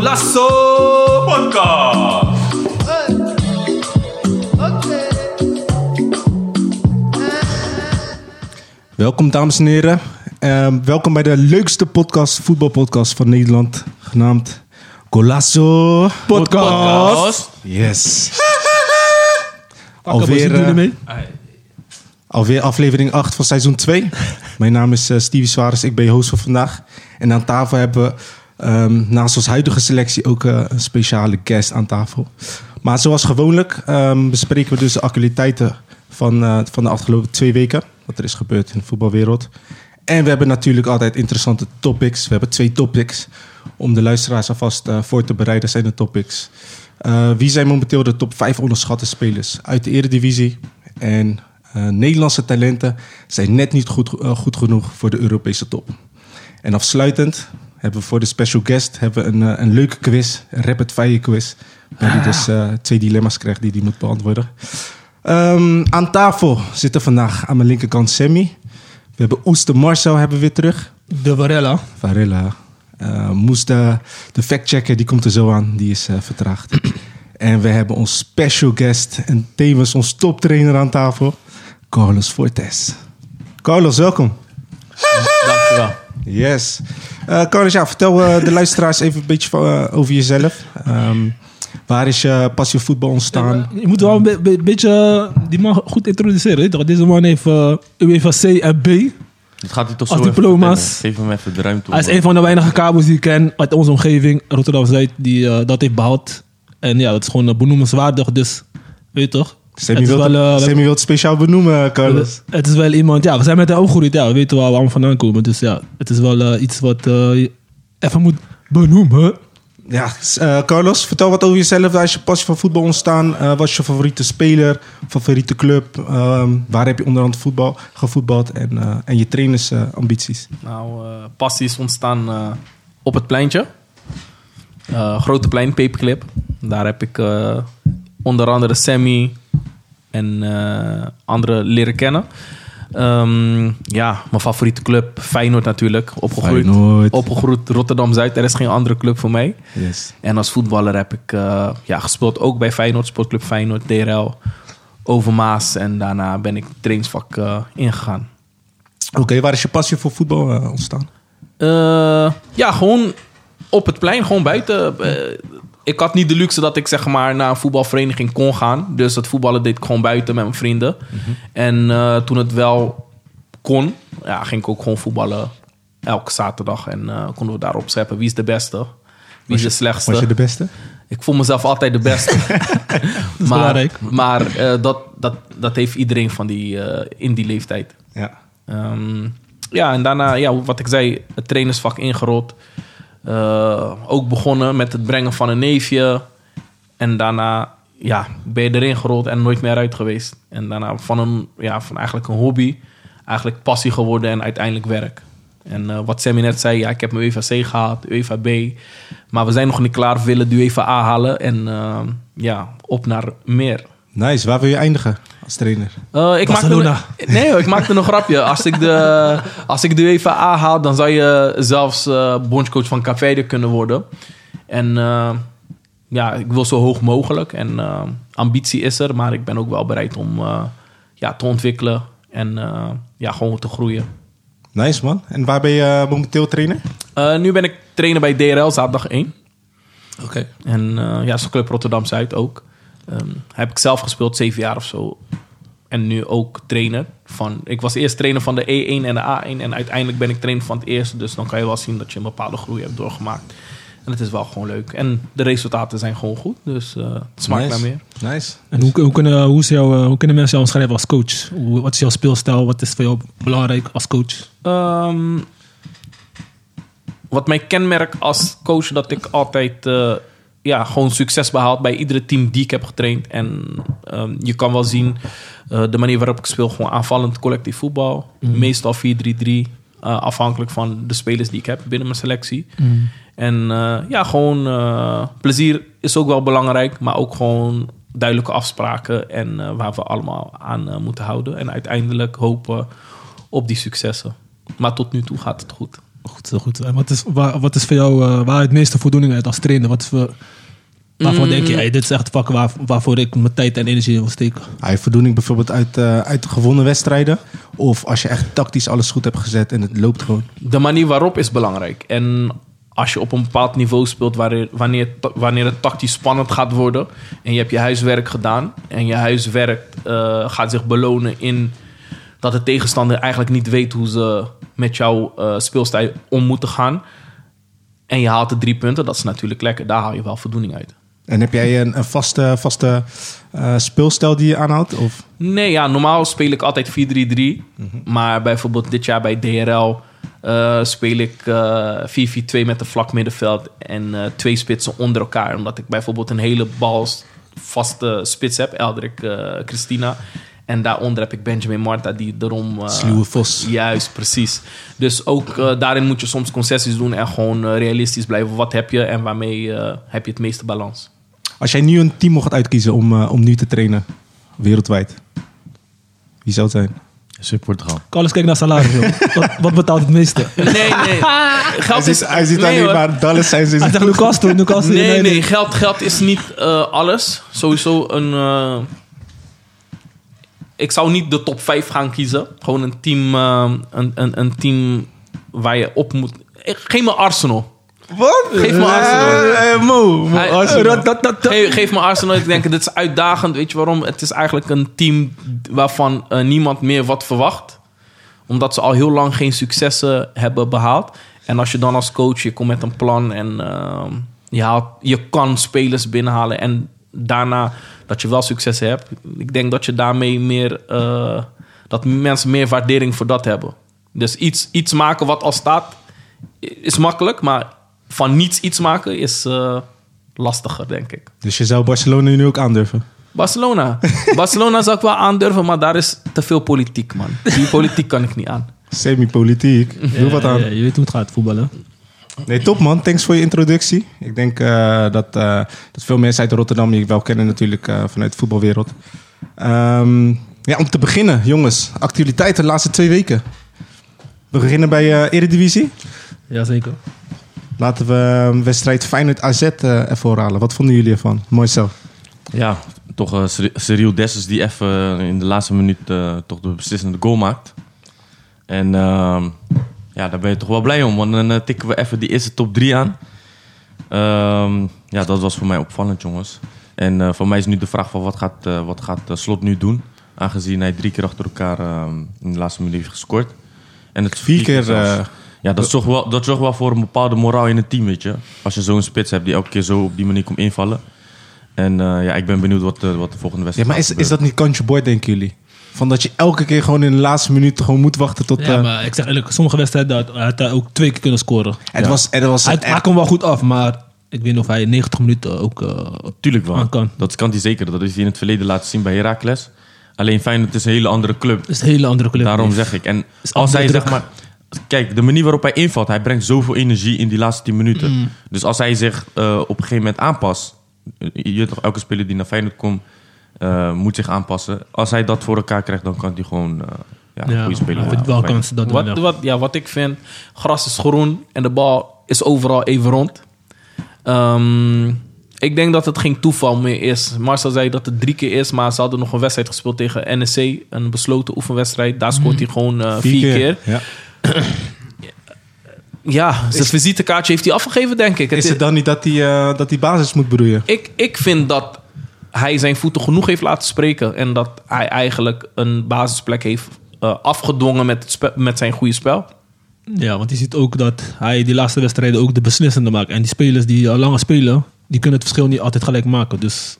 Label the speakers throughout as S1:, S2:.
S1: Lasso Podcast.
S2: Welkom dames en heren. Eh, welkom bij de leukste podcast, voetbalpodcast van Nederland, genaamd Golazo
S1: Podcast.
S2: Yes.
S3: Alweer,
S2: Alweer, eh, alweer aflevering 8 van seizoen 2. Mijn naam is eh, Stevie Suarez, ik ben je host van vandaag. En aan tafel hebben we ehm, naast onze huidige selectie ook eh, een speciale guest aan tafel. Maar zoals gewoonlijk ehm, bespreken we dus de actualiteiten van, eh, van de afgelopen twee weken. Wat er is gebeurd in de voetbalwereld. En we hebben natuurlijk altijd interessante topics. We hebben twee topics. Om de luisteraars alvast eh, voor te bereiden zijn de topics. Eh, wie zijn momenteel de top 5 onderschatte spelers uit de Eredivisie? En eh, Nederlandse talenten zijn net niet goed, eh, goed genoeg voor de Europese top. En afsluitend hebben we voor de special guest hebben we een, eh, een leuke quiz, een rapid fire quiz. Waar hij dus eh, twee dilemma's krijgt die hij moet beantwoorden. Ehm, aan tafel zitten vandaag aan mijn linkerkant Sammy. We hebben Oester Marcel hebben we weer terug.
S3: De Varela.
S2: Varela. eh moest de, de factchecker, die komt er zo aan. Die is eh, vertraagd. en we hebben ons special guest en tevens ons toptrainer aan tafel. Carlos Fortes. Carlos, welkom.
S1: Dankjewel.
S2: Yes. Eh, Carlos, ja, vertel eh, de luisteraars even een beetje van, eh, over jezelf. Ehm, waar is je passie voor voetbal ontstaan?
S3: Je moet wel een be- be- beetje eh, die man goed introduceren. weet je toch? Deze man heeft eh, UEFA C en B.
S4: Dat gaat hij toch
S3: Als
S4: zo even
S3: diploma's.
S4: vertellen. Geef hem even de ruimte.
S3: Hij is
S4: man.
S3: een van de weinige kabels die ik ken uit onze omgeving, Rotterdam-Zuid, die eh, dat heeft behaald. En ja, dat is gewoon eh, benoemenswaardig, dus weet je toch?
S2: Sammy
S3: Het is
S2: wil
S3: wel, eh,
S2: het Sammy wil het speciaal benoemen, eh, Carlos.
S3: Het is wel iemand, ja, we zijn met hem opgegroeid, ja, we weten waar we allemaal vandaan komen. Dus ja, het is wel eh, iets wat eh, je even moet benoemen.
S2: Ja, s- eh, Carlos, vertel wat over jezelf. Waar is je passie voor voetbal ontstaan? Eh wat is je favoriete speler, favoriete club? Ehm, waar heb je onderhand voetbal gevoetbald en, eh, en je trainersambities?
S1: Nou, eh passie is ontstaan eh, op het pleintje. Eh, grote plein, paperclip. Daar heb ik eh, onder andere Sammy en eh anderen leren kennen. Ehm, ja, mijn favoriete club, Feyenoord natuurlijk. Opgegroeid,
S2: Feyenoord.
S1: opgegroeid Rotterdam-Zuid. Er is geen andere club voor mij.
S2: Yes.
S1: En als voetballer heb ik eh, ja, gespeeld ook bij Feyenoord, Sportclub Feyenoord, DRL, Overmaas. En daarna ben ik trainingsvak eh, ingegaan.
S2: Eh, Oké, waar is je passie voor voetbal eh, ontstaan?
S1: Eh, ja, gewoon op het plein, gewoon buiten. Eh, ik had niet de luxe dat ik zeg maar naar een voetbalvereniging kon gaan. Dus het voetballen deed ik gewoon buiten met mijn vrienden.
S2: Mhm.
S1: En eh, toen het wel kon, ja, ging ik ook gewoon voetballen elke zaterdag. En eh, konden we daarop scheppen wie is de beste, wie is de slechtste.
S2: Was je de beste?
S1: Ik voel mezelf altijd de beste.
S3: is
S1: maar
S3: belangrijk.
S1: maar eh, dat, dat, dat heeft iedereen van die, eh, in die leeftijd.
S2: Ja.
S1: Ehm, ja, en daarna, ja, wat ik zei, het trainersvak ingerold. Eh, ook begonnen met het brengen van een neefje. En daarna ja, ben je erin gerold en nooit meer uit geweest. En daarna van, een, ja, van eigenlijk een hobby, eigenlijk passie geworden en uiteindelijk werk. En eh, wat Sammy net zei, ja, ik heb mijn UEFA C gehaald, UEFA B. Maar we zijn nog niet klaar, we willen de UEFA A halen. En ehm, ja, op naar meer.
S2: Nice, waar wil je eindigen als trainer?
S1: Eh, ik
S3: Barcelona.
S1: Maakte, nee hoor, ik maakte een grapje. Als ik, de, als ik de UEFA A haal, dan zou je zelfs eh bondscoach van Café kunnen worden. En eh, ja, ik wil zo hoog mogelijk. En eh, ambitie is er, maar ik ben ook wel bereid om eh, ja, te ontwikkelen. En eh, ja, gewoon te groeien.
S2: Nice man. En waar ben je eh, momenteel trainer?
S1: Eh, nu ben ik trainer bij DRL, zaterdag 1.
S3: Oké.
S1: En eh, ja, zo'n club Rotterdam-Zuid ook. Ehm, heb ik zelf gespeeld, zeven jaar of zo. En nu ook trainer. Van, ik was eerst trainer van de E1 en de A1. En uiteindelijk ben ik trainer van het eerste. Dus dan kan je wel zien dat je een bepaalde groei hebt doorgemaakt. En het is wel gewoon leuk. En de resultaten zijn gewoon goed. Dus eh, het smaakt
S2: nice.
S1: naar meer.
S2: Nice.
S3: En hoe, hoe, kunnen, hoe, is jouw, eh, hoe kunnen mensen jou omschrijven als coach? Hoe, wat is jouw speelstijl? Wat is voor jou belangrijk als coach?
S1: Ehm, wat mij kenmerkt als coach, dat ik altijd eh, ja, gewoon succes behaald bij iedere team die ik heb getraind. En ehm, je kan wel zien eh, de manier waarop ik speel, gewoon aanvallend collectief voetbal. Meestal 4-3-3, eh, afhankelijk van de spelers die ik heb binnen mijn selectie. En eh, ja, gewoon eh, plezier is ook wel belangrijk, maar ook gewoon duidelijke afspraken en eh, waar we allemaal aan eh, moeten houden. En uiteindelijk hopen op die successen. Maar tot nu toe gaat het goed.
S3: goed, zo goed. En wat is, waar, wat is voor jou eh, waar het meeste voldoening uit als trainer? Wat is voor,
S1: Mm.
S3: waarvan denk je, hey, dit is echt het vak waar, waarvoor ik mijn tijd en energie in wil steken?
S2: Hij voldoening bijvoorbeeld uit, eh, uit gewonnen wedstrijden. Of als je echt tactisch alles goed hebt gezet en het loopt gewoon.
S1: de manier waarop is belangrijk. En als je op een bepaald niveau speelt, waar- wanneer, wanneer het tactisch spannend gaat worden. en je hebt je huiswerk gedaan. en je huiswerk eh, gaat zich belonen in dat de tegenstander eigenlijk niet weet hoe ze met jouw eh, speelstijl om moeten gaan. en je haalt de drie punten, dat is natuurlijk lekker. Daar haal je wel voldoening uit.
S2: En heb jij een, een vaste, vaste eh, speelstijl die je aanhoudt? Of?
S1: Nee, ja, normaal speel ik altijd 4-3-3.
S2: Mhm.
S1: Maar bijvoorbeeld dit jaar bij DRL eh, speel ik eh 4-4-2 met een vlak middenveld en eh, twee spitsen onder elkaar. Omdat ik bijvoorbeeld een hele bal s- vaste spits heb, Eldrik eh, Christina. En daaronder heb ik Benjamin Marta, die erom... eh,
S2: Sluwe vos.
S1: Juist, precies. Dus ook eh, daarin moet je soms concessies doen en gewoon eh, realistisch blijven. Wat heb je en waarmee eh, heb je het meeste balans?
S2: Als jij nu een team mocht uitkiezen om, eh, om nu te trainen, wereldwijd. Wie zou het zijn?
S4: Zit Portugal.
S3: Carlos, kijk naar salaris, joh. wat, wat betaalt het meeste?
S1: Nee, nee. Geld is... nee, hoor.
S2: Dallas zijn
S3: Hij zegt Newcastle, Newcastle.
S1: Nee,
S3: United.
S1: nee, geld, geld is niet eh, alles. Sowieso een. eh, ik zou niet de top 5 gaan kiezen. Gewoon een team, eh, een, een, een team waar je op moet. Eh, Geef me Arsenal.
S2: Wat?
S1: Geef me Arsenal.
S2: Mo,
S1: Hij-
S2: Arsenal. Dat, dat, dat.
S1: Geef, geef me Arsenal. Ik denk, dit is uitdagend. Weet je waarom? Het is eigenlijk een team waarvan eh, niemand meer wat verwacht. Omdat ze al heel lang geen successen hebben behaald. En als je dan als coach, je komt met een plan en ehm, je, haalt, je kan spelers binnenhalen. En daarna dat je wel successen hebt. Ik denk dat je daarmee meer, eh, dat mensen meer waardering voor dat hebben. Dus iets, iets maken wat al staat i- is makkelijk. Maar van niets iets maken is eh, lastiger, denk ik.
S2: Dus je zou Barcelona nu ook aandurven?
S1: Barcelona. Barcelona zou ik wel aandurven, maar daar is te veel politiek, man. Die politiek kan ik niet aan.
S2: Semi-politiek. Heel wat aan.
S3: Ja, je weet hoe het gaat, voetballen.
S2: Nee, top man. Thanks voor je introductie. Ik denk eh, dat, eh, dat veel mensen uit Rotterdam je wel kennen natuurlijk eh, vanuit de voetbalwereld. Ehm, ja, om te beginnen, jongens. Actualiteiten de laatste twee weken. We beginnen bij eh, Eredivisie.
S3: Jazeker.
S2: Laten we eh, wedstrijd Feyenoord-AZ eh even voorhalen. Wat vonden jullie ervan? Mooi zo.
S4: Ja, toch eh, Cyri- Cyril Dessers die even in de laatste minuut eh, toch de beslissende goal maakt. En ehm, ja, daar ben je toch wel blij om, want dan eh, tikken we even die eerste top 3 aan. Ehm, ja, dat was voor mij opvallend, jongens. En eh, voor mij is nu de vraag van wat gaat, eh, wat gaat eh, Slot nu doen? Aangezien hij drie keer achter elkaar ehm, in de laatste minuut heeft gescoord. En het
S2: Vier keer...
S4: zelfs.
S2: eh,
S4: Ja, dat zorgt, wel, dat zorgt wel voor een bepaalde moraal in het team, weet je. Als je zo'n spits hebt die elke keer zo op die manier komt invallen. En eh, ja, ik ben benieuwd wat, eh, wat de volgende
S2: ja,
S4: wedstrijd
S2: maar is,
S4: gaat
S2: is dat niet kantje boord, denken jullie? Van dat je elke keer gewoon in de laatste minuut gewoon moet wachten tot...
S3: Ja,
S2: eh,
S3: maar ik zeg eerlijk, sommige wedstrijden had- had hij ook twee keer kunnen scoren.
S2: het, was, het was...
S3: Hij, hij kon wel goed af, maar ik weet niet of hij 90 minuten ook... eh,
S4: Tuurlijk wel.
S3: Ah, kan.
S4: Dat kan hij zeker. Dat is hij in het verleden laten zien bij Heracles. Alleen Feyenoord is een hele andere club.
S3: is een hele andere club.
S4: Daarom zeg ik. En
S3: Is
S4: als hij
S3: andere
S4: zeg
S3: druk.
S4: maar... Kijk, de manier waarop hij invalt, hij brengt zoveel energie in die laatste 10 minuten.
S3: Mm.
S4: Dus als hij zich eh, op een gegeven moment aanpast... eh, Je weet toch, elke speler die naar Feyenoord komt, eh, moet zich aanpassen. Als hij dat voor elkaar krijgt, dan kan hij gewoon eh, ja, een
S3: Ja,
S4: goede speler
S3: hij
S4: worden.
S3: heeft wel kansen dat
S1: Wat, wat, ja, wat ik vind, gras is groen en de bal is overal even rond. Ehm, ik denk dat het geen toeval meer is. Marcel zei dat het drie keer is, maar ze hadden nog een wedstrijd gespeeld tegen NEC. Een besloten oefenwedstrijd. Daar scoort hij gewoon eh, vier, keer.
S2: Ja.
S1: Ja, zijn visitekaartje heeft hij afgegeven, denk ik. Het
S2: Is
S1: is-
S2: het dan niet dat hij eh, dat die basis moet broeien?
S1: ik, ik vind dat hij zijn voeten genoeg heeft laten spreken. En dat hij eigenlijk een basisplek heeft eh, afgedwongen met, het spe- met zijn goede spel.
S3: Ja, want je ziet ook dat hij die laatste wedstrijden ook de beslissende maakt. En die spelers die al langer spelen, die kunnen het verschil niet altijd gelijk maken. Dus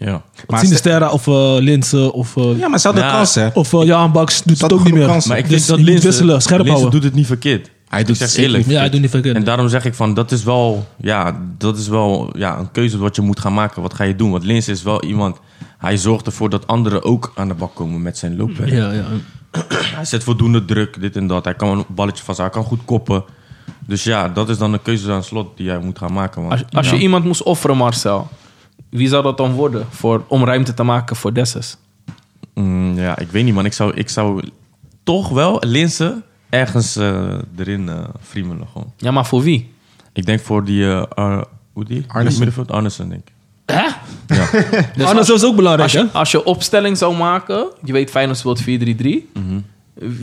S4: Ja.
S2: Maar
S3: Sinisterra of eh Linsen of, eh
S2: Ja, maar ze hadden
S4: Ja.
S2: kans, hè?
S3: of eh, Jan Baks doet het
S2: hadden
S3: ook niet meer.
S2: genoeg kansen.
S4: Maar ik
S3: Dus
S4: vind
S3: dat
S4: dat
S3: moet
S4: Linse,
S3: wisselen, scherp
S4: Linse
S3: houden.
S4: doet het niet verkeerd.
S2: Hij doet
S4: Ik zeg
S2: het zeker
S4: eerlijk.
S3: Ja, hij doet niet verkeerd.
S4: En daarom zeg ik van, dat is wel, ja, dat is wel ja, een keuze wat je moet gaan maken. Wat ga je doen? Want Linse is wel iemand, hij zorgt ervoor dat anderen ook aan de bak komen met zijn loopwerk.
S3: Ja, ja.
S4: Hij zet voldoende druk, dit en dat. Hij kan een balletje vast, hij kan goed koppen. Dus ja, dat is dan een keuze aan slot die jij moet gaan maken. Want,
S1: Als, als je
S4: ja.
S1: iemand moest offeren, Marcel, wie zou dat dan worden voor, om ruimte te maken voor Dessus?
S4: Mm, ja, ik weet niet man, ik zou, ik zou toch wel Linse ergens eh, erin eh friemelen gewoon.
S1: Ja, maar voor wie?
S4: Ik denk voor die... eh, Ar- hoe die?
S2: Arnesen.
S4: Middenveld Arnesen, denk ik.
S1: Hè?
S4: Ja.
S1: Dus
S3: Anders was ook belangrijk,
S1: Als
S3: hè?
S1: je, als je opstelling zou maken, je weet Feyenoord speelt 4-3-3.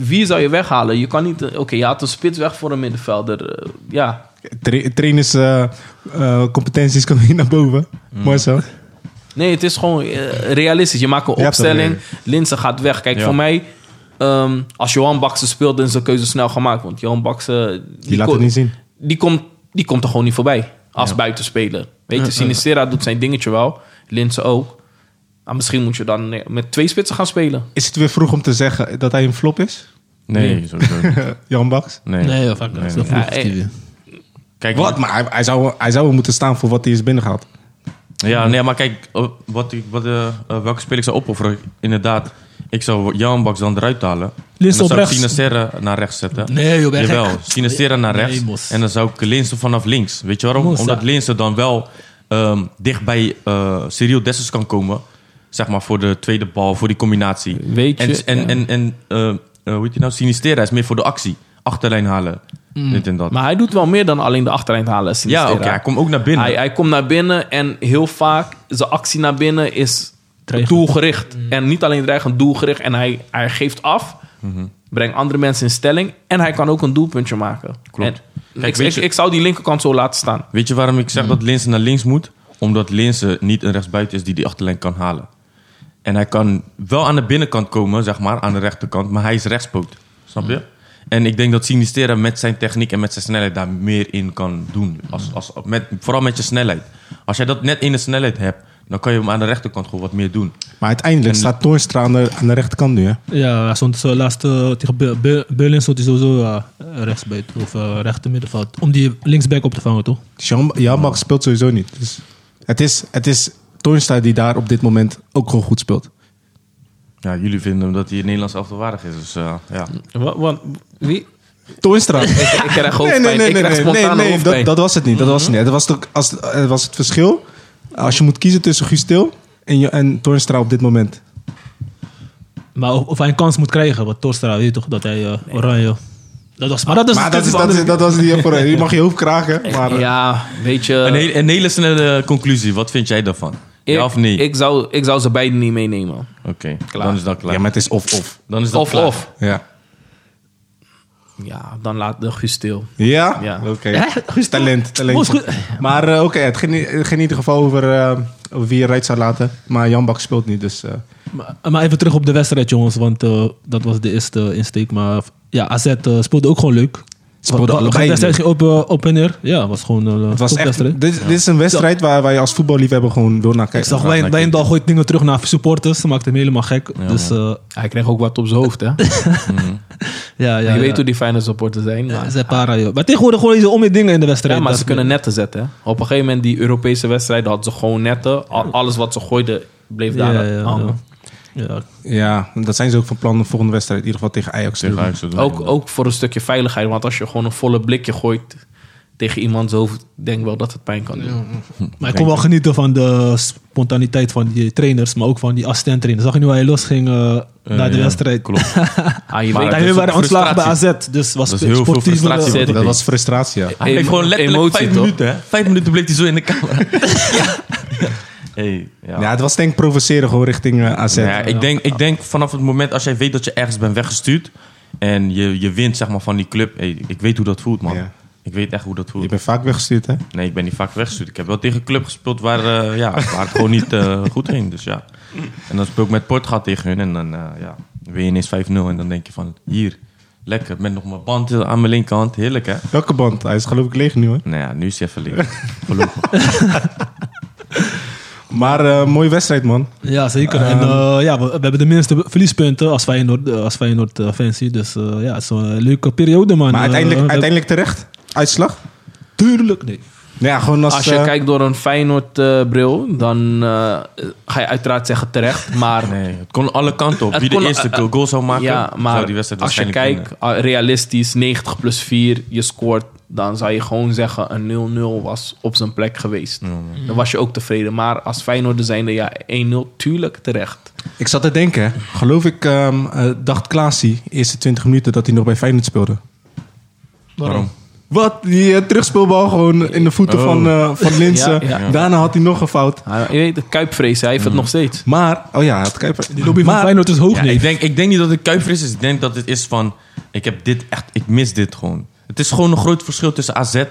S1: Wie zou je weghalen? Je kan niet... eh, Oké, je had een spits weg voor een middenvelder. eh, ja.
S2: Tra- trainers, eh, eh, competenties komen hier naar boven. Mooi zo.
S1: Nee, het is gewoon eh, realistisch. Je maakt een
S2: Ja,
S1: opstelling. Linsen gaat weg. Kijk,
S4: Ja.
S1: voor mij... ehm, als Johan Baksen speelt, dan is de keuze snel gemaakt. Want Johan Baksen...
S2: Die laat het niet zien.
S1: die komt, die komt er gewoon niet voorbij als buitenspeler. Weet je, Sinistera doet zijn dingetje wel, Linsen ook. Maar misschien moet je dan eh, met twee spitsen gaan spelen.
S2: Is het weer vroeg om te zeggen dat hij een flop is?
S4: Nee, sowieso niet.
S2: Jan Baks?
S4: Nee.
S3: Nee, ja, fuck dat. Dat
S4: Nee,
S1: nee.
S3: vroeg
S1: Ja,
S3: is die
S1: eh,
S3: weer.
S4: Kijk,
S2: Wat? Maar hij, hij zou, hij zou wel moeten staan voor wat hij is binnengehaald.
S4: Ja, nee, maar kijk, eh, wat ik, wat, eh, eh, welke speel ik zou opofferen? Inderdaad, ik zou Jan Baks dan eruit halen.
S3: Linssen
S4: en dan
S3: op
S4: zou ik
S3: rechts.
S4: Sinisterra naar rechts zetten.
S3: Nee, joh, ben je
S4: Jawel,
S3: gek?
S4: Sinisterra naar
S3: Nee,
S4: rechts.
S3: mos.
S4: en dan zou ik Linsen vanaf links. Weet je waarom?
S3: Mos,
S4: Omdat
S3: ja.
S4: Linsen dan wel ehm, dicht bij eh Cyril Dessers kan komen. Zeg maar voor de tweede bal, voor die combinatie.
S1: Weet je,
S4: En, en,
S1: ja.
S4: en, en eh, eh, hoe heet je nou? Sinisterra is meer voor de actie. Achterlijn halen.
S3: Mm.
S4: Dit en dat.
S1: Maar hij doet wel meer dan alleen de achterlijn halen.
S4: ja,
S1: Sinistera.
S4: oké, hij komt ook naar binnen.
S1: Hij, hij komt naar binnen en heel vaak zijn actie naar binnen is doelgericht. En niet alleen dreigend, doelgericht. En hij, hij geeft af, brengt andere mensen in stelling. En hij kan ook een doelpuntje maken.
S4: Klopt.
S1: En
S4: Kijk,
S1: ik,
S4: weet
S1: ik,
S4: je-
S1: ik zou die linkerkant zo laten staan.
S4: Weet je waarom ik
S1: Mhm.
S4: zeg dat Linsen naar links moet? Omdat Linsen niet een rechtsbuiten is die die achterlijn kan halen. En hij kan wel aan de binnenkant komen, zeg maar, aan de rechterkant, maar hij is rechtspoot. Snap
S1: Mhm.
S4: je? En ik denk dat Sinistera met zijn techniek en met zijn snelheid daar meer in kan doen. Als, als, met, vooral met je snelheid. Als jij dat net in de snelheid hebt, dan kan je hem aan de rechterkant gewoon wat meer doen.
S2: Maar uiteindelijk staat Toornstra aan de, aan de rechterkant nu. Hè?
S3: Ja, hij stond zo laatst eh, tegen Be- Be- Berlin stond hij sowieso eh, rechtsbuiten of eh rechter middenveld. Om die linksback op te vangen, toch?
S2: Dus Jan, Jan Baks speelt sowieso niet. Dus het is, het is Toornstra die daar op dit moment ook gewoon goed speelt.
S4: Ja, jullie vinden hem dat hij in Nederlands afwaardig is. Dus eh, ja.
S1: Want, wie?
S2: Toornstra.
S1: Ik krijg hoofdpijn. ik krijg spontane
S2: dat,
S1: hoofdpijn.
S2: dat was het niet. Dat was het niet. Dat was, het, als, eh, was het verschil. Als je moet kiezen tussen Gustil en, Jo- en Toornstra op dit moment.
S3: Maar of, of hij een kans moet krijgen, wat Torstra weet toch, dat hij eh, oranje... Dat was, maar dat is,
S2: Maar dat, is,
S3: een
S2: dat, is,
S3: andere-
S2: dat was niet voor Je mag je hoofd kraken. Maar eh,
S1: ja, weet je.
S4: een, hele, een hele snelle conclusie. Wat vind jij daarvan?
S1: ik,
S4: ja of nee?
S1: Ik zou, ik zou ze beiden niet meenemen.
S4: Oké, dan is dat klaar.
S2: ja, maar het is of-of.
S4: dan is dat
S1: Of,
S4: klaar.
S1: of.
S2: Ja.
S1: Ja, dan laat de Gustil.
S2: Ja?
S1: Ja.
S2: Oké.
S3: Hè? Guus-
S2: Talent, talent.
S3: Moest goed-
S2: Maar eh, oké, het ging, niet- het ging in ieder geval over eh, over wie je eruit zou laten. Maar Jan Bak speelt niet, dus... eh,
S3: Maar, maar even terug op de wedstrijd, jongens, want eh, dat was de eerste eh, insteek. Maar ja, AZ eh, speelde ook gewoon leuk.
S2: Speelden
S3: Wa- wa-
S2: allebei
S3: De wedstrijd ging op, eh, op en neer. Ja, was gewoon eh, een
S2: het was echt,
S3: topwedstrijd.
S2: dit, dit is een wedstrijd waar, waar je als voetballiefhebber gewoon door naar
S3: Ik
S2: kijkt.
S3: zag Wijn- Wijndal gooit dingen terug naar supporters. Dat maakte hem helemaal gek. dus eh,
S1: Hij kreeg ook wat op zijn hoofd, hè?
S3: ja, ja.
S1: je weet
S3: ja.
S1: hoe die fijne supporters zijn.
S3: Ja,
S1: Maar,
S3: ze para, joh. Maar tegenwoordig gewoon deze om je dingen in de wedstrijd.
S1: ja, maar
S3: Dat-
S1: ze kunnen netten zetten. Hè? Op een gegeven moment, die Europese wedstrijden, hadden ze gewoon netten. Al- Alles wat ze gooiden, bleef
S3: Ja,
S1: daar
S3: ja, ja.
S1: hangen.
S3: Ja.
S2: Ja, dat zijn ze ook van plan de volgende wedstrijd. In ieder geval tegen Ajax. te
S4: Tegen
S2: doen.
S4: Ajax te doen.
S1: Ook, ook voor een stukje veiligheid. Want als je gewoon een volle blikje gooit tegen iemands hoofd, denk wel dat het pijn kan doen. Ah,
S3: Maar ik kon wel genieten van de spontaniteit van die trainers, maar ook van die assistent trainers. Zag je nu waar hij losging eh na de
S4: ja,
S3: wedstrijd? Klopt.
S1: Ah, je
S4: Maar
S1: weet,
S4: dat is
S3: Hij
S4: ook
S3: waren ontslagen bij
S1: Ah,
S3: AZ, dus was
S4: Dat is heel veel
S3: sportief, eh,
S4: frustratie.
S1: zit-
S2: Dat was frustratie, ja.
S4: Hij heeft gewoon letterlijk
S1: Emotie,
S4: vijf
S1: toch?
S4: minuten, hè? Vijf minuten bleef hij zo in de camera. ja. Hey, ja.
S2: Ja, het was denk ik provoceren gewoon richting eh, AZ.
S4: Nou ja, ik, denk, ik denk vanaf het moment als jij weet dat je ergens bent weggestuurd... en je, je wint zeg maar, van die club... Hey, ik weet hoe dat voelt, man.
S2: Ja.
S4: Ik weet echt hoe dat
S2: Je
S4: voelt.
S2: bent vaak weggestuurd, hè?
S4: Nee, ik ben niet vaak weggestuurd. Ik heb wel tegen een club gespeeld waar, eh, ja, waar het gewoon niet eh, goed ging. Dus ja. En dan speel ik met Portugal tegen hun en dan eh ja, win je ineens 5-0. En dan denk je van, hier, lekker. Met nog mijn band aan mijn linkerhand. Heerlijk, hè?
S2: Welke band? Hij is geloof ik leeg nu, hoor.
S4: Nou ja, nu is hij even links. Gelukkig.
S2: Maar eh, mooie wedstrijd, man.
S3: Ja, zeker. en
S4: Ehm.
S3: eh, ja, we, we hebben de minste verliespunten als Feyenoord, eh, als Feyenoord eh, fancy. Dus eh, ja, het is wel een leuke periode, man.
S2: Maar uiteindelijk,
S3: Eh, we-
S2: uiteindelijk terecht. Uitslag?
S3: Tuurlijk, nee.
S2: Nou ja, gewoon als...
S1: Als je
S2: eh,
S1: kijkt door een Feyenoord-bril, dan eh, ga je uiteraard zeggen terecht. Maar,
S4: Nee, het kon alle kanten op.
S1: Het
S4: Wie de
S1: kon-
S4: eerste
S1: eh, eh,
S4: goal zou maken,
S1: ja,
S4: zou
S1: maar
S4: die wedstrijd
S1: als je
S4: waarschijnlijk
S1: kijkt, ah, realistisch, 90 plus 4, je scoort dan zou je gewoon zeggen een 0-0 was op zijn plek geweest. Dan was je ook tevreden. Maar als Feyenoord zijnde, ja, 1-0, tuurlijk terecht.
S2: Ik zat te denken, geloof ik, ehm, eh, dacht Klaasie, eerste 20 minuten, dat hij nog bij Feyenoord speelde.
S4: Waarom?
S2: Wat? Die eh, terugspeelbal gewoon in de voeten
S4: Oh.
S2: van, eh van Linsen.
S1: Ja, ja.
S2: Daarna had hij nog een fout.
S1: Hij- Ah, Je weet, de kuipvrees, hij heeft het nog steeds.
S2: Maar, oh ja, het Kuiper.
S3: Die lobby van
S2: maar,
S3: Feyenoord is hoog,
S4: Ja,
S3: nee.
S4: ik, denk, ik denk niet dat het kuifris is. Ik denk dat het is van... Ik heb dit echt... Ik mis dit gewoon. Het is gewoon een groot verschil tussen AZ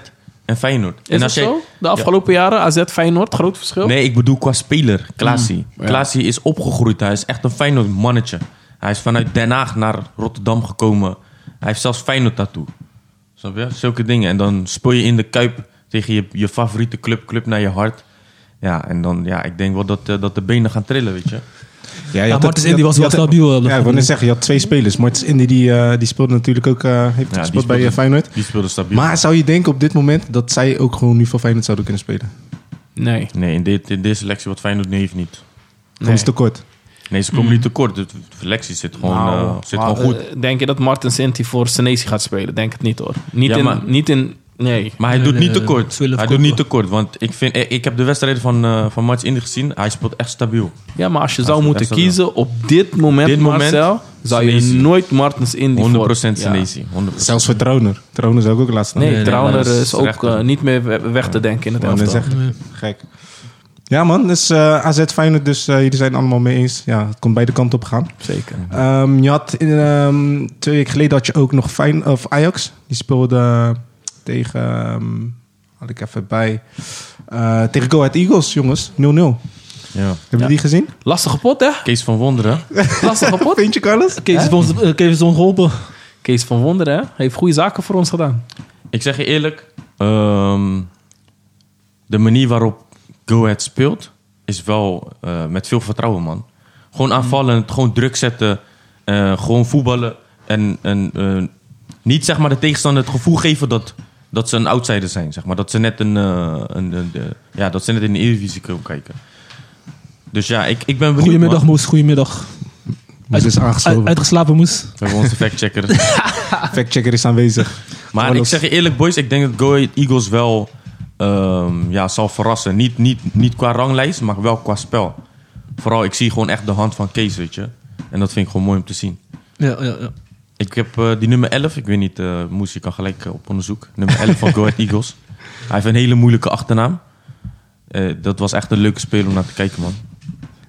S4: en Feyenoord.
S1: Is
S4: en
S1: dat
S4: als jij-
S1: zo? De afgelopen jaren, AZ, Feyenoord, groot verschil?
S4: Nee, ik bedoel qua speler. Klaasie.
S2: Mm.
S4: Klaasie is opgegroeid. Hij is echt een Feyenoord mannetje. Hij is vanuit Den Haag naar Rotterdam gekomen. Hij heeft zelfs Feyenoord tattoo. Snap je? Zulke dingen. En dan speel je in de Kuip tegen je, je favoriete club. Club naar je hart. Ja, en dan... Ja, ik denk wel dat, eh, dat de benen gaan trillen, weet je.
S2: ja, je
S3: Ja,
S2: had-
S3: Martens
S2: je
S3: Indy
S2: had-
S3: was wel
S2: je had-
S3: stabiel. eh,
S2: Ja, ik wou net zeggen, je had twee spelers. Martens Indy die, eh, die speelde natuurlijk ook, eh, heeft
S4: Ja,
S2: gespeeld bij eh,
S4: speelde-
S2: Feyenoord.
S4: Die speelde stabiel.
S2: Maar zou je denken op dit moment dat zij ook gewoon nu voor Feyenoord zouden kunnen spelen? Gewoon
S1: Nee.
S4: Nee, in, dit, in deze selectie wat Feyenoord nee heeft niet.
S1: Nee.
S2: is te kort.
S4: Nee, ze
S2: Mm.
S4: komen niet tekort. De selectie zit gewoon,
S1: Nou,
S4: eh, zit
S1: maar,
S4: gewoon goed.
S1: eh, denk je dat Martin Sinti voor Senesi gaat spelen? Denk het niet hoor. Niet,
S4: Ja,
S1: in,
S4: maar-
S1: niet in... Nee.
S4: Maar hij
S3: Nee,
S4: doet
S3: nee,
S4: niet
S3: nee,
S4: tekort.
S3: ze willen
S4: Hij doet
S3: verkopen.
S4: niet tekort. Want ik, vind, eh, ik heb de wedstrijden van, eh van Martins Indy gezien. Hij speelt echt stabiel.
S1: Ja, maar als je zou
S4: is-
S1: moeten
S4: dat is wel
S1: kiezen op dit moment,
S4: Dit moment,
S1: Marcel, zou je
S4: Senesi.
S1: nooit Martens in
S4: 100%
S1: die
S4: Senesi. 100%.
S2: Zelfs voor Troner. Troner zou ik ook laatst
S1: Nee,
S4: Nee, nee,
S1: Trauner
S4: maar dat
S1: is,
S4: is
S1: ook
S4: terecht.
S1: eh, niet meer we- weg te denken in het
S2: Ja, dat is
S1: elftal.
S2: echt gek. Ja man, dus eh, AZ Feyenoord, dus eh, jullie zijn het allemaal mee eens. Ja, het kon beide kanten op gaan.
S1: Zeker.
S2: Ehm, je had in, ehm, twee weken geleden had je ook nog Fijn, of Ajax. Die speelde tegen, ehm, had ik even bij, eh, tegen Go Ahead Eagles jongens, 0-0. Hebben
S4: Ja.
S2: jullie die gezien?
S1: Lastige pot, hè?
S4: Kees van Wonderen.
S1: Lastige pot.
S2: Vind je Carlos?
S3: Kees heeft ons, eh, Kees heeft ons geholpen.
S1: Kees van Wonderen, hè? Heeft goede zaken voor ons gedaan.
S4: Ik zeg je eerlijk. ehm, de manier waarop Go Ahead speelt... is wel eh, met veel vertrouwen, man. Gewoon aanvallen, gewoon druk zetten. eh, gewoon voetballen. En, en eh, niet zeg maar, de tegenstander het gevoel geven dat, dat ze een outsider zijn. Zeg maar. Dat ze net een, eh, een, een- de- ja, dat ze net in de Eredivisie kunnen kijken. Dus ja, ik, ik ben benieuwd.
S3: Goedemiddag,
S4: man.
S3: Moes. Goedemiddag.
S2: Moes is
S3: Uit-
S2: aangesloten.
S3: uitgeslapen, Moes.
S4: We hebben onze factchecker.
S2: Factchecker is aanwezig.
S4: Maar ik
S2: Carlos.
S4: zeg je eerlijk, boys, ik denk dat Go Ahead Eagles wel ehm, ja, zal verrassen. Niet, niet, niet qua ranglijst, maar wel qua spel. Vooral, ik zie gewoon echt de hand van Kees, weet je. En dat vind ik gewoon mooi om te zien.
S3: Ja, ja, ja.
S4: Ik heb eh, die nummer 11, ik weet niet, eh Moes, je kan gelijk eh, op onderzoek. Nummer 11 van Go Ahead Eagles. Hij heeft een hele moeilijke achternaam. Eh, dat was echt een leuke speler om naar te kijken, man.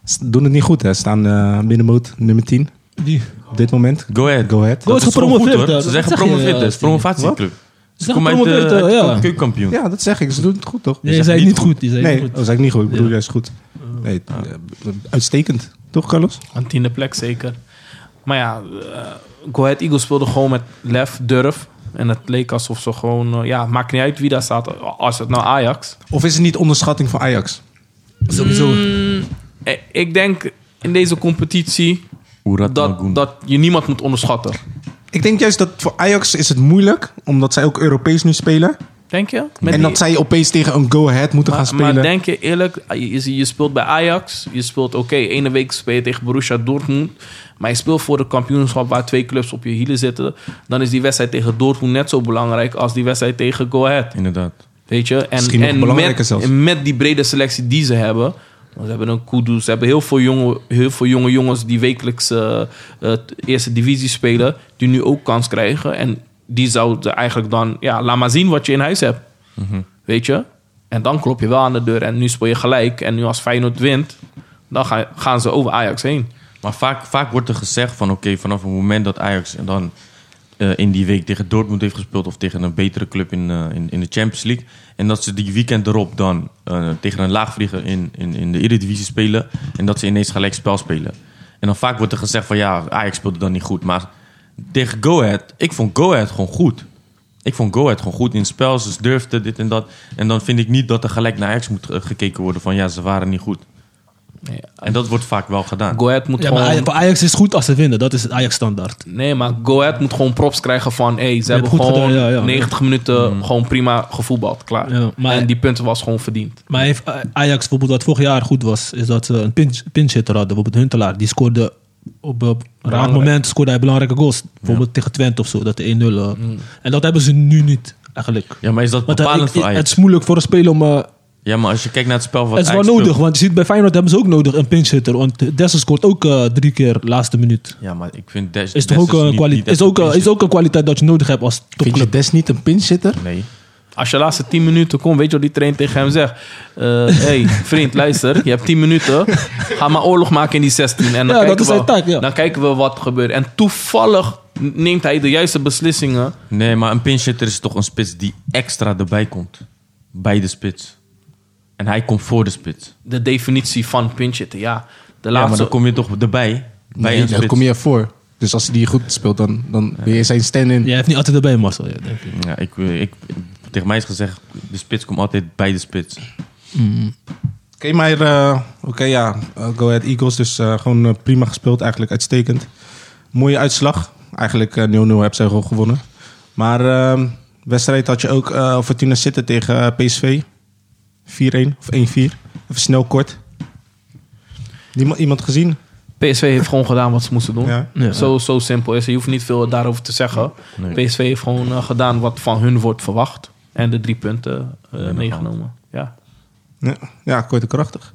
S2: Ze Doen het niet goed hè, staan eh middenmoot nummer 10
S3: Die.
S2: op dit moment.
S4: Go Ahead.
S2: Go Ahead.
S3: Go Ahead
S4: Dat is gewoon
S3: gepromoveerd,
S4: goed, hoor.
S3: daar. Dat
S4: Ze
S3: zeg
S4: zijn
S3: je,
S4: gepromoveerd,
S3: eh,
S4: dat is promovatieclub. Ze
S3: zijn
S4: komen uit
S3: gepromoveerd,
S4: de
S3: eh, ja.
S4: uit de keukenkampioen.
S2: Ja, dat zeg ik. Ze doen het goed toch?
S3: Nee, die
S4: zegt
S3: zijn
S4: niet
S3: niet goed. Die zijn
S2: Nee, oh,
S3: niet
S2: dat
S3: goed.
S2: is ik niet goed. Ik bedoel juist goed.
S1: Oh.
S2: Nee, eh, uitstekend. Toch Carlos?
S1: Aan tiende plek zeker. Maar ja, eh Go Ahead Eagles speelde gewoon met lef, durf. En het leek alsof ze gewoon... eh, ja, maakt niet uit wie daar staat. Als het nou Ajax...
S2: Of is het niet onderschatting van Ajax?
S3: Sowieso.
S1: Eh, Ik denk in deze competitie...
S4: Oerat Magoen.
S1: Dat, dat je niemand moet onderschatten.
S2: Ik denk juist dat voor Ajax is het moeilijk, omdat zij ook Europees nu spelen.
S1: Denk je? Met
S2: en
S1: die-
S2: dat zij opeens tegen een go-ahead moeten gaan
S1: maar,
S2: spelen.
S1: maar denk je eerlijk, je, je speelt bij Ajax. Je speelt, oké, ene week speel je tegen Borussia Dortmund. Maar je speelt voor de kampioenschap waar twee clubs op je hielen zitten. Dan is die wedstrijd tegen Dortmund net zo belangrijk als die wedstrijd tegen Go Ahead.
S4: Inderdaad.
S1: Weet je?
S2: Misschien
S1: En,
S2: nog
S1: en,
S2: belangrijker
S1: met,
S2: zelfs.
S1: en met die brede selectie die ze hebben. want Ze hebben een Kudus, ze hebben heel veel jonge, heel veel jonge jongens die wekelijks eh, eh, t- eerste divisie spelen. Die nu ook kans krijgen. En die zouden eigenlijk dan, ja, laat maar zien wat je in huis hebt.
S2: Mhm.
S1: Weet je? En dan klop je wel aan de deur en nu speel je gelijk. En nu als Feyenoord wint, dan ga- gaan ze over Ajax heen.
S4: Maar vaak, vaak wordt er gezegd van oké, vanaf het moment dat Ajax dan eh, in die week tegen Dortmund heeft gespeeld of tegen een betere club in, eh, in, in de Champions League. En dat ze die weekend erop dan eh, tegen een laagvlieger in, in, in de Eredivisie spelen. En dat ze ineens gelijk spel spelen. En dan vaak wordt er gezegd van ja, Ajax speelde dan niet goed. Maar tegen Go Ahead, ik vond Go Ahead gewoon goed. Ik vond Go Ahead gewoon goed in het spel. Ze durfden dit en dat. En dan vind ik niet dat er gelijk naar Ajax moet eh, gekeken worden van ja, ze waren niet goed.
S1: Nee,
S4: En dat wordt vaak wel gedaan.
S1: Go Ahead moet
S3: Ja, maar
S1: gewoon...
S3: Aj- voor Ajax is het goed als ze winnen. Dat is het Ajax-standaard.
S1: Nee, maar Go Ahead moet gewoon props krijgen van... Hey, ze hebben
S3: goed
S1: gewoon
S3: gedaan, ja, ja.
S1: 90 minuten
S4: Mm.
S1: gewoon prima gevoetbald, klaar.
S3: Ja, maar-
S1: En die punten was gewoon verdiend.
S3: Maar heeft Aj- Ajax bijvoorbeeld wat vorig jaar goed was, is dat ze een pinch, pinch hitter hadden. Bijvoorbeeld Huntelaar, die scoorde op, op een raar
S1: Belangrijk.
S3: moment scoorde hij belangrijke goals. Bijvoorbeeld tegen Twente of zo, dat de 1-0. eh. En dat hebben ze nu niet. Eigenlijk.
S4: Mm. Ja, maar is dat
S3: Want eh,
S4: bepalend
S3: ik- ik-
S4: voor
S3: het is
S4: Ajax?
S3: moeilijk voor een speler om... eh,
S4: Ja, maar als je kijkt naar het spel wat
S3: het is wel
S4: Ajax speelt-
S3: nodig, want je ziet bij Feyenoord hebben ze ook nodig een pinchhitter. Want Dessers scoort ook eh, drie keer laatste minuut.
S4: Ja, maar ik vind Des,
S3: Is, toch
S4: Des
S3: ook, een
S4: niet-
S3: kwali-
S4: niet
S3: is,
S4: echt
S3: ook, eh,
S4: een
S3: is ook een kwaliteit dat je nodig hebt als
S2: Vind je
S3: topclub.
S2: Des niet een pinzitter?
S4: Nee.
S1: Als je laatste 10 minuten komt, weet je wat die trainer tegen hem zegt? Hé, hey, vriend, luister, je hebt 10 minuten. Ga maar oorlog maken in die 16. En dan
S3: Ja, dat
S1: kijken
S3: is
S1: we,
S3: zijn taak, ja.
S1: Dan kijken we wat gebeurt. En toevallig neemt hij de juiste beslissingen.
S4: nee, maar een pinchitter is toch een spits die extra erbij komt. Bij de spits. En hij komt voor de spits.
S1: De definitie van pinchitten, ja. De
S4: Ja, maar
S1: laatste,
S4: dan kom je toch erbij. Bij
S2: Nee,
S4: een
S2: daar
S4: spits.
S2: kom je voor. Dus als hij die goed speelt, dan, dan ben je zijn stand-in.
S3: Jij heeft niet altijd erbij, Marcel. Ja, denk ik.
S4: Ja, ik, ik, tegen mij is gezegd, de spits komt altijd bij de spits.
S2: Oké, maar eh, oké, ja. eh, Go Ahead Eagles, dus eh, gewoon eh, prima gespeeld eigenlijk, uitstekend. Mooie uitslag. Eigenlijk eh, 0-0 hebben zij gewoon gewonnen. Maar eh, wedstrijd had je ook eh Fortuna City tegen eh, PSV. 4-1 of 1-4. Even snel kort. Niemand, iemand gezien?
S1: PSV heeft gewoon gedaan wat ze moesten doen.
S2: Ja.
S3: Ja.
S1: Zo, zo simpel is het. Je hoeft niet veel daarover te zeggen.
S4: Nee.
S1: PSV heeft gewoon eh, gedaan wat van hun wordt verwacht. En de drie punten eh, meegenomen. Ja.
S2: Ja, ja kort en krachtig.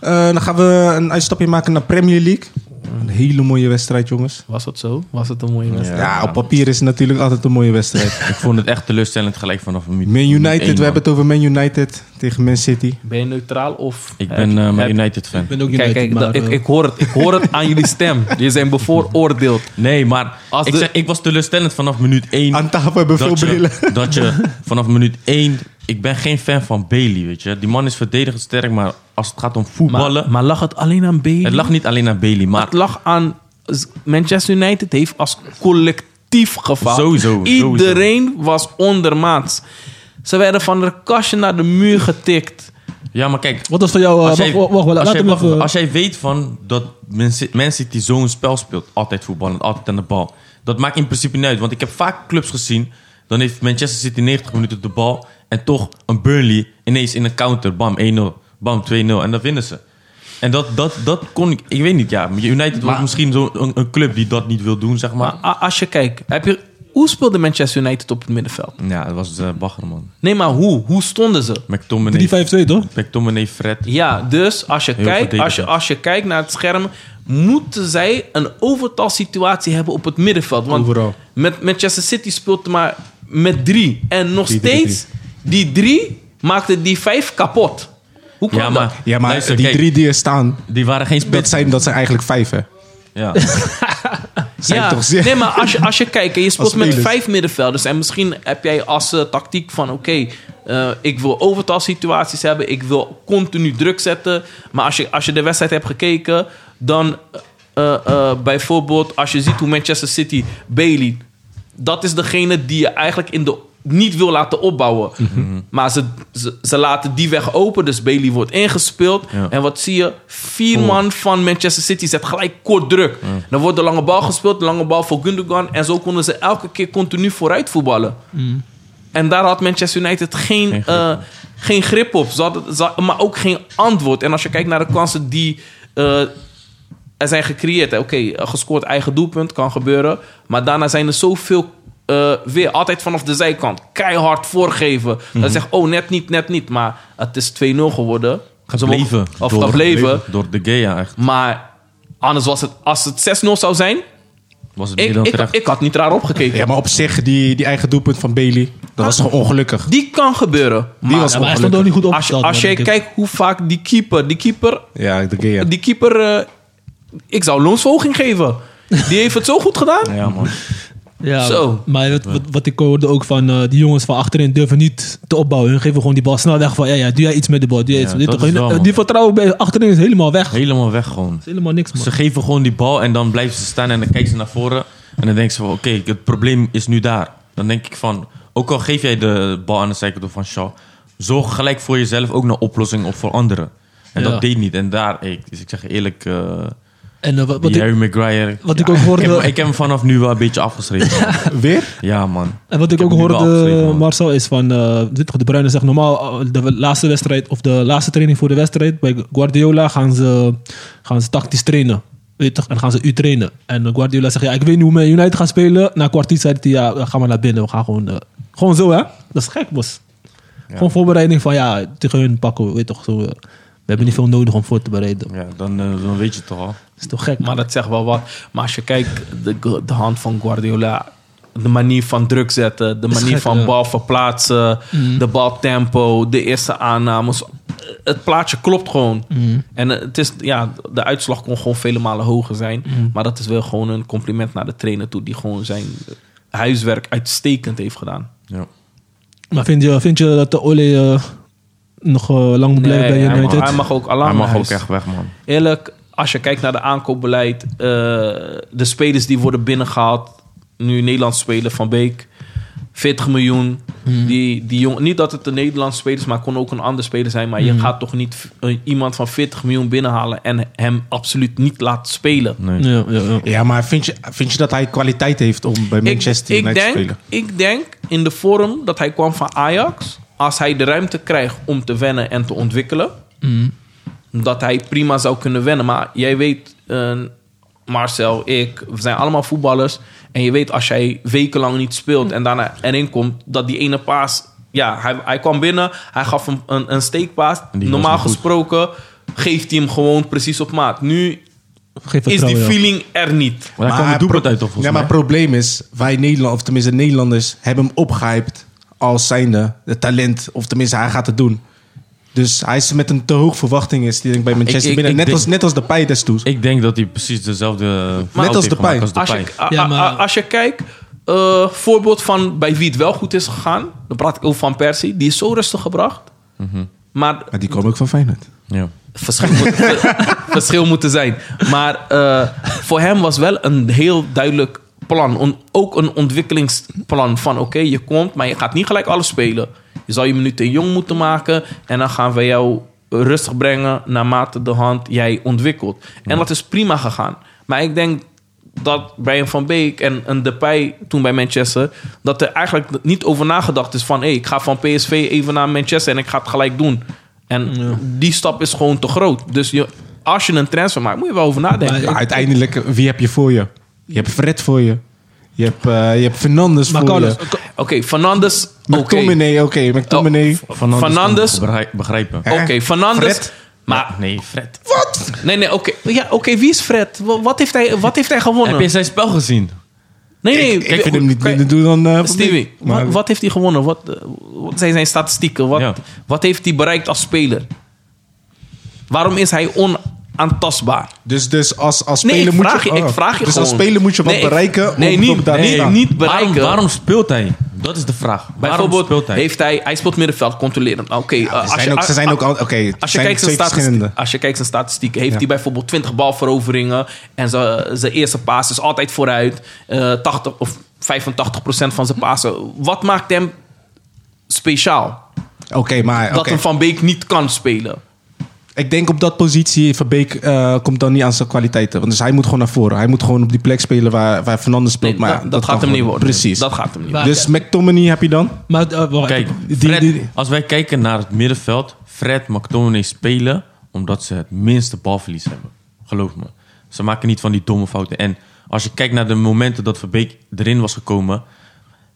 S2: Eh, dan gaan we een uitstapje maken naar Premier League. Een hele mooie wedstrijd, jongens.
S1: Was dat zo? Was het een mooie wedstrijd?
S2: Ja, op papier is het natuurlijk altijd een mooie wedstrijd.
S4: Ik vond het echt teleurstellend gelijk vanaf een minuut.
S2: Man
S4: minuut één,
S2: United, we
S4: man.
S2: hebben het over Man United tegen Man City.
S1: Ben je neutraal of...
S4: Ik ben eh, mijn United fan.
S3: Ik ben ook niet
S1: Kijk, kijk dat- ik,
S3: eh.
S1: ik, hoor het, ik hoor het aan jullie stem. Jullie zijn bevooroordeeld.
S4: Nee, maar
S1: Als
S4: ik,
S1: de-
S4: zeg, ik was teleurstellend vanaf minuut 1.
S2: Aan tafel hebben we veel
S4: dat
S2: brillen.
S4: je, dat je vanaf minuut 1... Ik ben geen fan van Bailey, weet je. Die man is verdedigend sterk, maar als het gaat om voetballen...
S1: Maar, maar lag het alleen aan Bailey?
S4: het lag niet alleen aan Bailey, maar...
S1: Het lag aan... Manchester United heeft als collectief gefaald.
S4: Sowieso, sowieso.
S1: Iedereen was ondermaats. Ze werden van de kastje naar de muur getikt.
S4: Ja, maar kijk...
S3: Wat was van jou... eh,
S4: Als
S3: wacht,
S4: jij,
S3: wacht, wacht,
S4: als
S3: laat
S4: jij-
S3: hem eh,
S4: wacht,
S3: even...
S4: als jij weet van dat Man Ci- Man City zo'n spel speelt, altijd voetballend, altijd aan de bal. Dat maakt in principe niet uit, want ik heb vaak clubs gezien. Dan heeft Manchester City 90 minuten de bal en toch een Burnley ineens in een counter. Bam, 1-0. Bam, 2-0. En dan winnen ze. En dat, dat, dat kon ik... Ik weet niet, ja. United was misschien zo'n een, een club die dat niet wil doen, zeg maar.
S1: Maar a- als je kijkt... Heb je, hoe speelde Manchester United op het middenveld?
S4: Ja, dat was eh bagger, man.
S1: Nee, maar hoe? Hoe stonden ze?
S4: McTominay,
S3: 3-5-2, toch?
S4: McTominay, Fred.
S1: Ja, dus als je, kijkt, als, je,
S4: verdedigend.
S1: als je kijkt naar het scherm, moeten zij een overtalsituatie hebben op het middenveld. Want
S2: Overal.
S1: Met Manchester City speelt maar met drie. En nog
S2: Drie, drie,
S1: steeds, die drie maakten die vijf kapot. Hoe kwam
S4: Ja,
S1: dat?
S4: maar,
S2: Ja, maar
S4: luister,
S2: die
S4: kijk,
S2: drie die er staan,
S4: die waren geen
S2: dat
S4: spits.
S2: zijn, dat zijn eigenlijk vijf, hè?
S4: Ja.
S2: Zijn
S1: ja,
S2: toch zeer-
S1: nee, maar als je, als je kijkt en je speelt met
S2: spelers.
S1: vijf middenvelders... en misschien heb jij als eh, tactiek van... oké, eh, ik wil overtalsituaties hebben... ik wil continu druk zetten. Maar als je, als je de wedstrijd hebt gekeken... dan eh, eh, bijvoorbeeld als je ziet hoe Manchester City... Bailey, dat is degene die je eigenlijk in de, niet wil laten opbouwen. Maar ze, ze, ze laten die weg open, dus Bailey wordt ingespeeld.
S4: Ja.
S1: En wat zie je? Vier man van Manchester City zet gelijk kort druk. Dan wordt de lange bal gespeeld, de lange bal voor Gundogan. En zo konden ze elke keer continu vooruit voetballen. En daar had Manchester United geen, geen, grip. geen grip op. Ze hadden- ze- maar ook geen antwoord. En als je kijkt naar de kansen die eh, er zijn gecreëerd. hè. Oké, eh, gescoord eigen doelpunt kan gebeuren. Maar daarna zijn er zoveel eh, weer. Altijd vanaf de zijkant. Keihard voorgeven. Dan zeg oh, net niet, net niet. Maar het is 2-0 geworden. Ze mogen-
S4: Gebleven.
S1: Of
S4: door,
S1: gebleven.
S4: Door De Gea, echt.
S1: Maar anders was het... Als het 6-0 zou zijn...
S4: Was het
S1: Ik,
S4: meer dan
S1: ik,
S4: terecht.
S1: ik had niet raar opgekeken.
S2: Ja, maar op zich, die, die eigen doelpunt van Bailey, dat was gewoon ongelukkig.
S1: Die kan gebeuren.
S2: Die was
S3: Ja, maar hij
S2: ongelukkig.
S3: stond ook niet goed
S1: Als je,
S3: opgesteld.
S1: als
S3: man,
S1: je
S3: denk ik.
S1: kijkt hoe vaak die keeper... Die keeper
S2: Ja, de Gea.
S1: Die keeper, eh, ik zou loonsverhoging geven. Die heeft het zo goed gedaan.
S4: Ja, man.
S3: Ja,
S1: Zo.
S3: maar wat, wat, wat ik hoorde ook van eh, die jongens van achterin durven niet te opbouwen. Hun geven gewoon die bal snel weg van, ja, ja, doe jij iets met de bal. Doe jij
S4: Ja,
S3: iets met dit.
S4: dat is
S3: Hun-
S4: wel,
S3: eh,
S4: man.
S3: die vertrouwen bij achterin is helemaal weg.
S4: Helemaal weg gewoon.
S3: is helemaal niks, man.
S4: Ze geven gewoon die bal en dan blijven ze staan en dan kijken ze naar voren. En dan denken ze van, oké, het probleem is nu daar. Dan denk ik van, ook al geef jij de bal aan de zijkant van Shaw... zorg gelijk voor jezelf ook naar oplossing of voor anderen. En
S3: Ja.
S4: dat deed niet. En daar, ik, dus ik zeg je eerlijk, eh,
S3: En eh, wat, wat
S4: die
S3: ik,
S4: Harry Maguire...
S3: wat
S4: ja,
S3: ik ook hoorde-
S4: Ik heb, ik heb hem vanaf nu wel een beetje afgeschreven.
S2: Weer?
S4: ja, man.
S3: En wat ik,
S4: Ik
S3: ook
S4: heb hem nu wel afgeschreven,
S3: hoorde,
S4: man.
S3: Marcel, is van... eh, dit de Bruyne zegt normaal eh, de laatste wedstrijd... of de laatste training voor de wedstrijd... bij Guardiola gaan ze, gaan ze tactisch trainen. Weet toch? En gaan ze u trainen. En Guardiola zegt... ja, ik weet niet hoe Man United gaat spelen. Na kwartier zei hij... ja, ga maar naar binnen. We gaan gewoon eh, Gewoon zo, hè? Dat is gek, bos. Gewoon voorbereiding van, ja, tegen hun pakken, we- weet toch, zo. eh, We hebben niet veel nodig om voor te bereiden.
S4: Ja, dan, eh, dan weet je het toch al.
S3: Dat is toch gek,
S1: Maar
S3: man.
S1: dat zegt wel wat. Maar als je kijkt, de, de hand van Guardiola. De manier van druk zetten. De
S3: is
S1: manier
S3: gek,
S1: van
S3: ja. Mm.
S1: bal verplaatsen. De baltempo. De eerste aannames. Het plaatje klopt gewoon.
S3: Mm.
S1: En eh, het is, ja, de uitslag kon gewoon vele malen hoger zijn.
S3: Mm.
S1: Maar dat is wel gewoon een compliment naar de trainer toe. Die gewoon zijn huiswerk uitstekend heeft gedaan.
S4: Ja.
S3: Maar vind je, vind je dat de Ole eh, nog eh, lang moet blijven bij
S1: hij,
S3: United?
S1: mag, hij mag ook alarm
S4: Hij mag
S1: naar
S4: ook
S1: huis.
S4: echt weg, man.
S1: Eerlijk, als je kijkt naar de aankoopbeleid, eh, de spelers die worden binnengehaald, nu Nederlands spelen van Beek, 40 miljoen. Die, die jong, niet dat het een Nederlands speler is, maar kon ook een ander speler zijn. Maar je gaat toch niet eh, iemand van 40 miljoen binnenhalen en hem absoluut niet laten spelen.
S4: Nee.
S3: Ja, ja, ja.
S2: Ja, maar vind je, vind je dat hij kwaliteit heeft om bij Manchester
S1: ik, ik
S2: United
S1: denk,
S2: te spelen?
S1: Ik denk in de vorm dat hij kwam van Ajax, als hij de ruimte krijgt om te wennen en te ontwikkelen,
S4: Mhm.
S1: dat hij prima zou kunnen wennen. Maar jij weet, eh, Marcel, ik, we zijn allemaal voetballers. En je weet, als jij wekenlang niet speelt en daarna erin komt, dat die ene paas. Ja, hij, hij kwam binnen, hij gaf hem een, een steekpaas.
S4: die was
S1: Normaal
S4: niet goed.
S1: gesproken geeft hij hem gewoon precies op maat. Nu
S3: Geef
S1: is die
S3: vertrouwen, ja.
S1: feeling er niet.
S4: Maar daar kwam de
S2: hij
S4: doelpunt
S2: pro-
S4: uit, toch? Volgens
S2: Ja, maar
S4: mij?
S2: het probleem is, wij Nederland, of tenminste Nederlanders, hebben hem opgehyped als zijnde het talent. Of tenminste, hij gaat het doen. Dus hij is met een te hoog verwachting is, die denk ik bij Manchester
S4: ik-
S2: binnen.
S4: ik
S2: net,
S4: denk-
S2: als, net als de Pai destijds.
S4: Ik denk dat hij precies dezelfde fout
S2: als
S4: heeft
S2: Depay.
S4: gemaakt als
S1: Als
S4: Depay.
S1: je, a-
S3: Ja,
S1: a-
S3: maar-
S1: a- als je kijkt, eh, voorbeeld van bij wie het wel goed is gegaan. Dan praat ik over Van Persie. Die is zo rustig gebracht. Maar
S2: Maar die kwam ook van Feyenoord.
S4: Ja.
S1: verschil moet, verschil moeten zijn. Maar eh, voor hem was wel een heel duidelijk plan. On- ook een ontwikkelingsplan van oké, je komt, maar je gaat niet gelijk alles spelen. Je zal je minuten jong moeten maken en dan gaan we jou rustig brengen naarmate de hand jij ontwikkelt. En dat is prima gegaan. Maar ik denk dat bij een Van Beek en een Depay toen bij Manchester... dat er eigenlijk niet over nagedacht is van... hé, ik ga van PSV even naar Manchester en ik ga het gelijk doen. En die stap is gewoon te groot. Dus je, als je een transfer maakt, moet je wel over nadenken.
S3: Maar-
S2: Maar uiteindelijk, wie heb je voor je? Je hebt Fred voor je. Je hebt, eh, je hebt Fernandes
S3: Maar
S2: voor
S3: Carlos,
S2: je.
S1: Oké, Fernandes... oké.
S2: McTominay, oké. McTominay.
S1: Oh, Fernandes... Oké,
S4: Begrijp- Begrijpen.
S2: Hè?
S1: Fernandes...
S2: Fred?
S1: Maar,
S4: Nee, Fred.
S1: nee, nee, oké. Ja, oké, wie is Fred? Wa- Wat heeft hij, wat heeft hij
S4: Heb je
S1: gewonnen?
S4: zijn spel gezien?
S1: Nee, nee.
S2: Ik vind hem niet
S1: kan je-
S2: minder doen dan... eh, Van
S1: Stevie,
S2: Dijk. Maar-
S1: wat, wat heeft hij gewonnen? Wat, eh, wat zijn zijn statistieken? Wat,
S4: Ja.
S1: wat heeft hij bereikt als speler? Waarom is hij onaantastbaar?
S2: Dus, dus als, als
S1: Nee,
S2: speler
S1: ik
S2: moet
S1: vraag,
S2: je...
S1: je, ik
S2: oh.
S1: vraag je
S2: Dus
S1: gewoon.
S2: als speler moet je wat
S1: Nee, ik-
S2: bereiken
S1: Nee,
S2: om
S1: niet,
S2: daar te
S1: nee,
S2: staan.
S1: niet
S4: Waarom,
S1: bereiken.
S4: waarom speelt hij? Dat is de vraag. Waarom
S1: Bijvoorbeeld
S4: speelt hij?
S1: heeft hij... Hij speelt middenveld, controleren. Oké, eh,
S2: Ze
S1: als
S2: zijn
S1: je-
S2: ook, ze zijn ook al, oké, het
S1: Als je,
S2: zijn
S1: kijkt
S2: twee
S1: zijn statistiek,
S2: verschillende.
S1: als je kijkt zijn statistiek, heeft
S2: Ja.
S1: hij bijvoorbeeld 20 balveroveringen. En zijn, zijn eerste paas is altijd vooruit. Eh 80 of 85% van zijn pasen. Wat maakt hem speciaal?
S2: Oké, maar
S1: Dat
S2: oké.
S1: een Van Beek niet kan spelen.
S2: ik denk op dat positie Van Beek eh, komt dan niet aan zijn kwaliteiten. Want dus hij moet gewoon naar voren. Hij moet gewoon op die plek spelen waar, waar Fernandes speelt.
S1: Nee,
S2: maar
S1: dat,
S2: ja,
S1: dat
S2: kan
S1: gaat hem niet
S2: gewoon-
S1: worden.
S2: Precies.
S1: Dat gaat hem niet
S3: Maar-
S2: dus McTominay heb je dan?
S3: Maar eh, wacht,
S4: Kijk,
S3: die-
S4: Fred-
S3: die-
S4: als wij kijken naar het middenveld, Fred, McTominay spelen omdat ze het minste balverlies hebben. Geloof me. Ze maken niet van die domme fouten. En als je kijkt naar de momenten dat Verbeek erin was gekomen,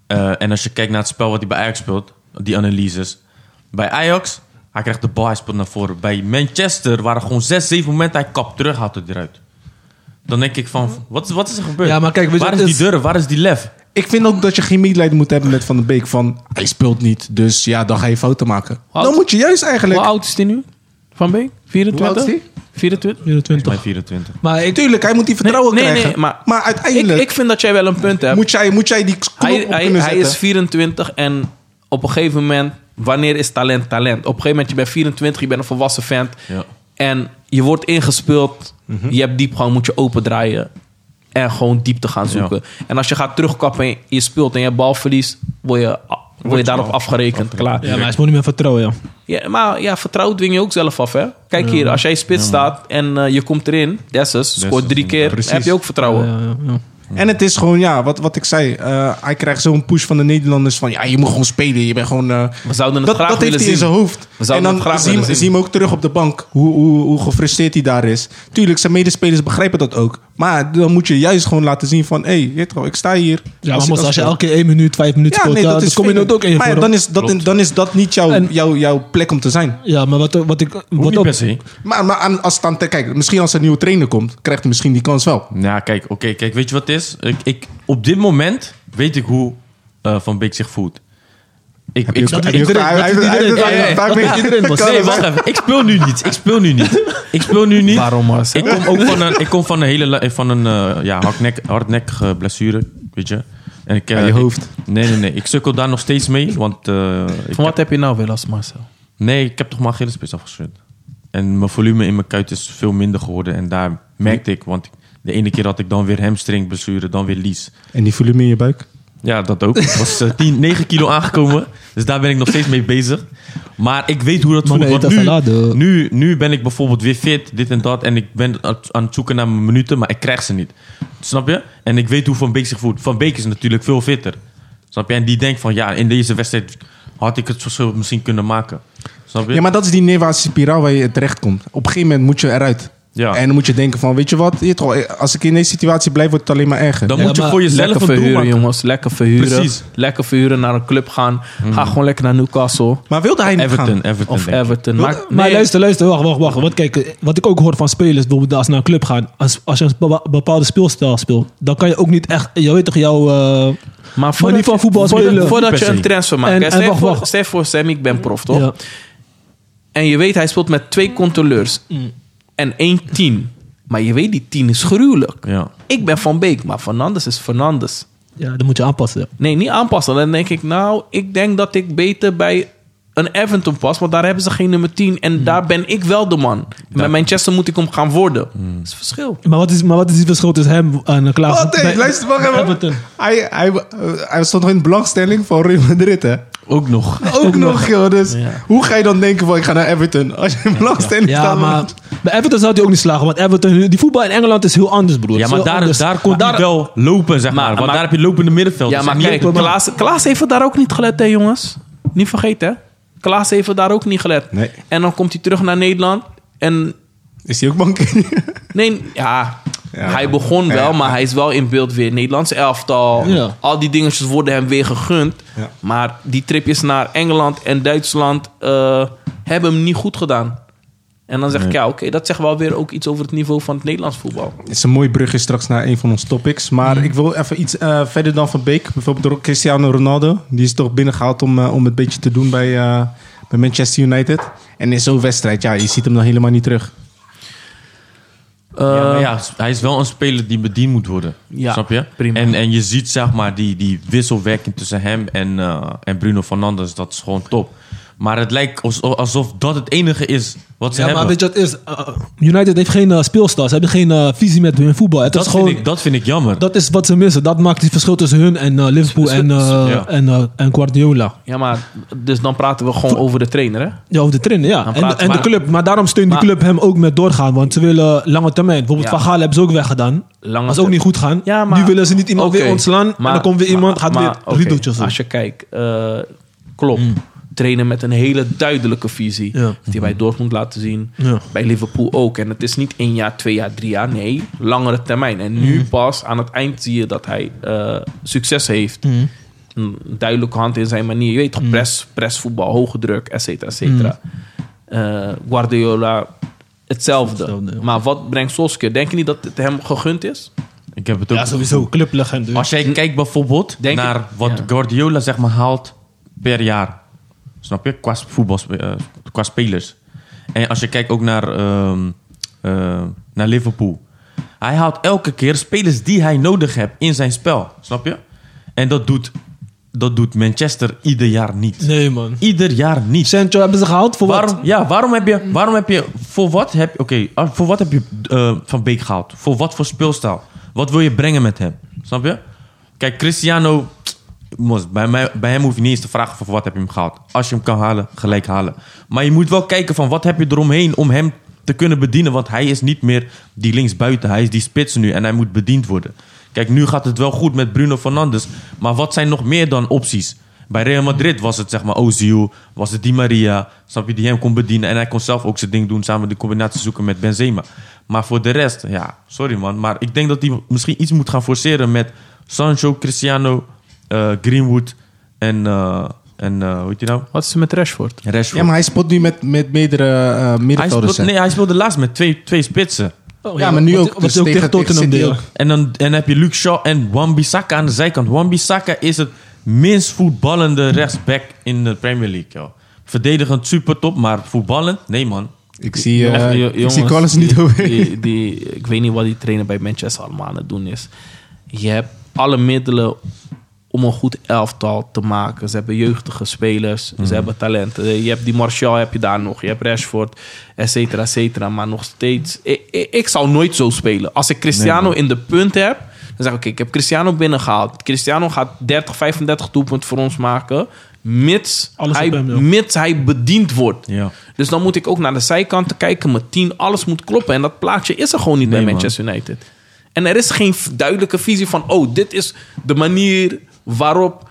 S4: eh, en als je kijkt naar het spel wat hij bij Ajax speelt, die analyses. Bij Ajax, hij krijgt de bal, hij speelt naar voren. Bij Manchester waren gewoon zes, zeven momenten, hij kap terug, haalt het eruit. Dan denk ik van, wat, is- wat is er gebeurd?
S3: Ja, maar kijk, dus- weet je
S4: waar is
S3: wat
S4: die
S3: is-
S4: durf? Waar is die lef?
S2: Ik vind ook dat je geen medelijden moet hebben met Van der Beek. Van, hij speelt niet, dus ja, dan ga je fouten maken.
S1: Wat?
S2: Dan moet je juist eigenlijk...
S1: Hoe oud is hij nu? Van Beek? 24?
S2: Hoe oud is
S1: 24?
S3: 24.
S4: Bij 24.
S3: Maar ik,
S2: Tuurlijk, hij moet die vertrouwen
S1: nee,
S2: krijgen.
S1: nee, maar- Ik,
S2: uiteindelijk
S1: ik vind dat jij wel een punt hebt.
S2: moet, jij, moet jij die knop
S1: hij,
S2: op
S1: hij,
S2: kunnen
S1: hij
S2: zetten.
S1: is 24 en op een gegeven moment, wanneer is talent talent? Op een gegeven moment, je bent 24, je bent een volwassen vent.
S4: Ja.
S1: En je wordt ingespeeld,
S2: Mhm.
S1: je hebt diepgang, moet je opendraaien. En gewoon diepte gaan zoeken. En als je gaat terugkappen en je speelt en je hebt balverlies, word je, word je daarop afgerekend. Klaar.
S3: ja, maar hij is gewoon niet meer vertrouwen, ja.
S1: Ja, maar ja, vertrouwen dwing je ook zelf af, hè? Kijk hier, als jij spits staat en eh, je komt erin, Dessus, scoort drie keer,
S2: Precies.
S1: heb je ook vertrouwen.
S3: Ja, ja, ja.
S2: En het is gewoon, ja, wat, wat ik zei. eh, hij krijgt zo'n push van de Nederlanders van... Ja, je moet gewoon spelen. Je bent gewoon... eh,
S1: We zouden het
S2: dat,
S1: graag
S2: dat heeft
S1: willen
S2: hij in
S1: zien.
S2: zijn hoofd.
S1: We
S2: En
S1: zouden
S2: dan
S1: het graag
S2: zie
S1: willen
S2: je
S1: zien.
S2: zie je hem ook terug op de bank. Hoe, hoe, hoe gefrustreerd hij daar is. Tuurlijk, zijn medespelers begrijpen dat ook. Maar dan moet je juist gewoon laten zien van... hé, hey, ik sta hier.
S3: Ja, maar
S2: ik-
S3: als, als je
S2: ik-
S3: elke keer 1 minuut, 5 minuten
S2: Ja,
S3: speelt,
S2: nee,
S3: dan-
S2: dat
S3: dan
S2: is
S3: kom je nooit
S2: vervelend.
S3: ook in je
S2: Maar ja,
S3: vorm.
S2: dan is, dat, dan is dat niet jouw,
S3: En-
S2: jouw, jouw plek om te zijn.
S3: Ja, maar wat, wat ik...
S4: Hoeft
S3: Wat
S4: niet
S3: ook-
S4: per se.
S2: Maar, maar aan, als het aan, kijk, misschien als er een nieuwe trainer komt... krijgt hij misschien die kans wel.
S4: Ja, kijk, oké, kijk, weet je wat het is? Ik, ik, op dit moment weet ik hoe eh, Van Beek zich voelt. Ik, ik,
S3: dat-
S4: ik-
S3: iedereen-
S2: Hij- hij-
S3: dat doet
S2: hij- hij-
S3: iedereen.
S2: hij-
S3: Ja, ja, ja.
S2: hij-
S3: Dat
S2: hij-
S3: doet iedereen, Bas.
S2: kan
S4: nee,
S2: er
S4: wacht
S2: zijn.
S4: even. Ik speel nu niet. Ik speel nu niet. Ik speel nu niet.
S1: Waarom, Marcel?
S4: Ik kom ook van een, ik kom van een hele la- van een, eh, ja, hardnek, hardnekkige blessure, weet je. En ik, eh,
S2: Aan je
S4: ik-
S2: hoofd.
S4: nee, nee, nee. Ik sukkel daar nog steeds mee. Want, eh, ik
S1: Van
S4: heb-
S1: wat heb je nou weer last, Marcel?
S4: nee, ik heb toch mijn Achillespees afgescheurd. En mijn volume in mijn kuit is veel minder geworden. En daar merkte ik, want de ene keer had ik dan weer hamstring blessure, dan weer lies.
S2: En die volume in je buik?
S4: Ja, dat ook. Ik was eh, 10, 9 kilo aangekomen. Dus daar ben ik nog steeds mee bezig. Maar ik weet hoe dat
S3: Mannen
S4: voelt. Want
S3: eten
S4: nu,
S3: salade.
S4: nu, nu ben ik bijvoorbeeld weer fit, dit en dat. En ik ben aan- aan het zoeken naar mijn minuten, maar ik krijg ze niet. Snap je? En ik weet hoe Van Beek zich voelt. Van Beek is natuurlijk veel fitter. Snap je? En die denkt van, ja, in deze wedstrijd had ik het verschil misschien kunnen maken. Snap je?
S2: Ja, maar dat is die neerwaartse spiraal waar je terecht komt. Op een gegeven moment moet je eruit.
S4: Ja.
S2: En dan moet je denken van, weet je wat? je toch, Als ik in deze situatie blijf, wordt het alleen maar erger.
S4: Dan
S3: Ja,
S4: moet je
S3: maar
S4: voor jezelf
S1: Lekker
S4: een doel
S1: verhuren,
S4: maken.
S1: jongens. Lekker verhuren.
S4: Precies.
S1: Lekker verhuren, naar een club gaan. Ga gewoon lekker naar Newcastle.
S2: maar wilde hij niet gaan?
S4: Everton, Everton.
S1: Of
S4: denk ik.
S1: Everton. Maar,
S3: Maar
S1: nee,
S3: luister, luister, wacht, wacht, wacht. Want kijk, wat ik ook hoor van spelers, bijvoorbeeld als ze naar een club gaan. Als, als je een bepa- bepaalde speelstijl speelt, dan kan je ook niet echt, je weet toch, jouw... eh,
S1: Maar voordat,
S3: niet van
S1: je-
S3: voetbal
S1: voordat-
S3: spelen.
S1: Voordat
S4: Per
S1: je
S4: se.
S1: een transfer maakt.
S3: En-
S1: hè.
S3: en
S1: Stel je
S3: wacht,
S1: voor-
S3: wacht. Mm.
S1: Stel je voor, Sammy, ik ben prof, toch?
S3: ja.
S1: En je weet, hij speelt met twee controleurs.
S3: Mm.
S1: En één tien. Maar je weet, die tien is gruwelijk.
S4: Ja.
S1: Ik ben Van Beek, maar Fernandes is Fernandes.
S3: ja, dan moet je aanpassen. ja.
S1: Nee, niet aanpassen. Dan denk ik, nou, ik denk dat ik beter bij een Everton pas. Want daar hebben ze geen nummer 10. En daar ben ik wel de man. En Bij Manchester moet ik hem gaan worden. Dat is het verschil.
S3: Maar wat is, maar wat is het verschil tussen hem en Klaas?
S2: Wat? Hey,
S3: Bij-
S2: Oh, luister, wacht even.
S3: Everton.
S2: Hij, hij, eh, hij stond nog in de belangstelling van Real Madrid, hè?
S4: Ook nog.
S2: Ook nog, joh. Dus
S1: Ja.
S2: hoe ga je dan denken van, ik ga naar Everton? Als je in belangstelling
S3: Ja,
S2: staat.
S3: maar bij Everton zou hij ook niet slagen. Want Everton, die voetbal in Engeland is heel anders, broer.
S4: Ja,
S3: Is
S4: maar
S3: heel
S4: daar,
S3: anders.
S4: daar kon
S1: Maar
S4: hij
S1: daar-
S4: wel lopen, zeg maar.
S1: Maar-
S4: Want
S1: maar-
S4: daar heb je lopende middenveld.
S1: Ja, maar kijk, Klaas, Klaas heeft het daar ook niet gelet, hè, jongens. Niet vergeten, hè. Klaas heeft het daar ook niet gelet.
S2: Nee.
S1: En dan komt hij terug naar Nederland. En
S2: Is hij ook bank?
S1: nee, ja,
S2: Ja.
S1: hij begon wel,
S2: Ja.
S1: maar hij is wel in beeld weer. Nederlands elftal.
S3: Ja.
S1: Al die dingetjes worden hem weer gegund.
S2: Ja.
S1: Maar die tripjes naar Engeland en Duitsland eh, hebben hem niet goed gedaan. En dan zeg ik, ja, oké, dat zegt wel weer ook iets over het niveau van het Nederlands voetbal.
S2: Het is een mooi brugje straks naar een van onze topics. Maar ik wil even iets eh, verder dan Van Beek. Bijvoorbeeld door Cristiano Ronaldo. Die is toch binnengehaald om, eh, om het beetje te doen bij, eh, bij Manchester United. En in zo'n wedstrijd, ja, je ziet hem dan helemaal niet terug.
S4: Ja,
S1: Eh,
S4: maar ja, hij is wel een speler die bediend moet worden.
S1: Ja,
S4: snap je?
S1: prima.
S4: En, en je ziet zeg maar die, die wisselwerking tussen hem en, eh, en Bruno Fernandes. Dat is gewoon top. Maar het lijkt als- alsof dat het enige is wat ze
S3: Ja,
S4: hebben.
S3: maar weet je wat het is? Eh, United heeft geen eh, speelstijl. Ze hebben geen eh, visie met hun voetbal. Het
S4: dat,
S3: is
S4: vind
S3: gewoon,
S4: ik, dat vind ik jammer.
S3: dat is wat ze missen. Dat maakt het verschil tussen hun en eh, Liverpool en, eh,
S4: Ja.
S3: en, eh, en Guardiola.
S1: Ja, maar dus dan praten we gewoon over de trainer, hè?
S3: Ja, over de trainer, ja.
S1: Dan
S3: En, de-
S1: praten
S3: en
S1: we-
S3: de club. Maar daarom steunt
S1: Maar-
S3: de club hem ook met doorgaan. Want ze willen lange termijn. Bijvoorbeeld
S1: Ja.
S3: Van Gaal hebben ze ook weggedaan.
S1: Lange
S3: was ook
S1: ter-
S3: niet goed gaan.
S1: Ja, maar-
S3: nu willen ze niet iemand
S1: Oké,
S3: weer ontslaan. en dan komt weer iemand, gaat
S1: maar-
S3: weer
S1: oké,
S3: riedeltjes doen.
S1: Als je kijkt, eh klopt. Trainen met een hele duidelijke visie.
S3: Hmm. Ja.
S1: Die hij bij Dortmund laten zien.
S3: Ja.
S1: Bij Liverpool ook. En het is niet één jaar, twee jaar, drie jaar. Nee, langere termijn. En nu
S3: Hmm.
S1: pas aan het eind zie je dat hij eh, succes heeft.
S3: Hmm.
S1: Een duidelijke hand in zijn manier. Je weet toch, press, pressvoetbal, hoge druk, et cetera, et cetera. Eh, Guardiola, hetzelfde.
S3: Hmm. Hetzelfde, ja.
S1: Maar wat brengt Solskjaer? Denk je niet dat het hem gegund is?
S4: Ik heb het ook
S3: Ja, sowieso. Clublegende.
S4: Als jij kijkt bijvoorbeeld
S1: Denk ik-
S4: naar wat
S1: ja.
S4: Guardiola zeg maar haalt per jaar. Snap je? Qua, voetbal, qua spelers. En als je kijkt ook naar, ehm, eh, naar Liverpool. Hij haalt elke keer spelers die hij nodig hebt in zijn spel. Snap je? En dat doet, dat doet Manchester ieder jaar niet.
S3: Nee, man.
S4: Ieder jaar niet.
S3: Sancho hebben ze gehaald voor
S4: Waarom,
S3: wat?
S4: ja, waarom heb je, waarom heb je, voor wat heb, oké, ah, voor wat heb je eh, Van Beek gehaald? Voor wat voor speelstijl? Wat wil je brengen met hem? Snap je? Kijk, Cristiano, mos, bij, mij, bij hem hoef je niet eens te vragen voor wat heb je hem gehaald. Als je hem kan halen, gelijk halen. Maar je moet wel kijken van wat heb je eromheen om hem te kunnen bedienen. Want hij is niet meer die linksbuiten. Hij is die spits nu en hij moet bediend worden. Kijk, nu gaat het wel goed met Bruno Fernandes. Maar wat zijn nog meer dan opties? Bij Real Madrid was het zeg maar Ozil, was het Di Maria, snap je, die hem kon bedienen. En hij kon zelf ook zijn ding doen, samen de combinatie zoeken met Benzema. Maar voor de rest, ja, sorry man. Maar ik denk dat hij misschien iets moet gaan forceren met Sancho, Cristiano, eh, Greenwood en, eh, en eh, hoe heet die nou?
S1: Wat is er met Rashford?
S4: Rashford.
S2: Ja, maar hij spot nu met, met meerdere eh,
S4: hij
S2: middenvelders.
S4: speelde,
S2: hè?
S4: nee, hij speelde laatst met twee, twee spitsen.
S3: Oh,
S2: ja, maar nu
S3: wat-
S2: ook.
S3: Wat
S2: dus
S3: hij ook tegen Tottenham
S2: City
S3: deed.
S2: ook.
S4: En dan, en heb je Luke Shaw en Wan-Bissaka aan de zijkant. Wan-Bissaka is het minst voetballende rechtsback in de Premier League. Joh. Verdedigend super top, maar voetballend? Nee man.
S2: Ik zie, eh,
S1: Echt, jo-
S2: ik
S1: jongens,
S2: zie Collins niet
S1: die-
S2: over.
S1: Die, die- ik weet niet wat die trainer bij Manchester allemaal aan het doen is. Je hebt alle middelen om een goed elftal te maken. Ze hebben jeugdige spelers,
S2: Mhm.
S1: ze hebben talent. Eh, Je hebt die Martial, heb je daar nog. Je hebt Rashford, et cetera, et cetera. Maar nog steeds... Ik, ik, ik zou nooit zo spelen. Als ik Cristiano in de punt heb... Dan zeg ik, oké, ik heb Cristiano binnengehaald. Cristiano gaat 30, 35 doelpunten voor ons maken. Mits
S3: Alles
S1: hij,
S3: op hem, ja.
S1: mits hij bediend wordt.
S4: Ja.
S1: Dus dan moet ik ook naar de zijkanten kijken. Mijn team, alles moet kloppen. En dat plaatje is er gewoon niet bij
S4: man.
S1: Manchester United. En er is geen v- duidelijke visie van... oh, dit is de manier waarop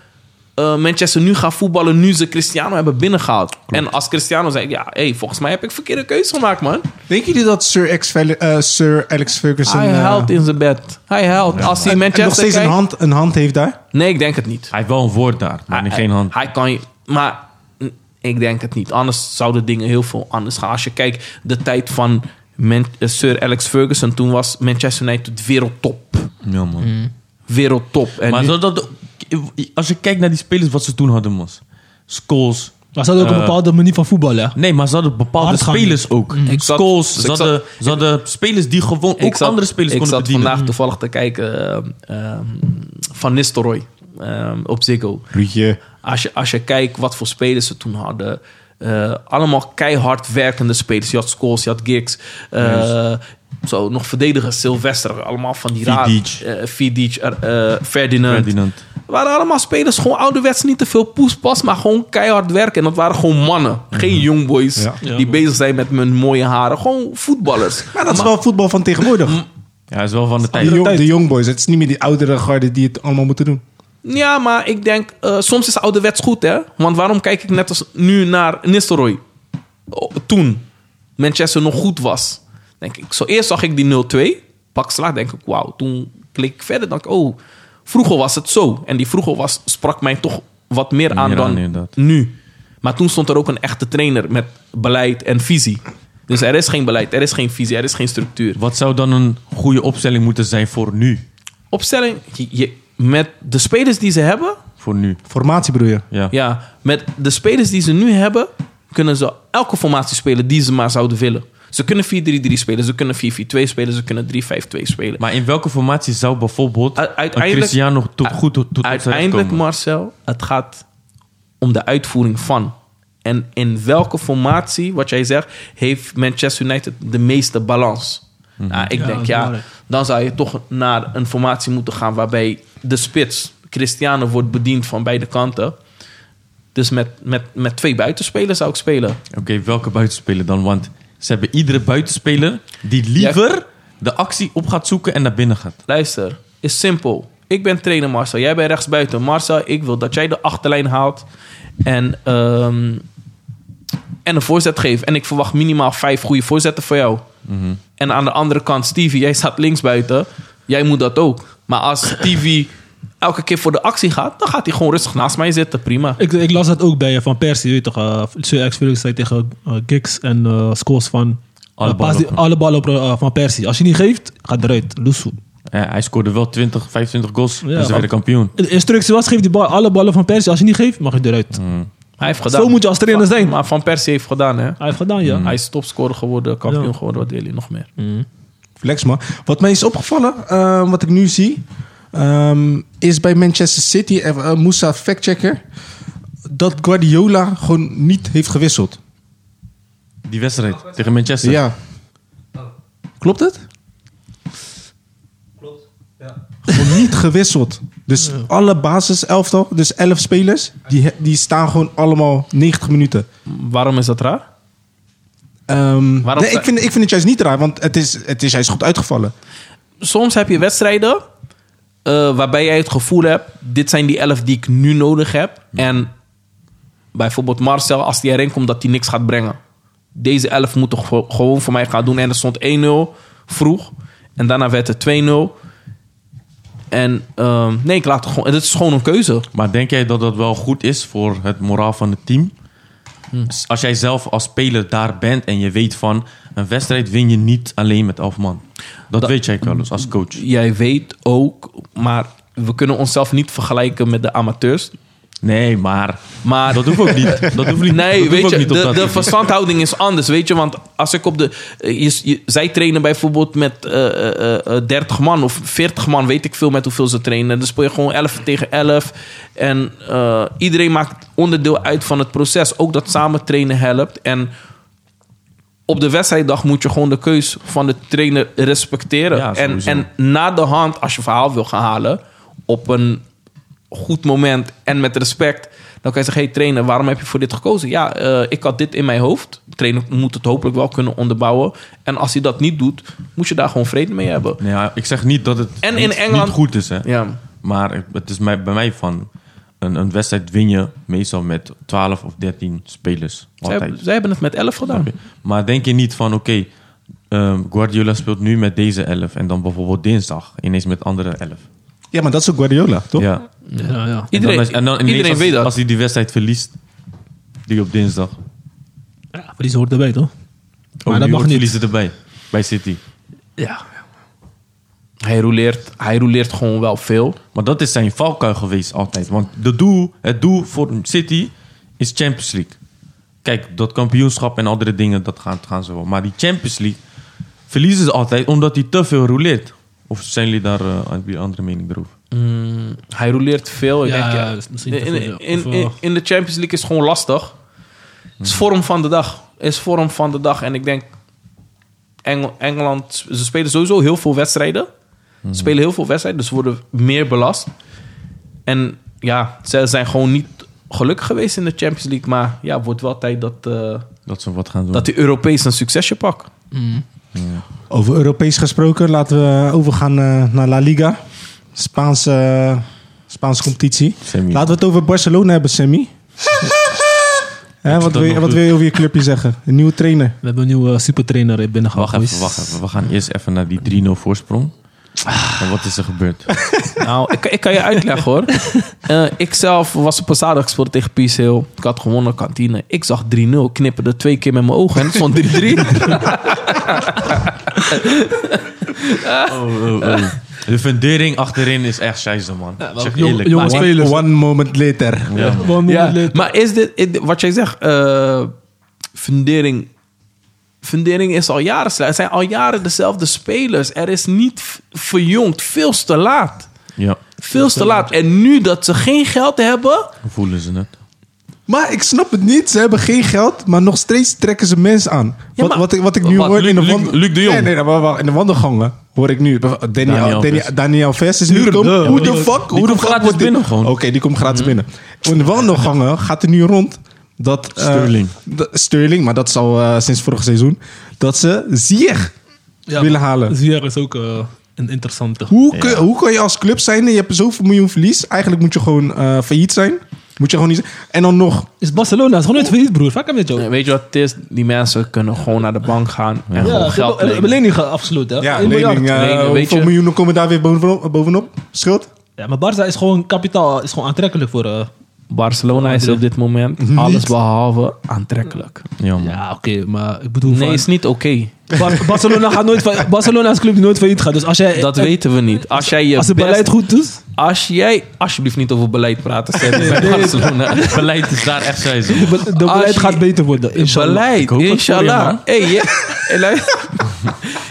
S1: eh, Manchester nu gaat voetballen... nu ze Cristiano hebben binnengehaald. En als Cristiano zei... ja, hey, volgens mij heb ik verkeerde keuze gemaakt, man.
S2: Denken jullie dat Sir, Ex- Fel- eh, Sir Alex Ferguson...
S1: Hij
S2: eh,
S1: huilt in zijn bed. Hij huilt. Als hij
S2: en- en nog
S1: Manchester
S2: steeds een
S1: kijkt-
S2: hand, een hand heeft daar?
S1: Nee, ik denk het niet.
S4: Hij heeft wel een woord daar, maar
S1: Hij-
S4: geen hand.
S1: Hij, hij kan je, maar mm, ik denk het niet. Anders zouden dingen heel veel anders gaan. Als je kijkt, de tijd van Man- eh, Sir Alex Ferguson, toen was Manchester United wereldtop.
S4: Ja, man.
S1: Mm. Wereldtop. En
S4: Maar
S1: nu-
S4: dat, dat- als je kijkt naar die spelers wat ze toen hadden, mos. Scholes.
S3: Maar ze hadden ook een
S4: Eh,
S3: bepaalde manier van voetballen. hè?
S4: Nee, maar ze hadden bepaalde
S3: Hardgang.
S4: spelers ook.
S1: Ik zat-
S4: Scholes.
S1: ik
S4: Ze hadden, ze hadden spelers die gewoon ook
S1: zat-
S4: andere spelers
S1: Ik
S4: konden
S1: zat
S4: bedienen.
S1: vandaag toevallig te kijken ehm, ehm, van Nistelrooy ehm, op Ziggo.
S2: Ruudje.
S1: Als je, als je kijkt wat voor spelers ze toen hadden. eh, allemaal keihard werkende spelers. Je had Scholes, je had Giggs. eh, zo, nog verdedigers, Sylvester. Allemaal van die raar-
S4: Vidic.
S1: eh, Vidic, er- eh, Ferdinand.
S4: Ferdinand.
S1: Het waren allemaal spelers, gewoon ouderwets, niet te veel poespas, maar gewoon keihard werken. En dat waren gewoon mannen.
S4: Mhm.
S1: Geen jongboys
S2: Ja.
S1: die bezig zijn met hun mooie haren. Gewoon voetballers.
S2: Maar dat is wel voetbal van tegenwoordig.
S1: Mm,
S4: Ja, hij is wel van de tijd.
S2: Die jong, de jongboys. Het is niet meer die oudere garde die het allemaal moeten doen.
S1: Ja, maar ik denk, eh, soms is ouderwets goed, hè? Want waarom kijk ik net als nu naar Nistelrooy? Oh, toen Manchester nog goed was. Denk ik, zo eerst zag ik die 0-2, pak slaag, denk ik, wauw. Toen klik ik verder, denk ik, oh, vroeger was het zo. En die vroeger was, sprak mij toch wat meer aan
S4: Meer aan,
S1: dan
S4: inderdaad.
S1: nu. Maar toen stond er ook een echte trainer met beleid en visie. Dus er is geen beleid, er is geen visie, er is geen structuur.
S4: Wat zou dan een goede opstelling moeten zijn voor nu?
S1: Opstelling, je- je- met de spelers die ze hebben,
S4: Voor nu.
S2: Formatie bedoel je?
S4: Ja.
S1: Ja, met de spelers die ze nu hebben, kunnen ze elke formatie spelen die ze maar zouden willen. Ze kunnen 4-3-3 spelen, ze kunnen 4-4-2 spelen, ze kunnen 3-5-2 spelen.
S4: Maar in welke formatie zou bijvoorbeeld
S1: U-
S4: een
S1: uiteindelijk-
S4: Cristiano tot, goed tot, tot zijn recht
S1: Uiteindelijk,
S4: komen?
S1: Marcel, het gaat om de uitvoering van. En in welke formatie, wat jij zegt, heeft Manchester United de meeste balans?
S4: Mhm.
S1: Nou, ik
S3: Ja, dat
S1: denk
S3: is
S1: ja,
S3: belangrijk.
S1: dan zou je toch naar een formatie moeten gaan waarbij de spits, Cristiano, wordt bediend van beide kanten. Dus met, met, met twee buitenspelers zou ik spelen.
S4: Oké, welke buitenspeler dan? Want ze hebben iedere buitenspeler die liever de actie op gaat zoeken en naar binnen gaat.
S1: Luister, is simpel. Ik ben trainer Marcel, jij bent rechtsbuiten. Marcel, ik wil dat jij de achterlijn haalt en, ehm, en een voorzet geeft. En ik verwacht minimaal vijf goede voorzetten voor jou.
S3: Mhm.
S1: En aan de andere kant, Stevie, jij staat linksbuiten. Jij moet dat ook. Maar als Stevie elke keer voor de actie gaat, dan gaat hij gewoon rustig naast mij zitten. Prima.
S3: Ik, ik las dat ook bij eh, Van Persie, weet je toch? eh, Sir Alex Ferguson zei tegen eh, Giggs en eh Scholes van...
S4: Alle
S3: eh,
S4: ballen
S3: pas die-
S4: op-
S3: alle ballen op eh, Van Persie. Als je niet geeft, gaat eruit. Loesoe.
S4: Ja, hij scoorde wel 20, 25 goals en ze
S3: want-
S4: werden kampioen.
S3: De instructie was, geef die bal, alle ballen van Persie. Als je niet geeft, mag je eruit.
S4: Mm.
S1: Hij heeft gedaan.
S3: Zo moet je als trainer zijn.
S1: Maar Van Persie heeft gedaan, hè?
S3: Hij heeft gedaan,
S4: Mm.
S3: ja.
S1: Hij is topscorer geworden, kampioen
S3: Ja. Mhm.
S1: geworden. Wat wil je nog meer?
S2: Flex, man. Wat mij is opgevallen, eh, wat ik nu zie, ehm, is bij Manchester City, eh, eh, Moussa factchecker, dat Guardiola gewoon niet heeft gewisseld.
S4: Die wedstrijd tegen Manchester.
S2: Ja. Klopt het? Klopt, ja. Gewoon niet gewisseld. Dus alle basiselftal, dus 11 spelers, die, he- die staan gewoon allemaal 90 minuten.
S1: Waarom is dat raar?
S2: Ehm,
S1: Waarom
S2: nee,
S1: sta-
S2: ik, vind, ik vind het juist niet raar, want het is, het is juist goed uitgevallen.
S1: soms heb je wedstrijden eh, waarbij jij het gevoel hebt: dit zijn die elf die ik nu nodig heb. En bijvoorbeeld Marcel, als die erin komt, dat hij niks gaat brengen. Deze elf moet toch gewoon voor mij gaan doen. En er stond 1-0. vroeg. En daarna werd het 2-0. En ehm, nee, ik laat het gewoon. Het is gewoon een keuze.
S4: Maar denk jij dat dat wel goed is voor het moraal van het team? S- Als jij zelf als speler daar bent en je weet van... een wedstrijd win je niet alleen met elf man. Dat, weet jij wel eens als coach.
S1: Jij weet ook, maar we kunnen onszelf niet vergelijken met de amateurs.
S4: Nee, maar
S1: Maar
S4: Ah, dat hoeft ook niet. Dat hoeft niet. dat
S1: Nee,
S4: hoeft
S1: weet
S4: ook
S1: je,
S4: niet op
S1: de,
S4: dat
S1: de
S4: niveau.
S1: verstandhouding is anders, weet je. Want als ik op de... eh, Je, je- zij trainen bijvoorbeeld met eh, eh, eh, 30 man of 40 man, weet ik veel met hoeveel ze trainen. Dan speel je gewoon 11 tegen 11. En eh, iedereen maakt onderdeel uit van het proces. Ook dat samen trainen helpt. En op de wedstrijddag moet je gewoon de keus van de trainer respecteren.
S4: Ja,
S1: en,
S4: sowieso.
S1: en na de hand, als je verhaal wil gaan halen, op een goed moment en met respect, dan kan je zeggen: hey, trainer, waarom heb je voor dit gekozen? Ja, eh, ik had dit in mijn hoofd. De trainer moet het hopelijk wel kunnen onderbouwen. En als hij dat niet doet, moet je daar gewoon vrede mee hebben.
S4: Nee, ja, ik zeg niet dat het
S1: En
S4: niet,
S1: in Engeland-
S4: niet goed is. Hè?
S1: Ja.
S4: Maar het is mij, bij mij van... Een, een wedstrijd win je meestal met 12 of 13 spelers.
S1: Zij,
S4: Altijd.
S1: hebben- zij hebben het met 11 gedaan.
S4: Snap je? Maar denk je niet van, oké, ehm, Guardiola speelt nu met deze elf en dan bijvoorbeeld dinsdag ineens met andere elf.
S2: Ja, maar dat is ook Guardiola, toch?
S4: Ja. En
S3: Ja, ja.
S4: dan
S1: Iedereen,
S4: is- en dan ineens
S1: iedereen
S4: als,
S1: weet dat.
S4: Als hij die wedstrijd verliest, die op dinsdag.
S3: ja verlies hoort erbij, toch?
S4: maar
S3: dat mag niet.
S4: Verliezen erbij bij City.
S3: Ja.
S1: hij, roleert, hij roleert gewoon wel veel.
S4: Maar dat is zijn valkuil geweest altijd. Want de doel, het doel voor City is Champions League. Kijk, dat kampioenschap en andere dingen, dat gaan, gaan ze wel. Maar die Champions League verliezen ze altijd omdat hij te veel rouleert. Of zijn jullie daar eh, heb je een andere mening erover?
S1: Mm, hij roleert veel. Ik
S3: Ja,
S1: denk,
S3: dat is misschien
S1: In,
S3: te
S1: in,
S3: veel, ja.
S1: in,
S3: Of,
S1: in-
S3: eh,
S1: in de Champions League is gewoon lastig. Het is vorm van de dag. is vorm van de dag. En ik denk, Engel- Engeland, ze spelen sowieso heel veel wedstrijden. Ze spelen heel veel wedstrijden, dus ze worden meer belast. En ja, ze zijn gewoon niet gelukkig geweest in de Champions League. Maar ja, het wordt wel tijd dat, eh,
S4: Dat ze wat gaan doen.
S1: dat die Europees een succesje pakken.
S2: Over Europees gesproken, laten we overgaan eh, naar La Liga. Spaanse, eh, Spaanse competitie.
S4: Sammy.
S2: Laten we het over Barcelona hebben, Sammy. Hè, wat,
S4: dat
S2: wil je,
S4: nog
S2: wat
S4: doet.
S2: wil je over je clubje zeggen? Een nieuwe trainer.
S3: We hebben een nieuwe eh, supertrainer binnengehaald.
S4: Wacht even,
S3: boys.
S4: wacht even. We gaan eerst even naar die 3-0 voorsprong. En wat is er gebeurd? Eh,
S1: Nou, ik, ik kan je uitleggen hoor. Eh ik zelf was op een zaterdag gespeeld tegen Peace Hill. Ik had gewonnen, kantine. Ik zag 3-0, knipperde twee keer met mijn ogen en het stond 3-3.
S4: Oh, oh, oh. De fundering achterin is echt scheisse, man. Ik zeg
S3: jong-
S4: eerlijk.
S3: jongens-
S2: One,
S3: spelers.
S2: one moment later.
S4: Ja.
S3: One
S1: ja.
S3: minute later.
S1: Maar is dit, is- wat jij zegt, eh, fundering. Fundering is al jaren slecht. Het zijn al jaren dezelfde spelers. Er is niet v- verjongd. Veel te laat.
S4: ja,
S1: Veel te laat. En nu dat ze geen geld hebben.
S4: hoe voelen ze het?
S2: Maar ik snap het niet. Ze hebben geen geld, maar nog steeds trekken ze mensen aan. wat,
S1: maar-
S2: wat, ik, wat ik nu
S4: Wat,
S2: hoor in de,
S4: Luc-
S2: wand-
S4: Luc- Luc de Jong?
S2: Nee, nee, maar- maar in de wandelgangen hoor ik nu. Daniel, Daniel,
S4: Daniel
S2: Daniel,
S4: Alves.
S2: Alves is nu gekomen.
S3: de-
S2: Hoe de
S3: die-
S2: fuck? Hoe de fuck
S4: komt gratis
S2: wordt die-
S4: binnen gewoon. Hm.
S2: Oké, die komt gratis binnen. In de wandelgangen gaat er nu rond dat... eh,
S4: Sterling.
S2: dat- Sterling, maar dat is al eh, sinds vorig seizoen. Dat ze Ziyech
S3: Ja,
S2: willen halen.
S3: Zier is ook eh, een interessante.
S2: Hoe, kun, hoe kan je als club zijn en je hebt zoveel miljoen verlies? Eigenlijk moet je gewoon eh, failliet zijn. Moet je gewoon niet... En dan nog...
S3: Is Barcelona, is gewoon net verlies, broer. Vaak heb je het ook.
S1: Weet je wat het is? Die mensen kunnen gewoon naar de bank gaan. En
S3: Ja,
S1: gewoon
S3: ze
S1: geld
S3: hebben- hebben
S1: lenen.
S3: lening afgesloten. hè?
S2: Ja,
S3: 1 miljard.
S2: lening. eh,
S1: Lening, weet
S2: hoeveel
S1: je.
S2: miljoenen komen daar weer bovenop? bovenop? Schuld?
S3: Ja, maar Barça is gewoon kapitaal, is gewoon aantrekkelijk voor. eh,
S1: Barcelona is op dit moment alles behalve aantrekkelijk.
S4: Ja, man.
S3: ja, oké, maar ik bedoel.
S1: Nee,
S3: van-
S1: is niet oké.
S3: Bar- Barcelona gaat nooit van, Barcelona is een club die nooit failliet gaat. Dus als jij
S1: Dat weten we niet. Als jij je
S3: eh, als het
S1: best-
S3: beleid goed doet,
S1: Als jij... Alsjeblieft niet over beleid praten, Sammy, bij Barcelona.
S4: Beleid is daar echt scheisse,
S3: de
S4: man.
S3: be- de
S1: Als
S3: beleid
S1: je-
S3: gaat beter worden. inshallah.
S1: Beleid,
S4: Ik hoop het voor je,
S1: inshallah.
S4: man.
S1: Hey, je, hey, luister.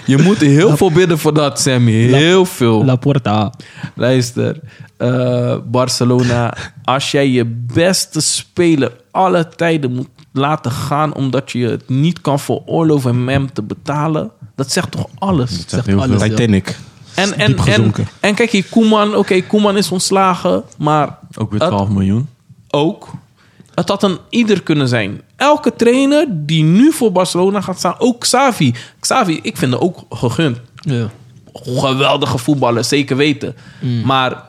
S1: je moet heel veel bidden voor dat, Sammy. Heel veel.
S3: La Porta.
S1: Luister, eh, Barcelona, als jij je beste speler alle tijden moet laten gaan omdat je het niet kan veroorloven om hem te betalen, dat zegt toch alles?
S4: Dat zegt heel
S3: alles.
S4: veel.
S2: Titanic.
S1: En, en, en,
S2: gezonken.
S1: en kijk hier, Koeman, oké, Koeman is ontslagen, maar
S4: Ook weer
S1: Het-
S4: 12 miljoen.
S1: ook. Het had een ieder kunnen zijn. Elke trainer die nu voor Barcelona gaat staan, ook Xavi. Xavi, ik vind hem ook gegund.
S3: Ja.
S1: Geweldige voetballer, zeker weten.
S4: Mm.
S1: Maar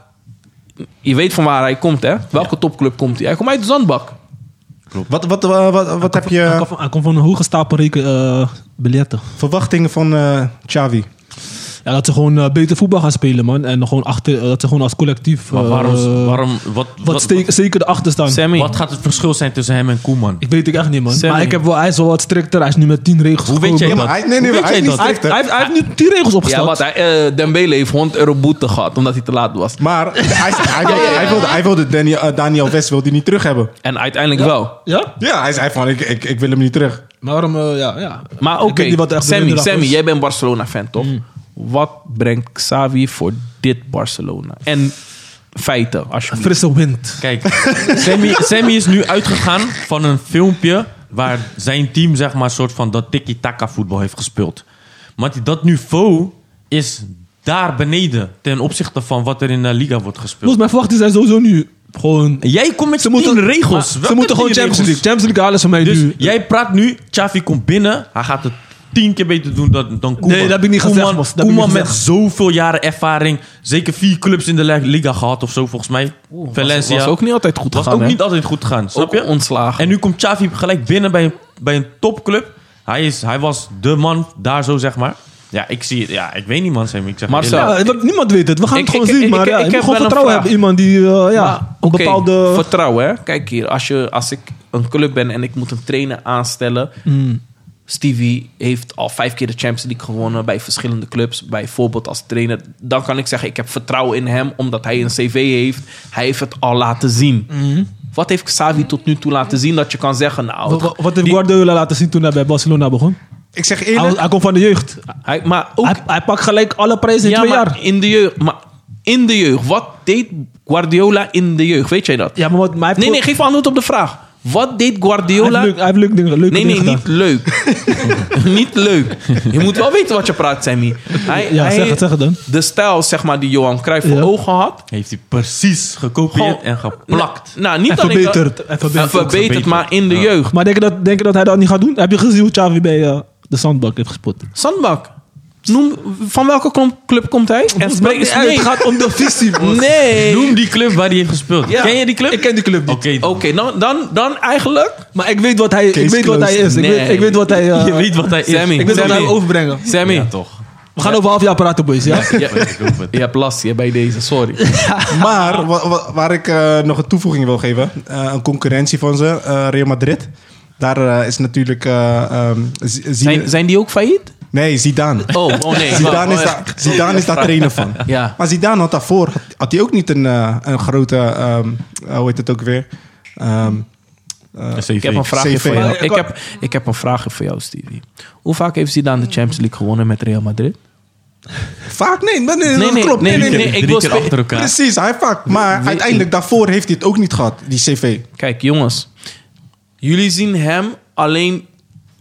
S1: je weet van waar hij komt, hè? Welke topclub komt hij? Hij komt uit de zandbak.
S2: Wat, wat, eh, wat, wat heb
S3: Hij
S2: je...
S3: komt van- Hij komt van een hoge stapel reken, eh, biljetten.
S2: Verwachtingen van eh Xavi.
S3: Ja, dat ze gewoon eh, beter voetbal gaan spelen, man. En gewoon achter, eh, dat ze gewoon als collectief...
S4: Maar
S3: eh,
S4: waarom, waarom wat,
S3: wat, steek- zeker erachter staan.
S1: Sammy,
S4: wat gaat het verschil zijn tussen hem en Koeman?
S3: Ik weet het echt niet, man.
S1: Sammy.
S3: Maar ik heb wel, hij is wel wat strikter. Hij is nu met tien regels.
S4: Hoe weet
S3: gekomen.
S4: jij
S2: Ja,
S4: dat?
S2: maar hij, nee, nee, maar
S4: Hoe weet
S2: hij is
S4: jij
S2: niet
S4: dat?
S3: Hij heeft,
S2: slechter.
S3: hij, heeft, hij heeft nu tien regels
S1: ja,
S3: opgesteld.
S1: wat, hij, eh, Dembele heeft 100 euro boete gehad omdat hij te laat was.
S2: Maar hij, hij, wilde, hij, wilde, hij wilde Danny, eh, Daniel West wilde hij niet terug hebben.
S1: En uiteindelijk wel.
S3: Ja?
S2: Ja, hij zei van, ik, ik, ik wil hem niet terug.
S3: Maar waarom, eh, ja, ja.
S1: Maar
S3: Ik
S1: oké,
S3: weet niet wat de echte
S1: Sammy,
S3: winderdag
S1: Sammy
S3: is.
S1: jij bent Barcelona-fan, toch?
S4: Mm.
S1: Wat brengt Xavi voor dit Barcelona? En feiten, alsjeblieft.
S3: Frisse wind.
S4: Kijk, Sammy, Sammy is nu uitgegaan van een filmpje waar zijn team zeg maar soort van dat tiki-taka voetbal heeft gespeeld. Maar die- dat niveau is daar beneden ten opzichte van wat er in de liga wordt gespeeld.
S3: Volgens mij verwachten zij sowieso nu gewoon...
S4: Jij komt met
S3: Ze
S4: tien
S3: moeten,
S4: regels.
S3: maar Ze
S4: Welke
S3: moeten gewoon
S4: tien
S3: Champions
S4: regels?
S3: League. Champions League halen ze mij
S4: Dus
S3: nu.
S1: eh,
S4: jij praat nu, Xavi komt binnen, hij gaat het tien keer beter doen dan, dan Koeman.
S3: Nee, dat heb ik niet
S4: Koeman,
S3: gezegd, Mos. Dat heb ik
S4: Koeman
S3: niet
S4: met
S3: gezegd.
S4: zoveel jaren ervaring, zeker vier clubs in de la- liga gehad of zo volgens mij. Valencia.
S1: was ook niet altijd goed
S4: Was
S1: gegaan,
S4: ook
S1: hè?
S4: niet altijd goed gegaan, snap
S1: Ook
S4: je?
S1: ontslagen.
S4: En nu komt Xavi gelijk binnen bij een, bij een topclub. Hij, is, hij was de man daar zo, zeg maar. Ja, ik zie het. Ja, ik weet niet, man. Sammy. Ik zeg je
S1: Marcel,
S4: eerlijk.
S3: Ja, want niemand weet het. We gaan
S1: Ik-
S3: het gewoon
S1: ik-
S3: zien.
S1: ik-
S3: maar
S1: ik-
S3: ja,
S1: ik
S3: je
S1: heb
S3: moet gewoon
S1: wel een
S3: vertrouwen
S1: vraag.
S3: hebben. in Iemand die eh, ja, een
S1: Oké,
S3: bepaalde...
S1: Vertrouwen, hè? Kijk hier, als, je, als ik een club ben en ik moet een trainer aanstellen.
S3: Hmm.
S1: Stevie heeft al vijf keer de Champions League gewonnen bij verschillende clubs. Bijvoorbeeld als trainer. Dan kan ik zeggen, ik heb vertrouwen in hem omdat hij een cv heeft. Hij heeft het al laten zien. Wat heeft Xavi tot nu toe laten zien dat je kan zeggen... Nou,
S3: Hmm. Wat- wat, wat heeft
S1: die-
S3: Guardiola laten zien toen hij bij Barcelona begon?
S2: Ik zeg
S3: Hij,
S2: eerlijk,
S3: was- hij komt van de jeugd.
S1: hij, maar ook,
S3: Hij, hij pakt gelijk alle prijzen in
S1: ja,
S3: twee
S1: maar
S3: jaar.
S1: in de jeugd. Maar in de jeugd. Wat deed Guardiola in de jeugd? Weet jij dat?
S3: Ja, maar wat, maar hij heeft
S1: Nee, nee,
S3: gewoon-
S1: geef antwoord op de vraag. Wat deed
S3: hij
S1: Guardiola...
S3: heeft leuk, hij heeft leuk dingen, leuke
S1: Nee,
S3: dingen
S1: nee,
S3: gedaan.
S1: niet leuk. niet leuk. Je moet wel weten wat je praat, Sammy. Hij,
S3: Ja,
S1: hij-
S3: zeg het, zeg het dan.
S1: De stijl, zeg maar, die Johan Cruijff voor
S3: Ja.
S1: ogen had.
S4: Heeft hij precies gekopieerd
S1: Gewoon-
S4: en geplakt.
S1: Nou, niet
S3: En
S1: alleen dat-
S3: verbeterd, en
S1: En
S3: verbeterd,
S1: verbeterd,
S4: verbeterd.
S1: maar in de
S4: Ja.
S1: jeugd.
S3: Maar denk je, dat, denk je dat hij dat niet gaat doen? Heb je gezien hoe Xavi bij eh, de Sandbak heeft gespot?
S1: Sandbak. Noem, van welke klom- club komt hij? En spreek
S3: niet uit, het gaat om de visie. man.
S1: Nee.
S4: Noem die club waar hij heeft gespeeld.
S1: Ja.
S4: Ken je die club?
S3: Ik ken die club niet.
S4: Oké,
S1: Oké, dan, dan, dan eigenlijk...
S3: Maar ik weet wat hij, ik
S2: Case
S3: weet wat hij is. Ik,
S1: closed.
S3: weet, ik weet wat hij... eh,
S4: je weet wat hij is.
S1: Sammy.
S3: ik weet wat hij
S1: Sammy.
S3: wil overbrengen.
S1: Sammy,
S4: Ja, toch.
S3: We gaan over half jaar praten, boys. Ja?
S1: je, je hebt last hier bij deze, sorry.
S2: maar wa- wa- waar ik eh, nog een toevoeging wil geven. eh, een concurrentie van ze, eh, Real Madrid. Daar eh, is natuurlijk... eh, ehm, Z- Zine-
S1: Zijn, zijn die ook failliet?
S2: Nee, Zidane.
S1: Oh, oh nee.
S2: Zidane
S1: Oh,
S2: is,
S1: ja.
S2: daar, Zidane is daar trainer van.
S1: Ja.
S2: Maar Zidane had daarvoor, had, had hij ook niet een, eh, een grote, ehm, eh, hoe heet het ook weer? Ehm, eh,
S1: Ik heb een vraagje
S2: CV.
S1: voor jou.
S2: Maar
S1: Ik heb, ik heb een vraagje voor jou, Stevie. Hoe vaak heeft Zidane de Champions League gewonnen met Real Madrid?
S2: vaak? Nee, nee, nee, dat klopt. Nee, nee, nee.
S1: ik
S4: Drie
S1: wil
S4: keer
S1: spe-
S4: achter elkaar.
S2: Precies, hij vaak. Maar uiteindelijk daarvoor heeft hij het ook niet gehad, die cv.
S1: Kijk, jongens. Jullie zien hem alleen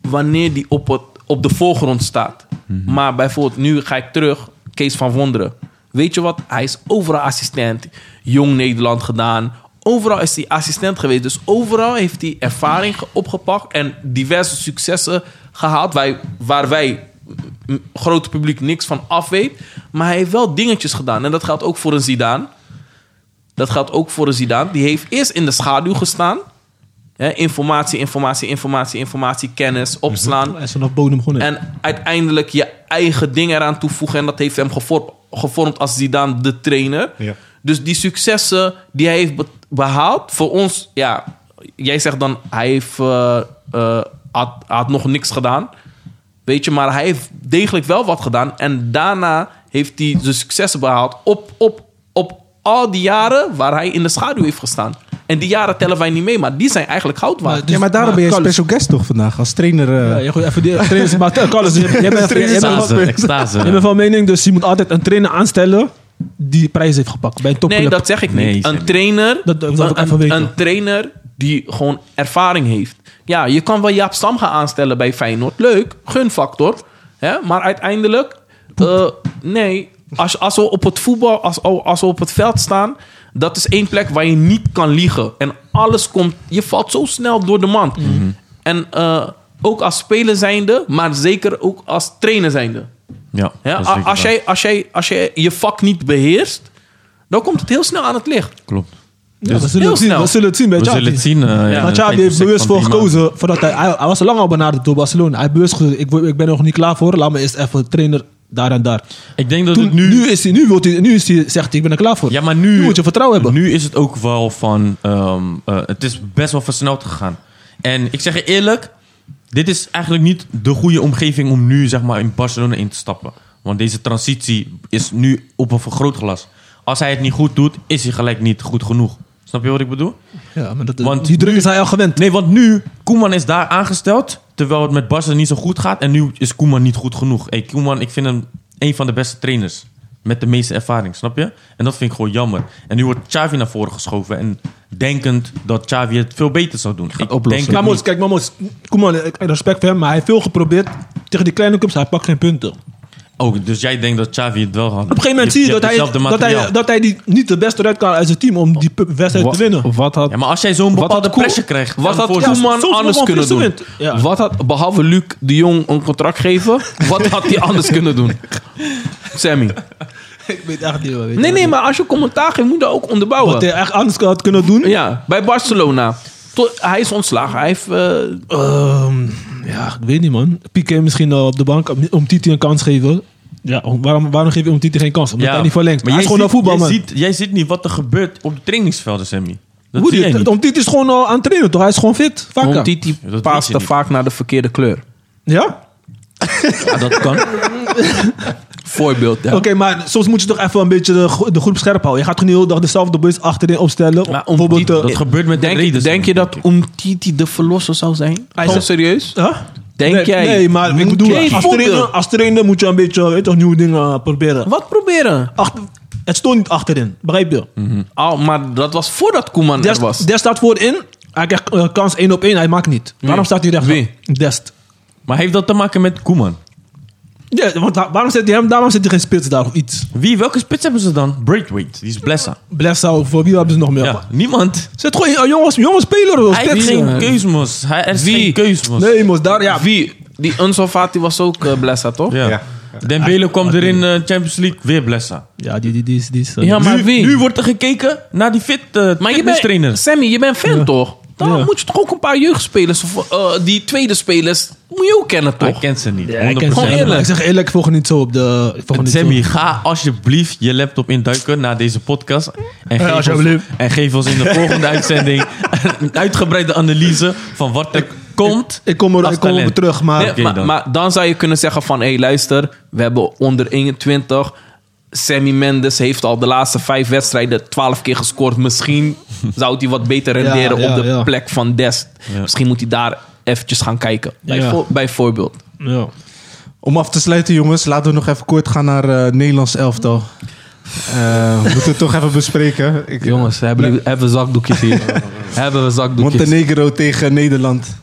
S1: wanneer hij op, het, op de voorgrond staat. Maar bijvoorbeeld, nu ga ik terug. Kees van Wonderen. Weet je wat? Hij is overal assistent. Jong Nederland gedaan. Overal is hij assistent geweest. Dus overal heeft hij ervaring ge- opgepakt. En diverse successen gehaald. Wij, waar wij m, grote publiek niks van af weet. Maar hij heeft wel dingetjes gedaan. En dat geldt ook voor een Zidane. Dat geldt ook voor de Zidane. Die heeft eerst in de schaduw gestaan. Hè, informatie, informatie, informatie, informatie, kennis, opslaan.
S3: Hij is vanaf bodem begonnen.
S1: En uiteindelijk je eigen ding eraan toevoegen. En dat heeft hem gevormd, gevormd als Zidane de trainer.
S2: Ja.
S1: Dus die successen die hij heeft be- behaald... Voor ons, ja... Jij zegt dan, hij heeft, eh, eh, had, had nog niks gedaan. Weet je, maar hij heeft degelijk wel wat gedaan. En daarna heeft hij de successen behaald op, op, op al die jaren waar hij in de schaduw heeft gestaan. En die jaren tellen wij niet mee, maar die zijn eigenlijk goud waard.
S3: Maar dus- Carlos-
S2: guest toch vandaag, als trainer. eh.
S3: Ja, je goed, even die trainers. Maar eh, Carlos, jij, jij bent, jij, bent
S4: Extase,
S3: van,
S4: extase.
S3: jij bent van mening, dus je moet altijd een trainer aanstellen die prijs heeft gepakt bij een topclub.
S1: Nee, dat zeg ik
S4: Nee,
S1: niet.
S4: Sammy.
S1: Een trainer,
S3: Dat- dat wil ik
S1: een,
S3: even weten.
S1: een trainer die gewoon ervaring heeft. Ja, je kan wel Jaap Stam gaan aanstellen bij Feyenoord. Leuk, gunfactor. Hè? Maar uiteindelijk, eh, nee. Als, als we op het voetbal, als, oh, als we op het veld staan, dat is één plek waar je niet kan liegen. En alles komt, je valt zo snel door de mand.
S3: Mhm.
S1: En eh, ook als speler zijnde, maar zeker ook als trainer zijnde.
S4: Ja,
S1: Ja,
S4: dat is
S1: a-
S4: zeker
S1: als,
S4: waar.
S1: jij, als, jij, als jij je vak niet beheerst, dan komt het heel snel aan het licht.
S4: Klopt.
S3: Ja, we, zullen
S1: heel
S3: het zien,
S1: snel.
S3: we zullen het zien bij
S4: We zullen
S3: Xavi.
S4: het zien. eh, ja,
S3: Maar Xavi
S4: tijdens
S3: heeft
S4: de
S3: bewust
S4: van
S3: voor
S4: drie maanden.
S3: gekozen. Voordat hij, hij, hij was al lang al benaderd door Barcelona. Hij heeft bewust gezegd, ik, wil- ik ben nog niet klaar voor. Laat me eerst even trainer daar en daar.
S4: Ik denk dat
S3: Toen,
S4: het
S3: nu,
S4: nu...
S3: is hij, nu, wilt hij, nu is hij, zegt hij, ik ben er klaar voor.
S4: Ja, maar nu...
S3: Nu moet je vertrouwen hebben.
S4: Nu is het ook wel van... ehm, eh, het is best wel versneld gegaan. En ik zeg je eerlijk... Dit is eigenlijk niet de goede omgeving om nu zeg maar, in Barcelona in te stappen. Want deze transitie is nu op een vergrootglas. Als hij het niet goed doet, is hij gelijk niet goed genoeg. Snap je wat ik bedoel?
S3: Ja, maar dat,
S4: Want
S3: die druk is hij al gewend.
S4: Nee, want nu, Koeman is daar aangesteld. Terwijl het met Barca niet zo goed gaat. En nu is Koeman niet goed genoeg. Hey, Koeman, ik vind hem een van de beste trainers. Met de meeste ervaring, snap je? En dat vind ik gewoon jammer. En nu wordt Xavi naar voren geschoven. En denkend dat Xavi het veel beter zou doen. Ik
S2: oplossen.
S4: Denk
S3: Maar
S4: het
S3: Mons,
S4: niet.
S3: kijk, maar Mons, Koeman, ik heb respect voor hem, maar hij heeft veel geprobeerd tegen die kleine clubs. Hij pakt geen punten. Op
S4: Oh, dus jij denkt dat Xavi het wel had. Op
S3: een gegeven moment zie je dat hij, dat, hij, dat hij die, niet de beste eruit kan uit zijn team om die pu- wedstrijd te winnen.
S1: Wat, wat had
S4: Ja, maar als jij zo'n bepaalde
S1: Koe-
S4: pressure krijgt...
S1: Wat had
S4: dan voor-
S1: Koeman
S3: soms
S1: anders
S3: moet
S1: kunnen
S3: Frisse
S1: doen?
S3: wind. Ja.
S1: Wat had, behalve Luc de Jong een contract geven, wat had hij anders kunnen doen? Sammy.
S3: Ik weet echt niet wat.
S1: Nee, nee, maar als je commentaar geeft, moet je dat ook onderbouwen.
S3: Wat eh? hij echt anders had kunnen doen.
S1: Ja, bij Barcelona. Tot, hij is ontslagen. Hij heeft... eh,
S3: Ehm, ja, ik weet niet, man. Piqué misschien wel op de bank om- om Titi een kans geven. Ja, om- waarom, waarom geef je om Titi geen kans? Omdat hij niet verlengt. Maar hij is
S4: jij
S3: gewoon een
S4: ziet-
S3: voetbalman.
S4: Jij ziet, jij ziet niet wat er gebeurt op de trainingsvelden, Sammy. Dat
S3: Hoe
S4: zie
S3: die-
S4: jij niet.
S3: Om Titi is gewoon al aan het trainen, toch? Hij is gewoon fit. Vaak.
S1: Om Titi
S4: Ja, dat weet
S1: paaste
S4: je
S1: vaak naar de verkeerde kleur.
S3: Ja?
S1: Ja, dat kan. Voorbeeld, ja.
S3: Oké, maar soms moet je toch even een beetje de, gro- de groep scherp houden. Je gaat toch niet heel dag dezelfde bus achterin opstellen.
S4: Maar om
S3: bijvoorbeeld...
S4: Titi-
S3: eh,
S4: dat gebeurt met de
S1: Denk,
S4: Raiders,
S1: denk je
S4: denk
S1: dat Umtiti de verlosser zou zijn? Hij
S3: Gewoon-
S1: serieus?
S3: huh?
S1: Denk
S3: nee,
S1: jij?
S3: Nee, maar ik
S1: Moet
S3: bedoel,
S1: jij
S3: als
S1: voorbeeld?
S3: trainer, als trainer moet je een beetje weet je toch, nieuwe dingen eh, proberen.
S1: Wat proberen?
S3: Achter- het stond niet achterin, begrijp je?
S1: Oh, maar dat was voordat Koeman
S3: Dest,
S1: er was.
S3: Dest staat voorin. Hij krijgt eh, kans 1 op 1. Hij maakt niet. Waarom staat hij recht?
S1: Wie?
S3: Dest.
S4: Maar heeft dat te maken met Koeman?
S3: Ja, want da- waarom zet hij hem? Daarom zet hij geen spits daar of iets.
S4: Wie, welke spits hebben ze dan? Braithwaite, die is Blessa.
S3: Blessa, voor wie hebben ze nog meer?
S4: Ja, niemand.
S3: Zet gewoon een jongens, jongens speler. hoor,
S4: Hij heeft
S3: spits.
S4: geen keusmos. Hij er is
S1: Wie?
S4: geen keusmos.
S3: Nee, mos, daar ja.
S1: Wie? Die Enzo Fati was ook eh Blessa, toch?
S4: Ja.
S2: Ja.
S4: Dembele kwam er in eh, Champions League, weer Blessa.
S3: Ja, die, die, die is... Die is eh,
S1: Ja, maar
S4: nu,
S1: wie?
S4: nu wordt er gekeken naar die fit, eh
S1: Maar je bent,
S4: trainer.
S1: Sammy, je bent fan toch? Dan
S3: Ja.
S1: moet je toch ook een paar jeugdspelers, of, eh, die tweede spelers, moet je ook kennen
S4: Hij
S1: toch?
S4: kent ze niet. 100%.
S3: ik ken ze
S1: Gewoon
S3: niet.
S1: eerlijk.
S3: Ik zeg eerlijk, ik volg er niet zo op de... Ik volg er niet zo
S4: Sammy, ga alsjeblieft je laptop induiken na deze podcast. En geef,
S3: alsjeblieft.
S4: Ons, en geef ons in de volgende uitzending een uitgebreide analyse van wat er komt.
S3: Ik kom er-
S4: als
S3: ik kom
S4: talent.
S3: op terug, maar...
S1: Nee,
S4: oké
S1: maar,
S4: dan.
S1: maar dan zou je kunnen zeggen van, hé hey, luister, we hebben onder 21. Sammy Mendes heeft al de laatste vijf wedstrijden twaalf keer gescoord. Misschien zou hij wat beter renderen
S3: ja,
S1: op de
S3: ja.
S1: plek van Dest. Misschien moet hij daar eventjes gaan kijken. Bijvo- Bijvoorbeeld.
S3: Ja.
S2: Om af te sluiten, jongens, laten we nog even kort gaan naar eh, Nederlands elftal. Eh, we moeten het toch even bespreken. Ik,
S1: Jongens, hebben, hebben zakdoekjes hier. hebben we zakdoekjes.
S2: Montenegro tegen Nederland.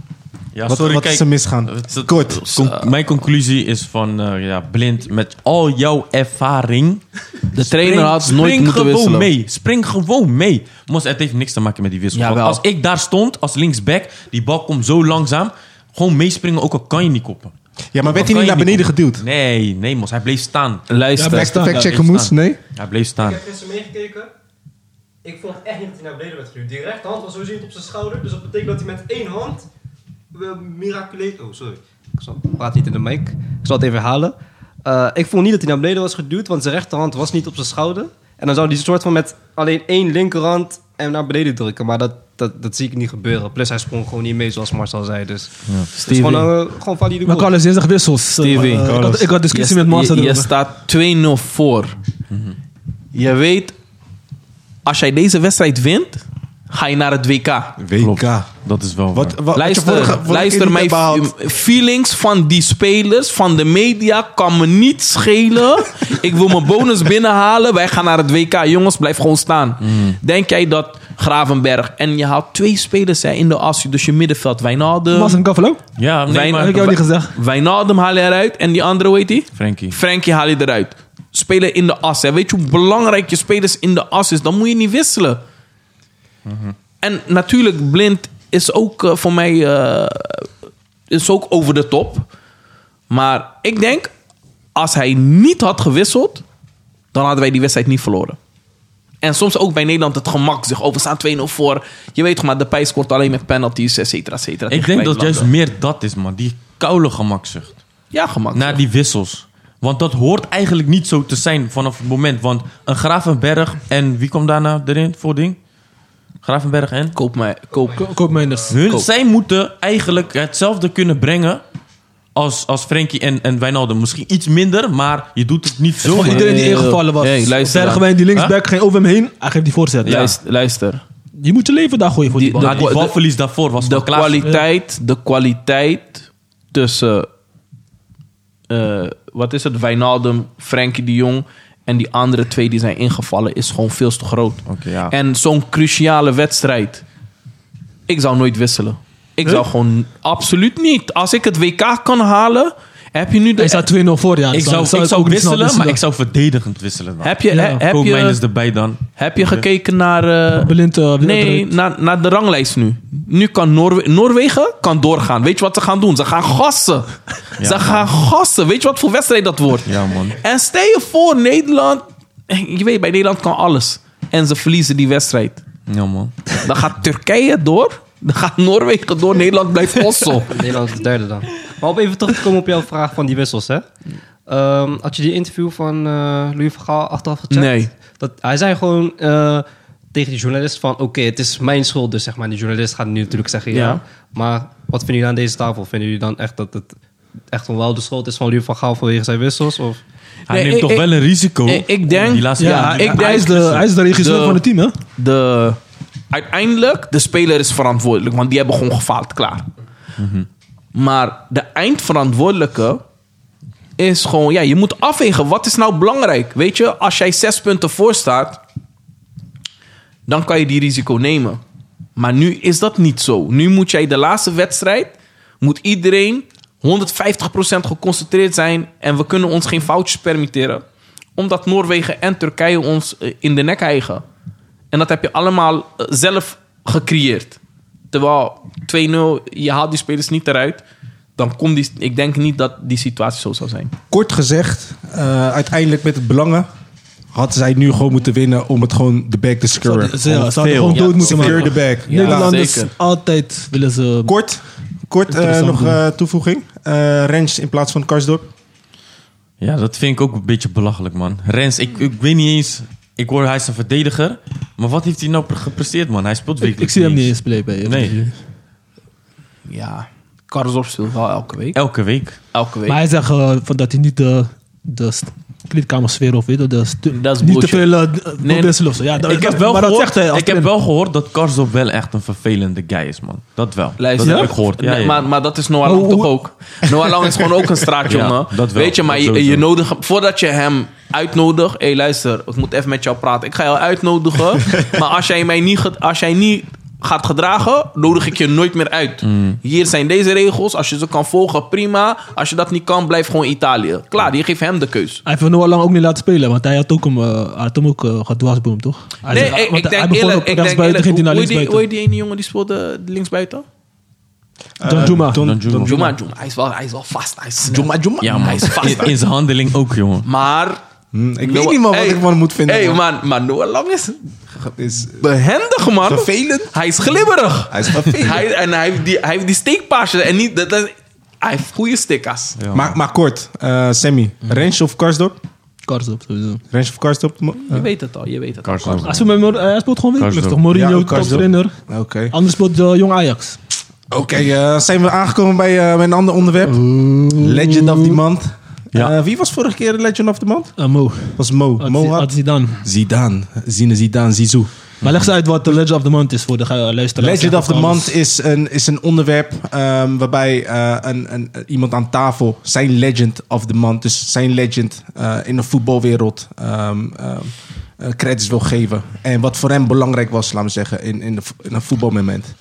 S4: Ja,
S2: Wat-
S4: sorry,
S2: wat
S4: kijk,
S2: is er misgaan?
S4: het- het-
S2: Kort.
S4: Con- mijn conclusie is van, eh, ja, blind met al jouw ervaring.
S1: De trainer had nooit moeten
S4: gewoon
S1: wisselen.
S4: mee. Spring gewoon mee. Mos, het heeft niks te maken met die wissel. Want
S1: Jawel.
S4: als ik daar stond, als linksback, die bal komt zo langzaam. Gewoon meespringen, ook al kan je niet koppen.
S2: Ja, maar werd
S4: Al
S2: hij niet
S4: kan
S2: naar
S4: je
S2: beneden
S4: koppen.
S2: geduwd?
S4: Nee, nee, Mos. Hij bleef staan.
S1: Luister.
S2: Fact-
S3: staan,
S2: Fact-checken
S4: ja,
S2: moest?
S4: staan.
S2: Nee?
S4: Hij bleef
S5: Ik
S4: staan.
S5: heb gisteren meegekeken. Ik vond echt niet dat hij naar beneden werd geduwd. Die rechterhand was sowieso niet op zijn schouder. Dus dat betekent dat hij met één hand... eh, Miraculeus... Oh, sorry. Ik zal- ik praat niet in de mic. Ik zal het even herhalen. Eh, ik vond niet dat hij naar beneden was geduwd, want zijn rechterhand was niet op zijn schouder. En dan zou hij soort van met alleen één linkerhand hem naar beneden drukken. Maar dat, dat, dat zie ik niet gebeuren. Plus hij sprong gewoon niet mee, zoals Marcel zei. Dus het is gewoon, eh, gewoon valide
S3: Maar
S5: goal.
S3: Carlos, jij zegt wissels. Eh,
S1: Stevie.
S3: eh, ik, had, ik had discussie
S1: je,
S3: met Marcel
S1: Je, je
S3: erover. Mhm.
S1: staat 2-0 voor. Je weet, als jij deze wedstrijd wint, ga je naar het WK.
S4: Klopt.
S2: WK.
S4: Dat is wel
S2: ah. Wat,
S4: waar.
S2: wat,
S1: Luister,
S2: wat je vorige- vorige keer
S1: luister
S2: niet
S1: mijn
S2: hebt behaald.
S1: f- feelings van die spelers, van de media, kan me niet schelen. Ik wil mijn bonus binnenhalen. Wij gaan naar het WK. Jongens, blijf gewoon staan.
S2: Mm.
S1: Denk jij dat Gravenberg... En je haalt twee spelers hè, in de as, dus je middenveld. Wijnaldum...
S3: Mas en Cavalo?
S4: Ja, nee,
S1: Wijn-
S4: maar-
S3: Heb ik jou niet gezegd?
S1: Wijnaldum haal je eruit en die andere, hoe heet die?
S4: Frankie.
S1: Frankie haal je eruit. Spelen in de as. Hè. Weet je hoe belangrijk je spelers in de as is? Dan moet je niet wisselen.
S4: Mhm.
S1: En natuurlijk, Blind is ook eh, voor mij eh, is ook over de top. Maar ik denk, als hij niet had gewisseld, dan hadden wij die wedstrijd niet verloren. En soms ook bij Nederland het gemak. Zeg, oh, we staan 2-0 voor. Je weet toch maar, de pijs scoort alleen met penalties, et cetera, et cetera.
S4: Ik
S1: tegen
S4: denk dat juist
S1: Nederland.
S4: meer dat is, man. Die koude gemakzucht.
S1: Ja, gemak.
S4: Naar die wissels. Want dat hoort eigenlijk niet zo te zijn vanaf het moment. Want een Gravenberg en wie kwam daarna erin voor ding? Gravenberg en?
S1: Koop mij. Koop.
S3: Ko- Koopmijnders.
S4: Hun,
S1: Koop.
S4: zij moeten eigenlijk hetzelfde kunnen brengen als, als Frenkie en, en Wijnaldum. Misschien iets minder, maar je doet het niet zo.
S3: Gewoon iedereen die ingevallen was.
S1: Hey, luister dan.
S3: Bergwijn die linksback ging over hem heen. Hij geeft die voorzet.
S1: Luister. luister.
S3: Je moet je leven daar gooien voor die,
S1: Die-
S3: bal.
S4: Maar die
S1: de-
S4: balverlies daarvoor was
S1: De
S4: van Klaas.
S1: kwaliteit, de kwaliteit tussen, eh, wat is het, Wijnaldum, Frenkie de Jong en die andere twee die zijn ingevallen is gewoon veel te groot.
S4: Oké, ja.
S1: En zo'n cruciale wedstrijd, ik zou nooit wisselen. Ik zou gewoon absoluut niet. Als ik het WK kan halen, heb je nu de...
S3: Hij staat 2-0 voor, ja.
S4: Ik
S3: Dus dan
S4: zou, ik
S3: het
S4: zou
S3: ook niet snel
S4: wisselen, maar ik zou verdedigend wisselen. Dan.
S1: heb je,
S3: Ja.
S1: he- heb,
S4: Koopmijn
S1: je,
S4: is erbij dan.
S1: heb je gekeken naar... eh,
S3: Blind, eh,
S1: Nee,
S3: Wilderink.
S1: naar, naar de ranglijst nu. Nu kan Noorwe Noorwegen kan doorgaan. Weet je wat ze gaan doen? Ze gaan gassen. ze gaan gassen. Weet je wat voor wedstrijd dat wordt?
S4: Ja, man.
S1: En stel je voor, Nederland... Je weet, bij Nederland kan alles. En ze verliezen die wedstrijd.
S4: Ja, man.
S1: Dan gaat Turkije door. Dan gaat Noorwegen door. Nederland blijft ossel.
S5: Nederland is de derde dan. Maar om even terug te komen op jouw vraag van die wissels, hè. Ehm, had je die interview van eh Louis van Gaal achteraf gecheckt?
S1: Nee.
S5: Dat, hij zei gewoon eh, tegen die journalist van... Oké, het is mijn schuld dus, zeg maar. Die journalist gaat nu natuurlijk zeggen ja.
S1: Ja.
S5: Maar wat vinden jullie aan deze tafel? Vinden jullie dan echt dat het echt wel de schuld is van Louis van Gaal vanwege zijn wissels? Of...
S4: Hij
S1: Nee,
S4: neemt
S1: ik-
S4: toch
S1: ik-
S4: wel een risico.
S1: ik- ik denk-
S4: Die laatste-
S3: Ja,
S1: Ja,
S3: hij-
S1: ik
S3: hij,
S1: denk-
S3: is de, hij is de regisseur
S1: de-
S3: van het team, hè?
S1: de, uiteindelijk, de speler is verantwoordelijk. Want die hebben gewoon gefaald, klaar. Maar de eindverantwoordelijke is gewoon... Ja, je moet afwegen. Wat is nou belangrijk? Weet je, als jij zes punten voor staat... dan kan je die risico nemen. Maar nu is dat niet zo. Nu moet jij de laatste wedstrijd... moet iedereen 150% geconcentreerd zijn... en we kunnen ons geen foutjes permitteren. Omdat Noorwegen en Turkije ons eh, in de nek hijgen. En dat heb je allemaal eh, zelf gecreëerd. Terwijl 2-0, je haalt die spelers niet eruit. Dan komt die, ik denk niet dat die situatie zo zou zijn.
S2: Kort gezegd, eh, uiteindelijk met het belangen hadden zij nu gewoon moeten winnen om het gewoon de bag te scoren.
S3: Ze, ze hadden
S4: veel.
S3: gewoon dood moeten
S2: Secure
S3: maken.
S2: the bag.
S1: Ja,
S3: Nederlanders
S1: zeker.
S3: altijd willen ze...
S2: Kort, kort eh,
S3: Interessant
S2: nog
S3: doen.
S2: eh, toevoeging. Eh Rens in plaats van Karsdorp.
S4: Ja, dat vind ik ook een beetje belachelijk, man. Rens, ik, ik weet niet eens... Ik hoor, hij is een verdediger. Maar wat heeft hij nou pre- gepresteerd, man? Hij speelt
S3: Ik,
S4: wekelijks
S3: ik zie hem niet eens play bij.
S4: Nee.
S1: Ja, Karzorp speelt wel elke week.
S4: Elke week.
S1: Elke week.
S3: Maar hij zegt eh, van dat hij niet de, de st- kleedkamersfeer of weet je, de stu-
S1: Dat is
S3: niet te
S1: bullshit.
S3: veel eh, wil
S1: Nee,
S3: wisselen of zo. Ja, dat-
S4: ik
S3: dat-
S4: heb wel
S3: maar dat
S4: gehoord,
S3: zegt hij als
S4: ik heb
S3: trainer.
S4: wel gehoord dat Karzop wel echt een vervelende guy is, man. Dat wel.
S1: Luister,
S4: dat heb ik gehoord. Ja,
S1: Nee,
S4: ja.
S1: Maar, maar dat is Noah
S3: Maar
S1: Lang
S3: hoe-
S1: toch ook? Noah Lang is gewoon ook een straatjongen.
S4: Ja, dat wel.
S1: Weet je, maar
S4: Dat
S1: je,
S4: sowieso.
S1: je nodig, hem- voordat je hem uitnodigt... Hé, hey, luister, ik moet even met jou praten. Ik ga jou uitnodigen, maar als jij mij niet, ge- als jij niet gaat gedragen... nodig ik je nooit meer uit.
S4: Mm.
S1: Hier zijn deze regels. Als je ze kan volgen, prima. Als je dat niet kan, blijf gewoon Italië. Klaar, je geeft hem de keus.
S3: Hij heeft Noah Lang ook niet laten spelen, want hij had, ook hem, eh, had hem ook eh gedwarsboomd, toch? Hij
S1: Nee,
S3: zei-
S4: "Ah,
S1: ik,
S3: want
S1: ik
S3: hij
S1: denk
S3: begon
S1: eerlijk...
S3: op
S1: Ik denk
S3: rechtsbuiten,
S1: eerlijk
S3: ging hij naar
S1: hoe heet die- hoe
S3: linksbuiten.
S1: heet die ene jongen die speelde linksbuiten?
S2: Eh,
S3: Don Juma.
S2: Don-
S4: Don Juma.
S2: Don Juma.
S1: Juma, Juma. Hij is wel, hij is wel vast. Hij is, Juma, Juma.
S4: ja,
S1: Hij
S4: man.
S1: is vast.
S4: In, in zijn handeling ook, jongen.
S1: Maar...
S2: Hm, Ik weet niet man, wat ik
S1: van
S2: van moet vinden.
S1: Hé,
S2: man.
S1: man, maar Noah Lang is
S2: Is,
S1: behendig, man.
S2: Vervelend.
S1: Hij is glibberig.
S2: hij is vervelend.
S1: Hij, en hij heeft die, hij heeft die steekpaasjes. En niet, dat, dat- hij heeft goede stickers.
S4: Ja,
S2: maar, maar kort, eh, Sammy. Rens of Karsdorp?
S3: Karsdorp sowieso.
S2: Rens of Karsdorp? mo- eh,
S1: Je weet het al, je weet het al.
S4: Karsdorp.
S3: Hij speelt, met Mor- hij speelt gewoon wekelijks, toch?
S4: Karsdorp.
S2: Ja,
S3: Mourinho,
S2: ook Karsdorp.
S3: toptrainer.
S2: Oké.
S3: Anders speelt eh, Jong Ajax.
S2: Oké, eh, zijn we aangekomen bij, eh, bij een ander onderwerp. Legend of the Month.
S4: Ja.
S2: Eh, wie was vorige keer de Legend of the Month?
S3: Eh, Mo.
S2: was Mo. Mo had-
S3: Wat is hij dan?
S2: Zidane. Zine Zidane, Zizou.
S3: Maar leg eens uit wat de Legend of the Month is voor de eh, luisteraars.
S2: Legend of the
S3: Alles.
S2: Month is een, is een onderwerp ehm, waarbij eh, een, een, iemand aan tafel zijn Legend of the Month, dus zijn legend eh, in de voetbalwereld, ehm, ehm, eh, credits wil geven. En wat voor hem belangrijk was, laten we zeggen, in, in, de, vo- in een voetbalmoment.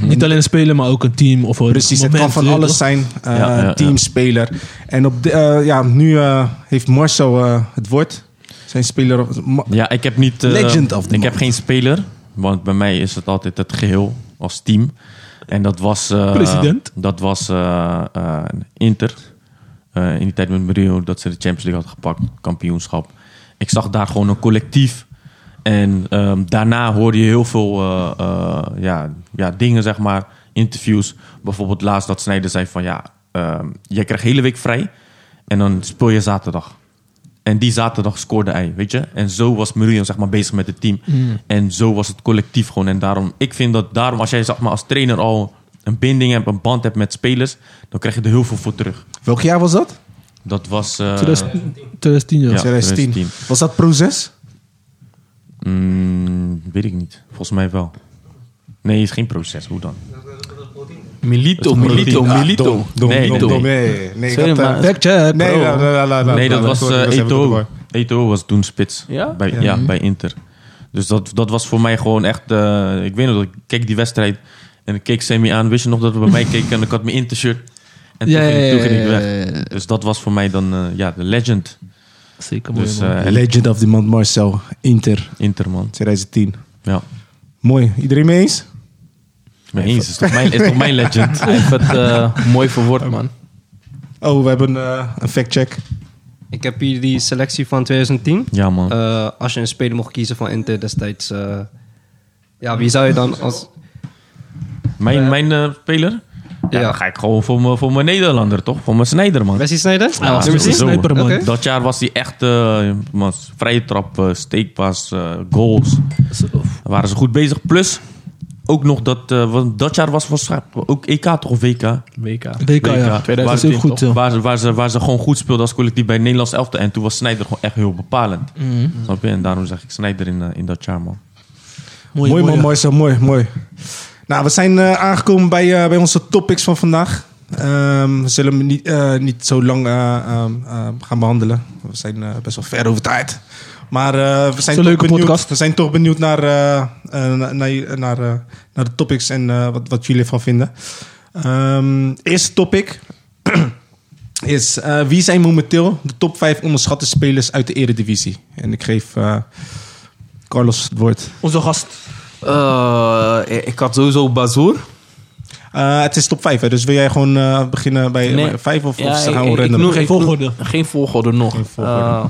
S3: Niet alleen spelen, maar ook een team of een
S2: Precies, het
S3: moment,
S2: kan van
S3: weet je
S2: alles
S3: toch?
S2: zijn. eh,
S4: Ja, ja, ja.
S2: Teamspeler. En op de, eh, ja, nu eh, heeft Marcel eh, het woord. Zijn speler. of- Ma-
S4: Ja, ik heb niet... eh,
S2: Legend of the
S4: Ik heb
S2: month.
S4: geen speler. Want bij mij is het altijd het geheel als team. En dat was... eh,
S3: President.
S4: Dat was eh, eh, Inter. Eh, in die tijd met Mourinho dat ze de Champions League hadden gepakt. Kampioenschap. Ik zag daar gewoon een collectief. En ehm, daarna hoorde je heel veel eh, eh, ja, ja, dingen, zeg maar, interviews. Bijvoorbeeld laatst dat Snijder zei van ja, ehm, jij krijgt hele week vrij en dan speel je zaterdag. En die zaterdag scoorde hij, weet je. En zo was Muriel zeg maar bezig met het team. En zo was het collectief gewoon. En daarom, ik vind dat daarom als jij zeg maar als trainer al een binding hebt, een band hebt met spelers, dan krijg je er heel veel voor terug.
S2: Welk jaar was dat?
S4: Dat was... eh,
S3: 2010, ja.
S4: Ja.
S2: 2010.
S4: 2010.
S2: Was dat proces?
S4: mm, weet ik niet. Volgens mij wel. Nee, is geen proces. Hoe dan? Ah,
S1: Milito,
S4: Dat is
S1: Milito, Ah,
S4: Martin.
S1: Milito.
S2: Dom,
S4: Nee,
S2: dom,
S4: nee.
S2: dom. Nee, nee.
S1: Sorry,
S2: dat, eh,
S1: maar-
S3: Fact check,
S2: Nee,
S3: bro.
S2: la, la, la, la, la,
S4: nee, dat
S2: la,
S4: was
S2: sorry,
S4: eh,
S2: ik even
S4: Eto'o.
S2: door.
S4: Eto'o was toen spits.
S1: Ja?
S4: Bij, ja. bij Inter. Dus dat, dat was voor mij gewoon echt... eh, ik weet nog, dat ik keek die wedstrijd en ik keek Sammy aan. Wist je nog dat we bij mij keken en ik had mijn Inter-shirt. En toen,
S3: Ja,
S4: ging,
S3: ja,
S4: toen
S3: ja,
S4: ging ik
S3: ja,
S4: weg.
S3: ja, ja.
S4: Dus dat was voor mij dan eh, ja, de legend.
S3: Zeker mooi,
S4: Dus
S3: man.
S4: eh,
S2: Legend of the Mount Marcel, Inter,
S4: Inter, man.
S2: 2010.
S4: Ja.
S2: Mooi. Iedereen mee eens?
S4: Mee eens. Is toch mijn, is toch mijn legend?
S1: Hij heeft het eh, mooi verwoord, man.
S2: Oh, we hebben eh, een fact-check.
S5: Ik heb hier die selectie van 2010.
S4: Ja, man.
S5: Eh, als je een speler mocht kiezen van Inter destijds, eh, ja, wie zou je dan als...
S4: Mijn, mijn eh, speler? Ja,
S5: Ja.
S4: dan ga ik gewoon voor mijn, voor mijn Nederlander, toch? Voor mijn Snijder, man.
S5: Messi snijden?
S4: Ja,
S3: was
S4: sowieso.
S3: een sniper, man.
S5: Oké.
S4: Dat jaar was hij echt eh, man, vrije trap, eh, steekpas, eh, goals.
S3: oh,
S4: Daar waren ze goed bezig. Plus, ook nog dat... eh, want dat jaar was waarschijnlijk ook EK toch of WK?
S1: WK.
S3: WK, ja.
S1: 2010
S3: Dat is heel goed, ja.
S4: Waar, ze- waar, ze, waar ze gewoon goed speelden als collectief bij het Nederlands elftal. En toen was Snijder gewoon echt heel bepalend.
S3: Mhm.
S4: Snap je? En daarom zeg ik Snijder in, eh, in dat jaar, man.
S3: Mooi,
S2: mooi,
S3: mooi,
S2: man, mooi zo, mooi, mooi. Nou, we zijn eh, aangekomen bij, eh, bij onze topics van vandaag. Ehm, we zullen hem niet, eh, niet zo lang eh, ehm, ehm, gaan behandelen. We zijn eh, best wel ver over tijd. Maar eh, we, zijn
S3: een
S2: toch
S3: leuke
S2: benieuwd,
S3: podcast.
S2: we zijn toch benieuwd naar, eh, eh, naar, naar, naar, eh, naar de topics en eh, wat, wat jullie ervan vinden. Ehm, eerste topic is eh, wie zijn momenteel de top 5 onderschatte spelers uit de eredivisie? En ik geef eh, Carlos het woord.
S3: Onze gast.
S1: Eh, ik had sowieso Bazoer.
S2: Eh, het is top 5, dus wil jij gewoon eh, beginnen bij
S1: Nee.
S2: bij vijf of,
S1: Ja,
S2: of ze
S1: ik-
S2: gaan
S1: ik-
S2: we
S1: ik
S2: random? Dus
S1: noem-
S3: Geen
S1: ik noem-
S3: volgorde.
S1: Geen volgorde nog.
S2: Geen volgorde.
S1: Eh,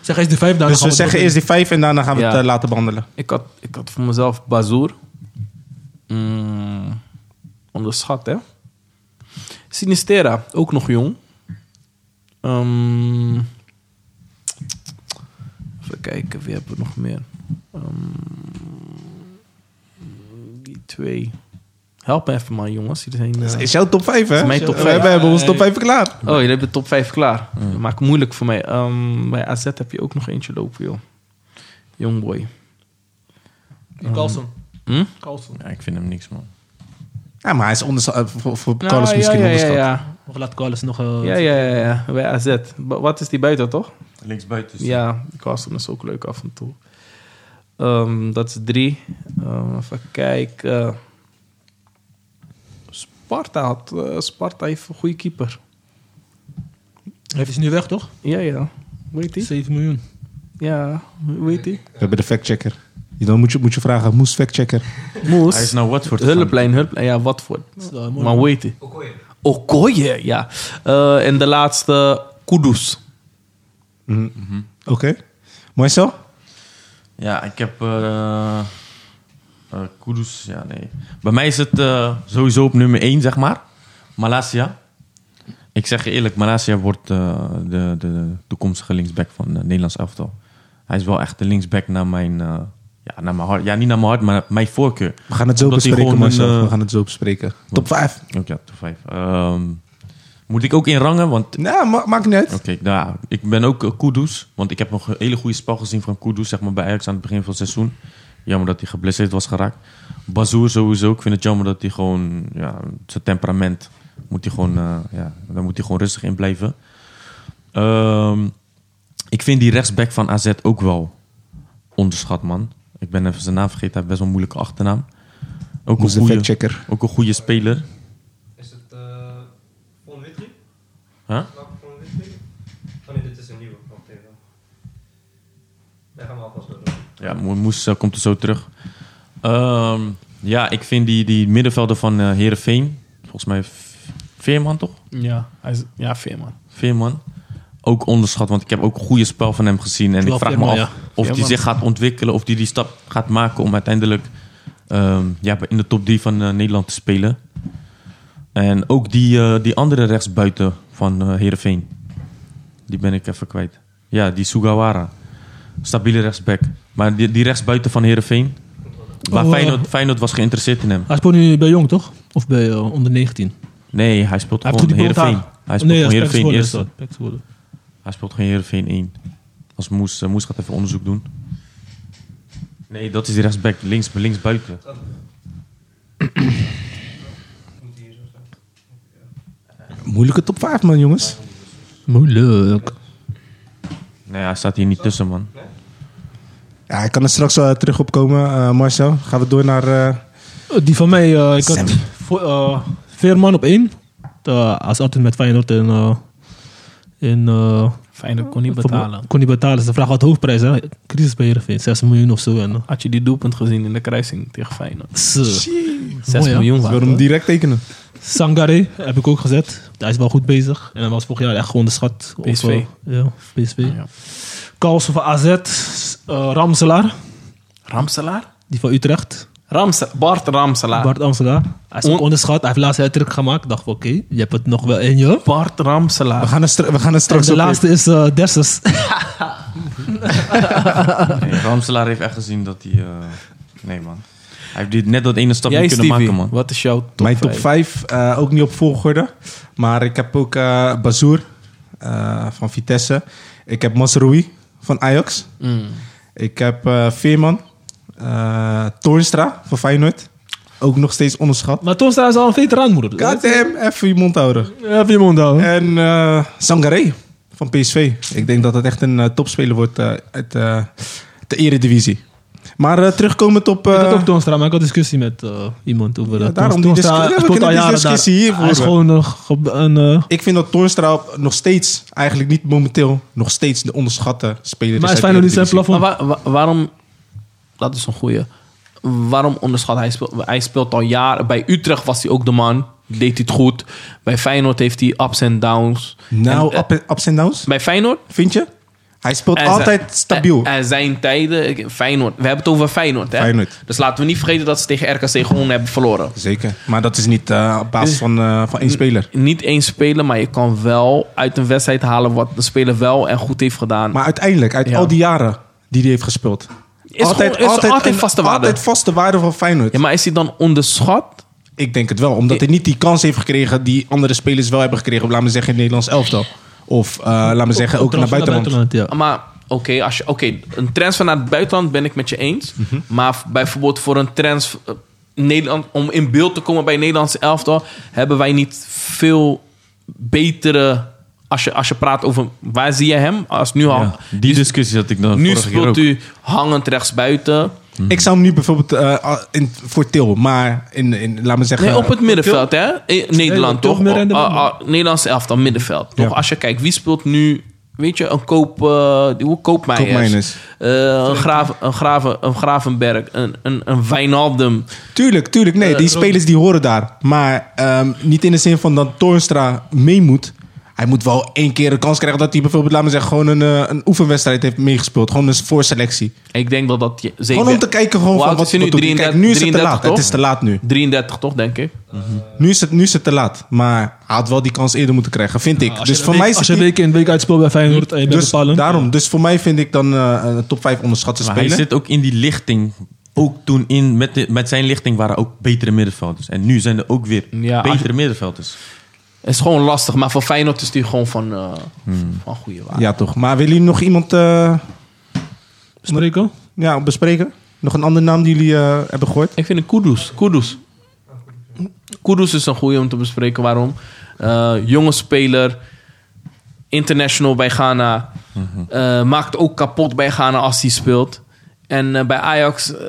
S3: Zeg eens de vijf, daar
S2: Dus we zeggen eerst die vijf en daarna gaan we het
S1: Ja.
S2: eh, laten behandelen.
S1: ik, had, ik had voor mezelf Bazoer. Mm, onderschat, hè? Sinistera, ook nog jong. Ehm, even kijken, wie hebben we nog meer? Ehm, die twee. Help me even, man, jongens. Jullie zijn, eh,
S2: Dat is jouw top 5, hè?
S1: is mijn top
S2: We-
S1: vijf.
S2: We hebben onze top 5 klaar.
S1: Oh, jullie hebben de top 5 klaar. Dat maakt het moeilijk voor mij. Ehm, bij AZ heb je ook nog eentje lopen, joh. Jongboy.
S3: Carlsen.
S1: Hm?
S3: Carlsen.
S4: Ja, ik vind hem niks, man.
S2: Ja, maar hij is onderschat. eh, voor voor
S1: Nou,
S2: Carlos
S1: ja,
S2: misschien
S1: ja, ja,
S2: onderschat.
S1: ja.
S3: Of laat Carlsen nog... eh,
S1: Ja, ja, ja, ja. Bij AZ. Ba- wat is die buiten, toch?
S4: Linksbuiten.
S1: Ja, Carlsen is ook leuk af en toe. Ehm, dat is drie. Ehm, even kijken. Sparta had... eh, Sparta heeft een goede keeper.
S3: Hij is nu weg, toch?
S1: Ja, ja. Hoe heet die?
S3: 7 miljoen.
S1: Ja, hoe heet die?
S2: We hebben de factchecker. Je- Dan moet je, moet je vragen, moest factchecker.
S1: Moes.
S4: Hij is naar Watford gegaan.
S1: Hulplijn, hulplijn. Ja, wat voor.
S3: is wel mooi,
S1: Maar hoe heet die?
S5: Oké.
S1: Okoye, ja. Eh, en de laatste, Kudus.
S2: Mhm. Oké. Mooi zo?
S4: Ja, ik heb eh eh, Kudus, ja nee. Bij mij is het eh, sowieso op nummer 1, zeg maar. Malasia. Ik zeg je eerlijk, Malasia wordt eh, de, de toekomstige linksback van het Nederlands elftal. Hij is wel echt de linksback naar mijn, eh, ja, naar mijn hart. Ja, niet naar mijn hart, maar mijn voorkeur.
S2: We gaan het zo
S4: Omdat hij
S2: bespreken,
S4: gewoon een,
S2: Marcel. We
S4: eh,
S2: gaan het zo bespreken. Top 5.
S4: Ook ja, top 5. moet ik ook in rangen? Want
S2: Nou, ma- maakt niet uit.
S4: Oké, nou, ik ben ook eh, Kudus. Want ik heb nog een hele goede spel gezien van Kudus zeg maar, bij Ajax aan het begin van het seizoen. Jammer dat hij geblesseerd was geraakt. Bazoer sowieso. Ik vind het jammer dat hij gewoon... Ja, zijn temperament moet hij gewoon... eh, ja, daar moet hij gewoon rustig in blijven. Ehm, ik vind die rechtsback van AZ ook wel onderschat, man. Ik ben even zijn naam vergeten. Hij heeft best wel een moeilijke achternaam. Ook een,
S2: Moest de
S4: goede,
S2: factchecker.
S4: ook een goede speler.
S5: Is het eh Von Witry?
S4: Huh?
S5: Welke Von Witry? Oh nee, dit is een nieuwe. Wacht even. Daar gaan we alvast door.
S4: Ja, Mo- Moes eh, komt er zo terug. Ehm, ja, ik vind die, die middenvelder van eh Heerenveen... Volgens mij V- Veerman, toch?
S1: Ja, hij is, ja Veerman.
S4: Veerman. Ook onderschat, want ik heb ook een goede spel van hem gezien. En
S3: Wel
S4: ik vraag
S3: Veerman,
S4: me af...
S3: ja.
S4: Of
S1: Ja,
S4: die
S1: man.
S4: zich gaat ontwikkelen, of die die stap gaat maken om uiteindelijk ehm, ja, in de top 3 van eh, Nederland te spelen. En ook die, eh, die andere rechtsbuiten van eh Heerenveen. Die ben ik even kwijt. Ja, die Sugawara. Stabiele rechtsback. Maar die, die rechtsbuiten van Heerenveen... Waar
S3: Oh, eh.
S4: Feyenoord, Feyenoord was geïnteresseerd in hem.
S3: Hij speelt nu bij Jong, toch? Of bij eh, onder 19?
S4: Nee, hij speelt
S3: Hij heeft toch
S4: gewoon
S3: die
S4: Heerenveen.
S3: Bulgaar?
S4: Hij speelt gewoon
S3: dat is
S4: Heerenveen
S3: Pek
S4: eerst.
S3: Zwolle, Pek Zwolle.
S4: Hij speelt gewoon Heerenveen 1. Als Moes, eh, Moes gaat even onderzoek doen. Nee, dat is die rechtsback. Links, links buiten.
S2: Moeilijke top 5, man, jongens.
S3: Moeilijk.
S4: Nee, hij staat hier niet tussen, man.
S2: Ja, ik kan er straks wel terug op komen, eh, Marcel. Gaan we door naar... eh,
S3: Eh, Die van mij, eh, ik had
S2: Sammy.
S3: voor, eh, Veerman op één. Eh, als altijd met Feyenoord en... eh en eh,
S1: Fijn dat ik kon niet betalen.
S3: Kon niet betalen. Ze vragen wat hoofdprijs, hè? Crisis bij Heerenveen. 6 miljoen of zo. En, eh,
S1: Had je die doelpunt gezien in de kruising tegen Feyenoord?
S3: zo.
S1: 6
S3: Mooi, hè?
S1: miljoen waard,
S2: Waarom
S1: hoor.
S2: direct tekenen?
S3: Sangare heb ik ook gezet. Hij is wel goed bezig. En hij was vorig jaar echt gewoon de schat. op,
S1: PSV.
S3: eh, ja, PSV.
S2: Ah,
S1: ja.
S3: Kals van AZ. eh, Ramselaar.
S1: Ramselaar?
S3: Die van Utrecht.
S1: Ramse- Bart
S2: Ah.
S1: Ramselaar. Bart,
S3: Bart Amsterdam. Hij is ook
S1: On-
S3: onderschat. Hij heeft laatst een truc gemaakt. Ik dacht van, oké, je hebt het nog wel in je.
S2: We
S1: Ramselaar.
S2: gaan er, stra- we gaan er
S3: En
S2: straks
S3: de
S2: op
S3: laatste is eh Dersus.
S4: Nee, Ramselaar heeft echt gezien dat hij... eh, Nee, man. Hij heeft dit- net dat ene stapje
S1: Jij,
S4: kunnen
S1: Stevie,
S4: maken, man.
S1: wat is jouw top
S2: Mijn top
S1: vijf?
S2: 5, ook niet op volgorde. Maar ik heb ook eh Bazour eh, van Vitesse. Ik heb Masroui van Ajax.
S1: Mm.
S2: Ik heb eh, Veerman. eh Toornstra van Feyenoord. Ook nog steeds onderschat.
S3: maar Toonstra is al een veteraan, moeder.
S2: God damn, even je mond houden.
S3: Even je mond
S1: Oh.
S3: houden.
S2: En eh Sangaré van PSV. Ik denk dat het echt een eh, topspeler wordt eh, uit eh, de eredivisie. Maar eh, terugkomend op...
S3: Ik had
S2: eh,
S3: ook Toonstra, maar ik had discussie met eh, iemand over dat.
S2: daarom die
S3: Toonstra
S2: discussie- we
S3: speelt
S2: kunnen
S3: al
S2: die
S3: jaren
S2: discussie
S3: daar.
S2: hiervoor
S3: Hij is gewoon een... ge- een eh,
S2: ik vind dat Toornstra nog steeds, eigenlijk niet momenteel, nog steeds de onderschatte
S3: maar
S2: speler
S3: hij
S2: is.
S3: is fijn dat hij zijn
S1: Maar
S3: plafond...
S1: wa- wa- waarom... Dat is een goeie. Waarom onderschat hij speelt? Hij speelt al jaren. Bij Utrecht was hij ook de man. Deed hij het goed. Bij Feyenoord heeft hij ups en downs.
S2: Nou,
S1: En, eh,
S2: up- ups en downs,
S1: bij Feyenoord?
S2: vind je? Hij speelt
S1: Er
S2: altijd
S1: zijn-
S2: stabiel.
S1: Er, er zijn tijden... ik- Feyenoord. We hebben het over Feyenoord, hè?
S2: Feyenoord.
S1: Dus laten we niet vergeten dat ze tegen RKC Groningen hebben verloren.
S2: Zeker. Maar dat is niet eh, op basis van, eh, van één speler.
S1: Niet één speler, maar je kan wel uit een wedstrijd halen... wat de speler wel en goed heeft gedaan.
S2: Maar uiteindelijk, uit
S1: Ja.
S2: al die jaren die hij heeft gespeeld.
S1: Is gewoon- is altijd
S2: een-
S1: vaste waarde.
S2: Altijd vaste waarde van Feyenoord.
S1: Ja, maar is hij dan onderschat?
S2: Ik denk het wel. Omdat hij niet die kans heeft gekregen die andere spelers wel hebben gekregen. Laat me zeggen in het Nederlands elftal. Of eh laat me zeggen ook naar
S3: Transfer
S2: buitenland.
S3: ja.
S1: Maar oké, als je oké een transfer naar het buitenland ben ik met je eens.
S4: Mhm.
S1: Maar v- bijvoorbeeld voor een transfer... eh, Nederland, om in beeld te komen bij het Nederlandse elftal... hebben wij niet veel betere... Als je, als je praat over... Waar zie je hem? Als nu al...
S4: Ja, die discussie had ik dan
S1: Nu
S4: vorige keer ook.
S1: speelt u hangend rechtsbuiten.
S2: Ik zou hem nu bijvoorbeeld eh, in, voor Til. Maar in, in, laat me zeggen...
S1: Nee, op het middenveld, hè? Eh, Nederland,
S3: toch
S1: toch?
S3: meer in de
S1: Ah,
S3: midden.
S1: ah, Nederlandse elftal, middenveld. Toch?
S2: Ja.
S1: Als je kijkt, wie speelt nu... Weet je, een koop... eh hoe koopmeijers?
S2: Koopmeijers.
S1: Eh, een, graaf, een, graven, een Gravenberg. Een, een, een Wijnaldum.
S2: Tuurlijk, tuurlijk. Nee,
S1: Eh,
S2: die spelers die horen daar. Maar ehm, niet in de zin van dat Toornstra mee moet. Hij moet wel één keer een kans krijgen dat hij bijvoorbeeld, laat me zeggen, gewoon een, eh, een oefenwedstrijd heeft meegespeeld. Gewoon een voorselectie.
S1: Ik denk dat dat... Je, zeker,
S2: Gewoon om te kijken gewoon
S1: Hoe
S2: van
S1: oud
S2: wat
S1: is hij
S2: wat doet hij. Kijk, nu is het te laat.
S1: toch?
S2: Het is te laat nu.
S1: 33 toch, denk ik?
S2: Nu is het, nu is het te laat. Maar hij had wel die kans eerder moeten krijgen, vind
S1: Nou,
S2: ik.
S3: Als je
S2: dus
S3: een
S2: voor
S3: week-
S2: mij is
S3: Als
S2: het
S3: je
S2: niet-
S3: week in week uit speelt bij Feyenoord eh, en je bent
S2: dus,
S3: bepalend.
S2: daarom. Dus voor mij vind ik dan eh, een top 5 onderschatte
S4: Maar hij
S2: speler.
S4: zit ook in die lichting. Ook toen in, met, de- met zijn lichting waren ook betere middenvelders. En nu zijn er ook weer
S1: Ja, als
S4: betere middenvelders.
S1: Het is gewoon lastig. Maar voor Feyenoord is die gewoon van... eh,
S2: Hmm.
S1: Van goede waarde.
S2: Ja, toch. Maar willen jullie nog iemand eh,
S3: Spreken?
S2: ja, bespreken? Nog een andere naam die jullie eh, hebben gehoord?
S1: Ik vind het Kudus. Kudus. Kudus is een goeie om te bespreken waarom. Eh, jonge speler. International bij Ghana. Eh, maakt ook kapot bij Ghana als hij speelt. En eh, bij Ajax... eh,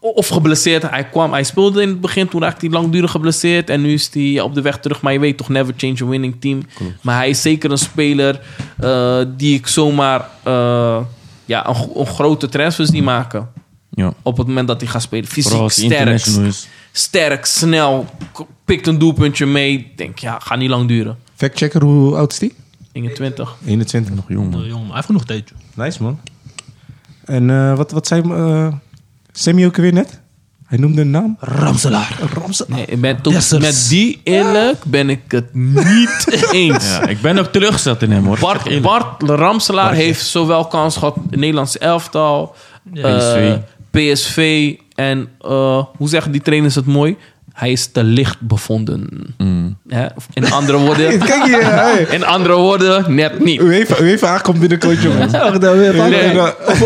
S1: of geblesseerd. Hij kwam, hij speelde in het begin. Toen raakte hij langdurig geblesseerd. En nu is hij op de weg terug. Maar je weet toch, never change a winning team. Maar hij is zeker een speler eh, die ik zomaar... eh, ja, een, gro- een grote transfers die maken
S4: Ja.
S1: op het moment dat hij gaat spelen.
S4: Vooral
S1: Fysiek
S4: als hij
S1: sterk,
S4: international is.
S1: sterk, snel, k- pikt een doelpuntje mee. Ik Denk, ja, gaat niet lang duren.
S2: Factchecker, hoe oud is die?
S1: 21.
S2: 21.
S4: Nog jong, man.
S3: Eh, Jong, maar hij heeft genoeg tijd. joh.
S2: Nice, man. En eh, wat, wat zei eh Sammy ook weer net? Hij noemde een naam.
S3: Ramselaar.
S1: Nee, ik ben toch-
S3: Dessers.
S1: met die eerlijk ben ik het niet eens.
S4: Ja, ik ben ook teleurgesteld in hem hoor. Echt
S1: Bart,
S4: eerlijk.
S1: Bart Ramselaar heeft zowel kans gehad in het Nederlands elftal, eh, PSV en eh, hoe zeggen die trainers het mooi? Hij is te licht bevonden.
S4: Mm.
S1: Hè? In andere woorden,
S2: Kijk hier, hey.
S1: in andere woorden, net niet.
S2: UEFA, UEFA aankomt binnenkort, jongens.
S1: Nee.
S3: Open,
S1: Nee.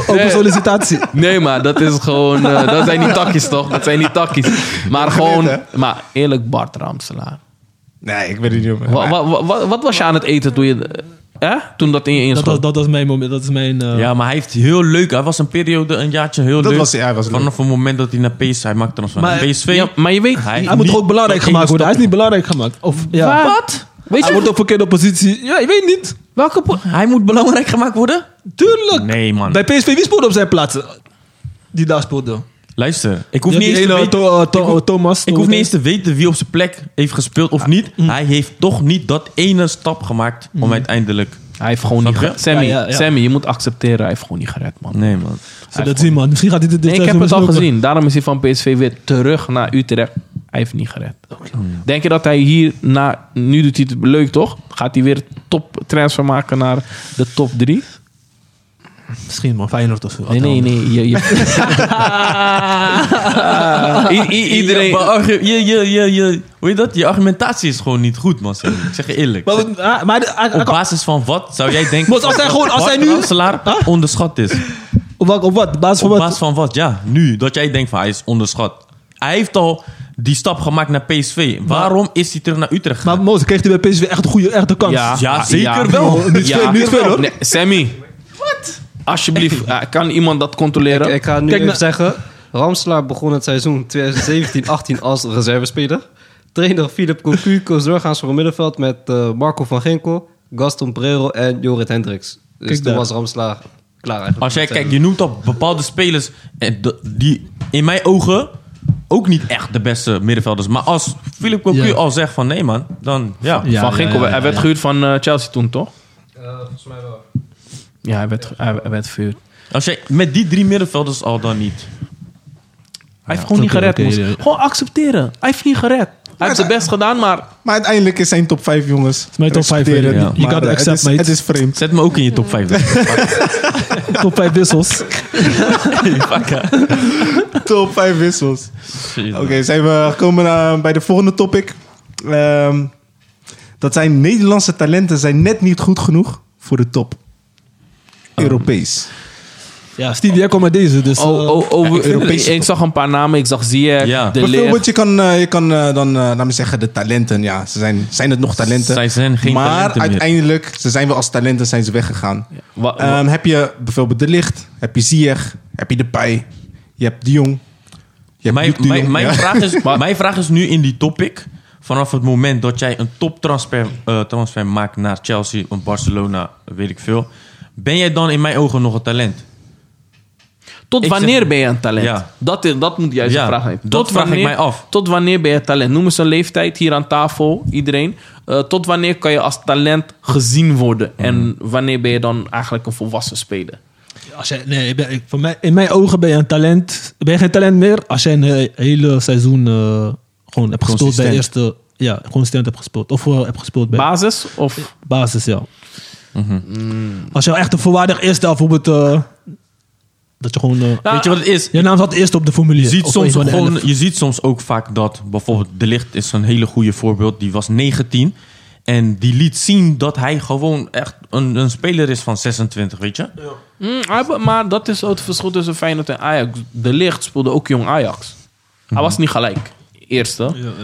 S3: open sollicitatie.
S1: Nee, maar dat is gewoon. eh, dat zijn niet takjes, toch? Dat zijn niet takjes. Maar gewoon. Maar eerlijk, Bart Ramselaar.
S2: Nee, ik ben het niet op.
S1: Wa- wa- wa- wa- wat was je aan het eten toen je. eh, Toen dat in je
S3: Dat, was,
S1: inschoot?
S3: dat was mijn moment. Dat is mijn... eh,
S4: Ja, maar hij heeft heel leuk. Hij was een periode, een jaartje heel
S2: Dat
S4: leuk.
S2: was- ja, hij was leuk.
S4: Vanaf het moment dat hij naar PSV, hij maakte transfer naar PSV.
S1: Ja, maar je weet.
S4: Hij-
S3: Hij moet
S4: niet-
S3: ook belangrijk
S4: dat
S3: gemaakt
S4: één
S3: worden. Hij is niet belangrijk gemaakt. Of, ja.
S1: Wat? Weet
S3: Hij
S1: je
S3: wordt op verkeerde positie. Ja, ik weet niet.
S1: welke. po-
S4: Hij moet belangrijk gemaakt worden?
S3: Tuurlijk.
S4: Nee, man.
S3: Bij PSV, wie speelde op zijn plaats? Die daar speelde.
S4: Luister, ik hoef,
S3: Die
S4: niet eens, te
S3: hele
S4: weten,
S3: To- eh, To- eh, Thomas.
S4: ik hoef niet eens te weten wie op zijn plek heeft gespeeld of niet. Hij heeft toch niet dat ene stap gemaakt om uiteindelijk...
S1: Hij heeft gewoon
S4: Snap
S1: niet
S4: je?
S1: gered. Sammy,
S3: Ja, ja, ja.
S1: Sammy, je moet accepteren. Hij heeft gewoon niet gered, man.
S4: Nee, man.
S3: Zo, dat zien, man. Misschien gaat hij dit dit
S1: Nee, ik heb
S3: seizoen
S1: het al
S3: snoepen.
S1: gezien. Daarom is hij van PSV weer terug naar Utrecht. Hij heeft niet gered. Denk je dat hij hier, na, nu doet hij het leuk toch? Gaat hij weer top transfer maken naar de top 3?
S3: Misschien, man. Feyenoord of zo.
S1: Nee, nee, nee. Je, je... I- i-
S4: Ja, maar
S1: iedereen.
S4: argu- je, je, je, je, hoe heet dat? Je argumentatie is gewoon niet goed, man. Sammy. Ik zeg je eerlijk.
S3: Maar, wat- ah, maar hij- hij- hij
S4: Op
S3: kan-
S4: basis van wat zou jij denken...
S3: Want als hij gewoon- als
S4: Bart
S3: hij nu-
S4: Ramselaar onderschat is.
S3: op, wat- op wat? Basis van
S4: Op
S3: wat?
S4: basis van wat? Ja, nu. Dat jij denkt van hij is onderschat. Hij heeft al die stap gemaakt naar PSV. Waarom is hij terug naar Utrecht gegaan?
S3: Maar Moos, kreeg hij bij PSV echt een goede echt een kans?
S1: Ja,
S4: Ja, zeker
S1: ja.
S4: wel.
S3: Niet veel, niet veel, hoor.
S1: Nee, Sammy. Wat? Alsjeblieft, eh, kan iemand dat controleren?
S5: Ik, ik ga nu
S3: Kijk
S5: even
S3: naar-
S5: zeggen. Ramslaar begon het seizoen 2017-18 als reservespeler. Trainer Philip Cocu koos doorgaans voor een middenveld met eh, Marco van Ginkel, Gaston Prero en Jorrit Hendricks. Dus
S3: Kijk
S5: toen
S3: daar.
S5: was Ramslaar klaar eigenlijk.
S4: Als jij kijkt, je noemt al bepaalde spelers en de- die in mijn ogen ook niet echt de beste middenvelders. Maar als Philip Cocu
S3: Ja.
S4: al zegt van nee man, dan ja.
S3: Ja,
S1: van
S3: ja,
S1: Ginkel,
S3: ja, ja,
S1: hij werd
S3: ja.
S1: gehuurd van eh, Chelsea toen toch?
S5: Eh, volgens mij wel.
S1: Ja, hij werd, hij, hij werd verhuurd.
S4: Als jij met die drie middenvelders al dan niet.
S1: Hij heeft gewoon niet
S3: Oké,
S1: gered.
S3: oké,
S1: Moes.
S3: ja, ja.
S1: Gewoon accepteren. Hij heeft niet gered. Hij heeft zijn best gedaan, maar
S2: Maar uiteindelijk is zijn top 5, jongens. Het is
S3: mijn top vijf, ja. You gotta accept,
S2: het is,
S3: mate.
S2: Het is vreemd.
S4: Zet me ook in je top 5.
S3: Top 5 wissels.
S2: Top 5 wissels. Oké, zijn we gekomen eh, bij de volgende topic. Ehm, dat zijn Nederlandse talenten zijn net niet goed genoeg voor de top.
S4: Ehm,
S2: Europees.
S3: Ja, Steve, jij komt met deze. Dus,
S1: Oh,
S3: eh,
S1: oh, oh, we- ik,
S2: Europese
S1: ik zag een paar namen. Ik zag Ziyech,
S4: Ja.
S1: De Leer.
S2: Bijvoorbeeld, je kan, eh, je kan eh, dan, eh laat me zeggen, de talenten. Ja, ze zijn, zijn het nog talenten?
S4: Zij zijn geen
S2: maar
S4: talenten meer.
S2: uiteindelijk, ze zijn wel als talenten zijn ze weggegaan.
S1: Wa- wa-
S2: Ehm, heb je bijvoorbeeld De Licht, heb je Ziyech, heb je Depay, je hebt De Jong. Je hebt
S4: Mijn,
S2: Luc de
S4: mijn,
S2: Jong,
S4: mijn,
S2: ja.
S4: vraag is, mijn vraag is nu in die topic. Vanaf het moment dat jij een toptransfer eh, transfer maakt naar Chelsea of Barcelona, weet ik veel. Ben jij dan in mijn ogen nog een talent?
S1: Tot
S4: ik
S1: wanneer
S4: zeg-
S1: ben je een talent?
S4: Ja.
S1: Dat, is- dat moet juist
S4: Ja,
S1: de vraag zijn.
S4: dat vraag ik mij af.
S1: Tot wanneer ben je talent? Noem eens een leeftijd hier aan tafel, iedereen. Eh, tot wanneer kan je als talent gezien worden? En
S4: Hmm.
S1: wanneer ben je dan eigenlijk een volwassen speler?
S3: Als jij, nee, ik ben- ik- voor mij, in mijn ogen ben je een talent. Ben je geen talent meer als jij een he- hele seizoen eh, gewoon hebt gespeeld bij
S2: Consistent.
S3: eerste. Ja, consistent hebt gespeeld. Of eh, hebt gespeeld bij
S1: Basis? Of
S3: basis, ja.
S1: Mhm.
S3: Als je echt een volwaardig eerste helft bijvoorbeeld. eh, dat je gewoon. eh,
S1: Ja.
S4: Weet je wat het is?
S3: je naam zat eerst op de formulier.
S4: Je ziet,
S3: Of
S4: soms
S3: een van de
S4: gewoon,
S3: elf.
S4: je ziet soms ook vaak dat bijvoorbeeld De Licht is een hele goede voorbeeld. Die was 19 en die liet zien dat hij gewoon echt een, een speler is van 26, weet je?
S1: Mm, hij be- maar dat is ook het verschil tussen Feyenoord en Ajax. De Ligt speelde ook jong Ajax. Hij was niet gelijk. Eerste.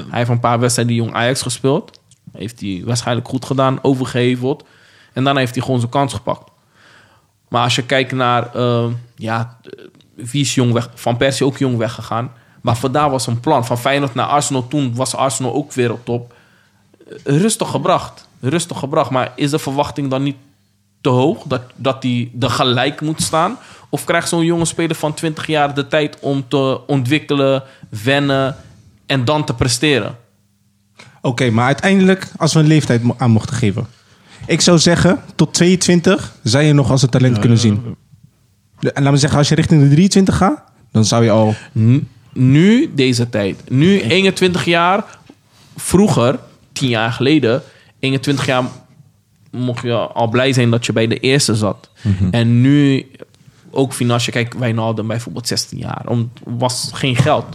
S1: Hij heeft een paar wedstrijden jong Ajax gespeeld. Heeft hij waarschijnlijk goed gedaan, overgeheveld. En daarna heeft hij gewoon zijn kans gepakt. Maar als je kijkt naar... eh, ja, eh, wie is jong weg? Van Persie ook jong weggegaan. Maar vandaar was een plan. Van Feyenoord naar Arsenal. Toen was Arsenal ook weer op top. Eh, Rustig gebracht. Rustig gebracht. Maar is de verwachting dan niet te hoog? Dat, dat die er gelijk moet staan? Of krijgt zo'n jonge speler van 20 jaar de tijd om te ontwikkelen, wennen en dan te presteren?
S2: Oké, maar uiteindelijk, als we een leeftijd mo- aan mochten geven. Ik zou zeggen, tot 22 zou je nog als een talent kunnen zien. De- En laat me zeggen, als je richting de 23 gaat, dan zou je al...
S1: N- nu, deze tijd. Nu, 21 jaar. Vroeger, 10 jaar geleden, 21 jaar mocht je al blij zijn dat je bij de eerste zat.
S4: Mhm.
S1: En nu, ook financieel, kijk, Wijnaldum bijvoorbeeld 16 jaar. Om, was geen geld.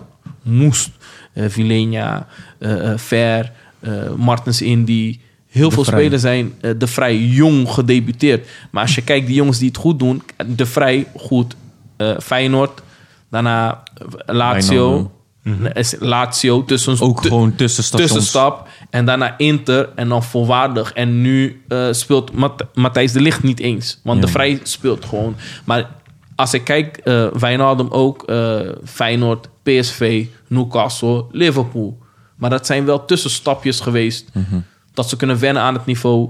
S1: Moest. eh Vilena, eh, eh, Fer, eh, Martens Indy. Heel veel
S4: Vrij.
S1: spelers zijn eh, de vrij jong gedebuteerd. Maar als je kijkt, die jongens die het goed doen, de vrij goed. eh, Feyenoord, daarna eh, Lazio.
S4: Wijnaldum.
S1: Nee, is Lazio, tussen,
S4: Ook
S1: Dus tu-
S4: gewoon tussenstations.
S1: tussenstap. En daarna Inter en dan volwaardig. En nu eh, speelt Mat- Matthijs de Ligt niet eens. Want de
S4: Ja.
S1: Vrij speelt gewoon. Maar als ik kijk, eh Wijnaldum ook, eh, Feyenoord, PSV, Newcastle, Liverpool. Maar dat zijn wel tussenstapjes geweest.
S4: Mhm.
S1: Dat ze kunnen wennen aan het niveau.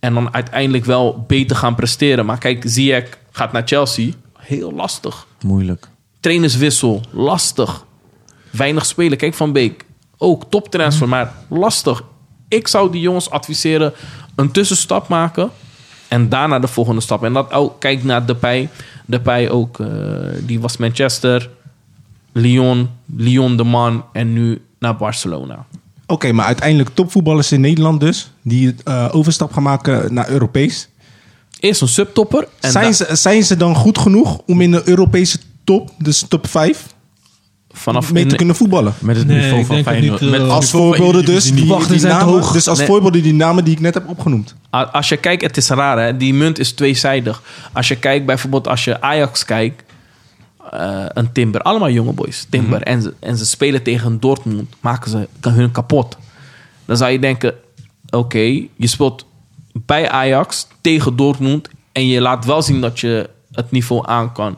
S1: En dan uiteindelijk wel beter gaan presteren. Maar kijk, Ziyech gaat naar Chelsea. Heel lastig.
S4: Moeilijk.
S1: Trainerswissel, lastig. Weinig spelen. Kijk, Van Beek, ook toptransfer, maar lastig. Ik zou die jongens adviseren een tussenstap maken en daarna de volgende stap. En dat ook, kijk naar Depay. Depay ook, eh, die was Manchester, Lyon, Lyon de man en nu naar Barcelona.
S2: Oké, maar uiteindelijk topvoetballers in Nederland dus, die eh, overstap gaan maken naar Europees.
S1: Eerst een subtopper. En
S2: zijn,
S1: da-
S2: ze, zijn ze dan goed genoeg om in de Europese top, dus top 5,
S1: vanaf
S2: mee te
S1: in-
S2: kunnen voetballen?
S4: Met het
S3: Nee,
S4: niveau
S3: ik
S4: van
S3: denk het
S4: Feyenoord.
S3: niet, eh,
S4: Met
S3: Als
S2: Als
S4: niveau van
S2: voorbeelden dus,
S4: Eredivisie.
S2: die,
S3: wachten
S2: die
S3: zijn te
S2: namen,
S3: hoog.
S2: dus als
S1: Nee.
S2: voorbeelden die namen die ik net heb opgenoemd.
S1: A- Als je kijkt, het is raar hè, die munt is tweezijdig. Als je kijkt bijvoorbeeld als je Ajax kijkt, eh, een Timber, allemaal jonge boys, Timber,
S2: Mhm.
S1: en, ze, en ze spelen tegen Dortmund, maken ze kan hun kapot. Dan zou je denken, oké, je speelt bij Ajax tegen Dortmund en je laat wel zien dat je het niveau aan kan.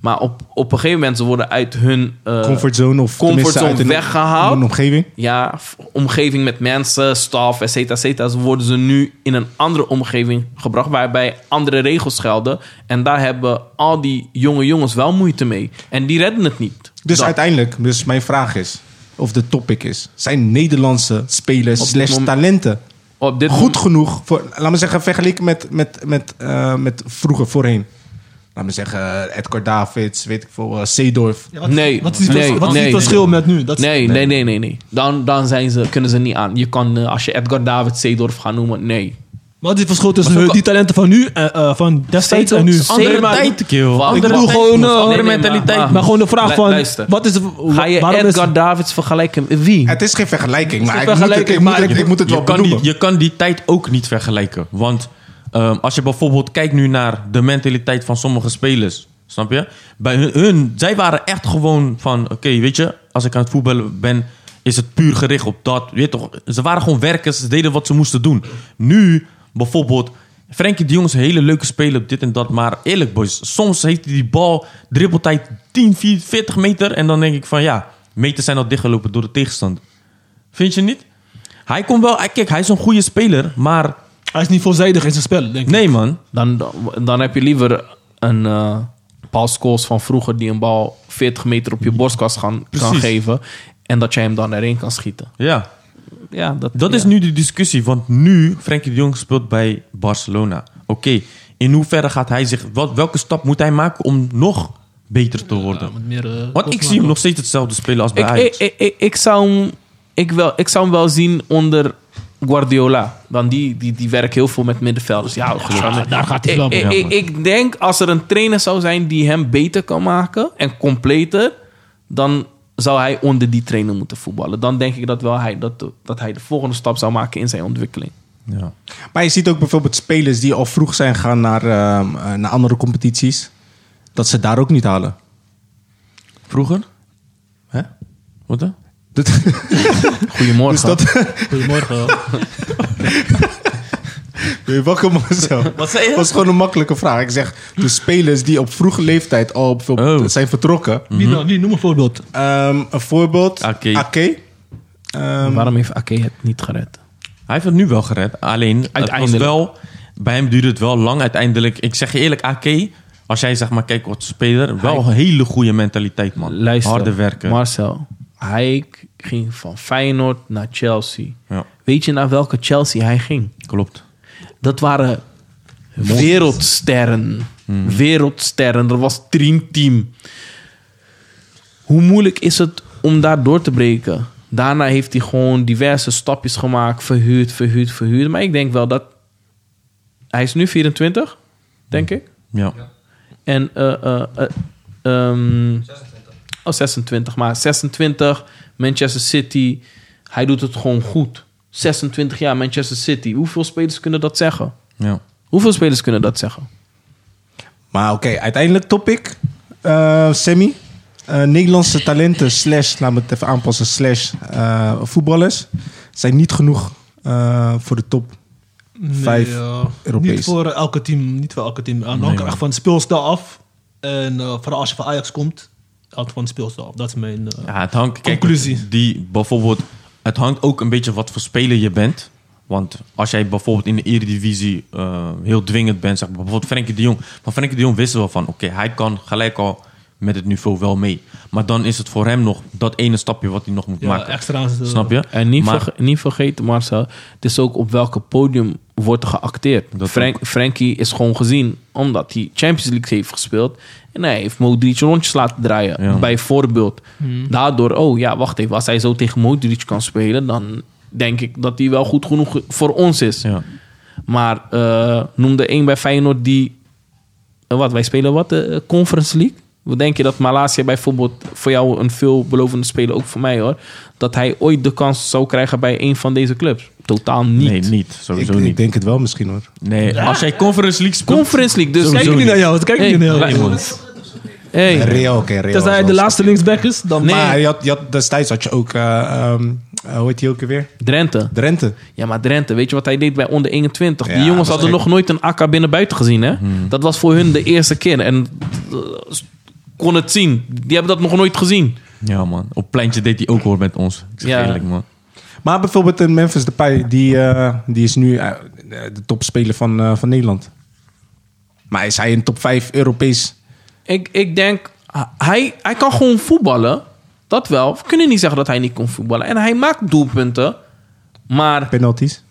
S1: Maar op, op een gegeven moment ze worden uit hun eh,
S2: comfortzone of tenminste
S1: comfortzone
S2: uit een-
S1: weggehaald
S2: een omgeving.
S1: ja, v- omgeving met mensen, staf, et cetera, et cetera. Ze worden ze nu in een andere omgeving gebracht waarbij andere regels gelden. En daar hebben al die jonge jongens wel moeite mee. En die redden het niet.
S2: Dus
S1: Dat-
S2: uiteindelijk, dus mijn vraag is, of de topic is, zijn Nederlandse spelers
S1: Op dit
S2: slash
S1: moment-
S2: talenten
S1: op dit
S2: goed
S1: goed.
S2: genoeg voor, laat me zeggen, vergeleken met, met, met, eh, met vroeger, voorheen? Laat me zeggen, Edgar Davids, weet ik veel, eh, Seedorf.
S3: Ja, wat,
S1: Nee,
S3: Wat is het
S1: nee,
S3: wat is
S1: nee.
S3: het verschil met nu? Dat is-
S1: Nee, nee, nee, nee, nee. Dan, dan zijn ze, kunnen ze niet aan. Je kan, eh, als je Edgar David Seedorf gaat noemen, nee.
S3: Wat is het verschil tussen
S1: Maar zo
S3: hun- die talenten van nu, en, eh, van destijds en nu?
S1: Andere
S4: tijd, kerel.
S3: Ik bedoel gewoon, eh, andere
S4: mentaliteit.
S3: Maar gewoon de vraag
S1: Lu-
S3: van,
S1: luister.
S3: wat is de,
S1: Ga je
S3: waarom is-
S1: Edgar Davids vergelijken met wie?
S2: Het is geen vergelijking, maar,
S3: geen
S2: ik, moet het, ik,
S3: vergelijking,
S2: moet
S3: maar
S2: het,
S3: je-
S2: ik moet het
S4: je
S2: wel
S4: kan, die,
S2: benoemen.
S4: je kan die tijd ook niet vergelijken. Want ehm, als je bijvoorbeeld kijkt nu naar de mentaliteit van sommige spelers. Snap je? Bij hun, hun- zij waren echt gewoon van... Oké, weet je, als ik aan het voetballen ben... is het puur gericht op dat. Weet je toch? Ze waren gewoon werkers. Ze deden wat ze moesten doen. Nu, bijvoorbeeld... Frenkie de Jong is een hele leuke speler op dit en dat. Maar eerlijk, boys. Soms heeft hij die bal dribbeltijd 10, 4, 40 meter. En dan denk ik van ja... Meters zijn al dichtgelopen door de tegenstander. Vind je niet? Hij komt wel... hij- Kijk, hij is een goede speler, maar...
S3: Hij is niet veelzijdig in zijn spel, denk ik.
S4: Nee, man.
S1: Dan, dan heb je liever een eh Paul Scholes van vroeger die een bal 40 meter op je borstkast gaan, kan
S4: Precies.
S1: geven. En dat jij hem dan erin kan schieten.
S4: Ja.
S1: Ja, dat,
S4: Dat
S1: ja.
S4: is nu de discussie. Want nu, Frenkie de Jong speelt bij Barcelona. Oké, in hoeverre gaat hij zich... Wat, welke stap moet hij maken om nog beter te worden?
S3: Met meer, eh,
S4: Want ik zie hem nog steeds hetzelfde spelen als bij
S1: Ik, ik,
S4: Ajax.
S1: ik, ik, ik zou hem, ik, wel, ik zou hem wel zien onder Guardiola. Dan die, die, die werken heel veel met middenvelders. Ja, waarschijnlijk.
S3: daar gaat hij
S1: ik,
S3: wel
S1: ik,
S4: mee.
S1: ik, ik denk als er een trainer zou zijn die hem beter kan maken en completer, dan zou hij onder die trainer moeten voetballen. Dan denk ik dat, wel hij, dat, dat hij de volgende stap zou maken in zijn ontwikkeling.
S4: Ja.
S2: Maar je ziet ook bijvoorbeeld spelers die al vroeg zijn gegaan naar, ehm, eh, naar andere competities, dat ze daar ook niet halen.
S4: Vroeger? Hè? Wat dan?
S2: Dat,
S1: Goedemorgen.
S2: dus dat.
S3: Goedemorgen.
S2: Ben je wakker, Marcel?
S4: Wat zei je?
S2: Dat was gewoon een makkelijke vraag. Ik zeg, de spelers die op vroege leeftijd al bijvoorbeeld
S4: Oh.
S2: zijn vertrokken.
S3: Wie dan? Wie? Noem een voorbeeld.
S2: Ehm, een voorbeeld.
S4: Ake.
S2: Ake. Ehm,
S1: Waarom heeft Ake het niet gered?
S4: Hij heeft het nu wel gered. Alleen, het was
S1: Uiteindelijk.
S4: wel, bij hem duurde het wel lang. Uiteindelijk, ik zeg je eerlijk, AK... Als jij zeg maar kijkt wat speler, wel een hele goede mentaliteit man.
S1: Luister,
S4: Harde werken.
S1: Marcel, hij ging van Feyenoord naar Chelsea.
S4: Ja.
S1: Weet je naar welke Chelsea hij ging?
S4: Klopt.
S1: Dat waren wereldsterren. Wereldsterren. Er was Dream Team. Hoe moeilijk is het om daar door te breken? Daarna heeft hij gewoon diverse stapjes gemaakt. Verhuurd, verhuurd, verhuurd. Maar ik denk wel dat... Hij is nu 24, denk ik.
S4: Ja.
S1: En eh, eh, eh, ehm, Oh, 26. Maar 26, Manchester City. Hij doet het gewoon goed. 26 jaar Manchester City. Hoeveel spelers kunnen dat zeggen?
S4: ja.
S1: Hoeveel spelers kunnen dat zeggen?
S2: Maar oké, uiteindelijk topic. Eh Sammy. Eh, Nederlandse talenten slash, laat me het even aanpassen, slash eh, voetballers zijn niet genoeg eh, voor de top. Vijf
S3: ja.
S2: Europees.
S3: eh, Niet voor elke team. Niet voor elke team. En dan
S4: Nee,
S3: hangt
S4: man.
S3: echt van het speelstijl af. En eh, vooral als je van Ajax komt, hangt van het speelstijl af. Dat is mijn... eh,
S4: Ja, het hangt. Kijk,
S3: Conclusie.
S4: Die bijvoorbeeld. Het hangt ook een beetje wat voor speler je bent. Want als jij bijvoorbeeld in de Eredivisie eh, heel dwingend bent, zeg maar, bijvoorbeeld Frenkie de Jong. Maar Frenkie de Jong wist wel van, oké, hij kan gelijk al met het niveau wel mee. Maar dan is het voor hem nog dat ene stapje wat hij nog moet
S3: ja,
S4: maken.
S3: extra's. eh,
S4: Snap je?
S1: En niet,
S4: Maar-
S1: verge- niet vergeten, Marcel. Het is ook op welke podium wordt er geacteerd.
S4: Dat
S1: Frank, Frankie is gewoon gezien omdat hij Champions League heeft gespeeld. En hij heeft Modric rondjes laten draaien.
S4: Ja.
S1: Bijvoorbeeld. Daardoor, oh ja, wacht even. Als hij zo tegen Modric kan spelen, dan denk ik dat hij wel goed genoeg voor ons is.
S4: Ja.
S1: Maar eh, noem er één bij Feyenoord die... eh, wat, wij spelen wat? De eh, Conference League? Wat denk je dat Malasia bijvoorbeeld voor jou een veelbelovende speler, ook voor mij hoor... dat hij ooit de kans zou krijgen bij een van deze clubs? Totaal niet.
S4: Nee, niet. Sowieso
S2: ik,
S4: niet.
S2: ik denk het wel misschien hoor.
S4: nee, als jij Conference League speelt...
S1: Conference League, dus...
S3: Kijk
S4: Sowieso
S3: niet
S4: niet.
S3: naar jou. Kijk
S1: Hey,
S3: niet naar jou.
S1: la- Hey,
S2: Real, oké. Real
S3: Tenzij hij
S2: is
S3: de
S2: wel-
S3: laatste linksback is, dan...
S1: Nee.
S2: Maar je had, je had, destijds had je ook, eh, ehm, eh, hoe heet die ook weer?
S1: Drenthe.
S2: Drenthe.
S1: Ja, maar Drenthe, weet je wat hij deed bij onder 21? Die
S2: Ja,
S1: jongens
S2: dat is
S1: hadden
S2: gek. Hmm.
S1: nog nooit een AK binnen buiten gezien, hè? Dat was voor hun de eerste keer. En eh, kon het zien. Die hebben dat nog nooit gezien.
S4: Ja, man. Op pleintje deed hij ook hoor met ons. Ik zeg
S1: Ja.
S4: eerlijk, man.
S2: Maar bijvoorbeeld een Memphis Depay, die, eh, die is nu eh, de topspeler van, eh, van Nederland. Maar is hij een top 5 Europees?
S1: Ik, ik denk, hij, hij kan gewoon voetballen. Dat wel. We kunnen niet zeggen dat hij niet kon voetballen. En hij maakt doelpunten. Maar
S2: Penalties?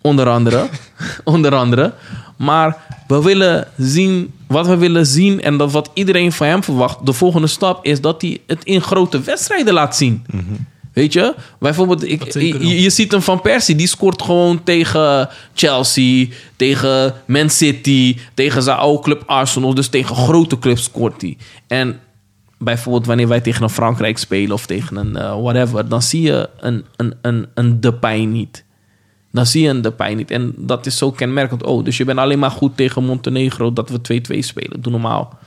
S1: onder andere. onder andere. Maar we willen zien wat we willen zien. En dat wat iedereen van hem verwacht. De volgende stap is dat hij het in grote wedstrijden laat zien. Weet je? Bijvoorbeeld, ik,
S3: zeker wel.
S1: je, je ziet hem van Persie. Die scoort gewoon tegen Chelsea. Tegen Man City. Tegen zijn oude club Arsenal. Dus tegen grote clubs scoort hij. En bijvoorbeeld wanneer wij tegen een Frankrijk spelen. Of tegen een eh, whatever. Dan zie je een, een, een, een Depay niet dan zie je een Depay niet. En dat is zo kenmerkend. Oh, dus je bent alleen maar goed tegen Montenegro dat we 2-2 spelen. Doe normaal.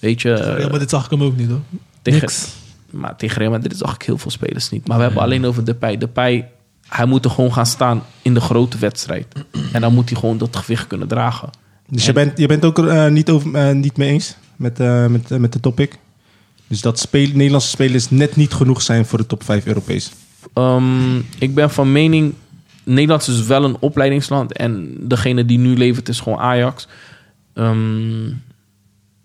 S1: Weet je,
S3: Ja, maar dit zag ik hem ook niet hoor.
S1: tegen,
S3: niks.
S1: Maar tegen Real Madrid zag ik heel veel spelers niet. Maar we hebben alleen over Depay. Depay, hij moet er gewoon gaan staan in de grote wedstrijd. En dan moet hij gewoon dat gewicht kunnen dragen.
S2: Dus je bent, je bent ook eh, niet, over, eh, niet mee eens met, eh, met, eh, met de topic? Dus dat spel, Nederlandse spelers net niet genoeg zijn voor de top 5 Europees.
S1: Ehm, ik ben van mening. Nederland is wel een opleidingsland. En degene die nu levert is gewoon Ajax. Ehm,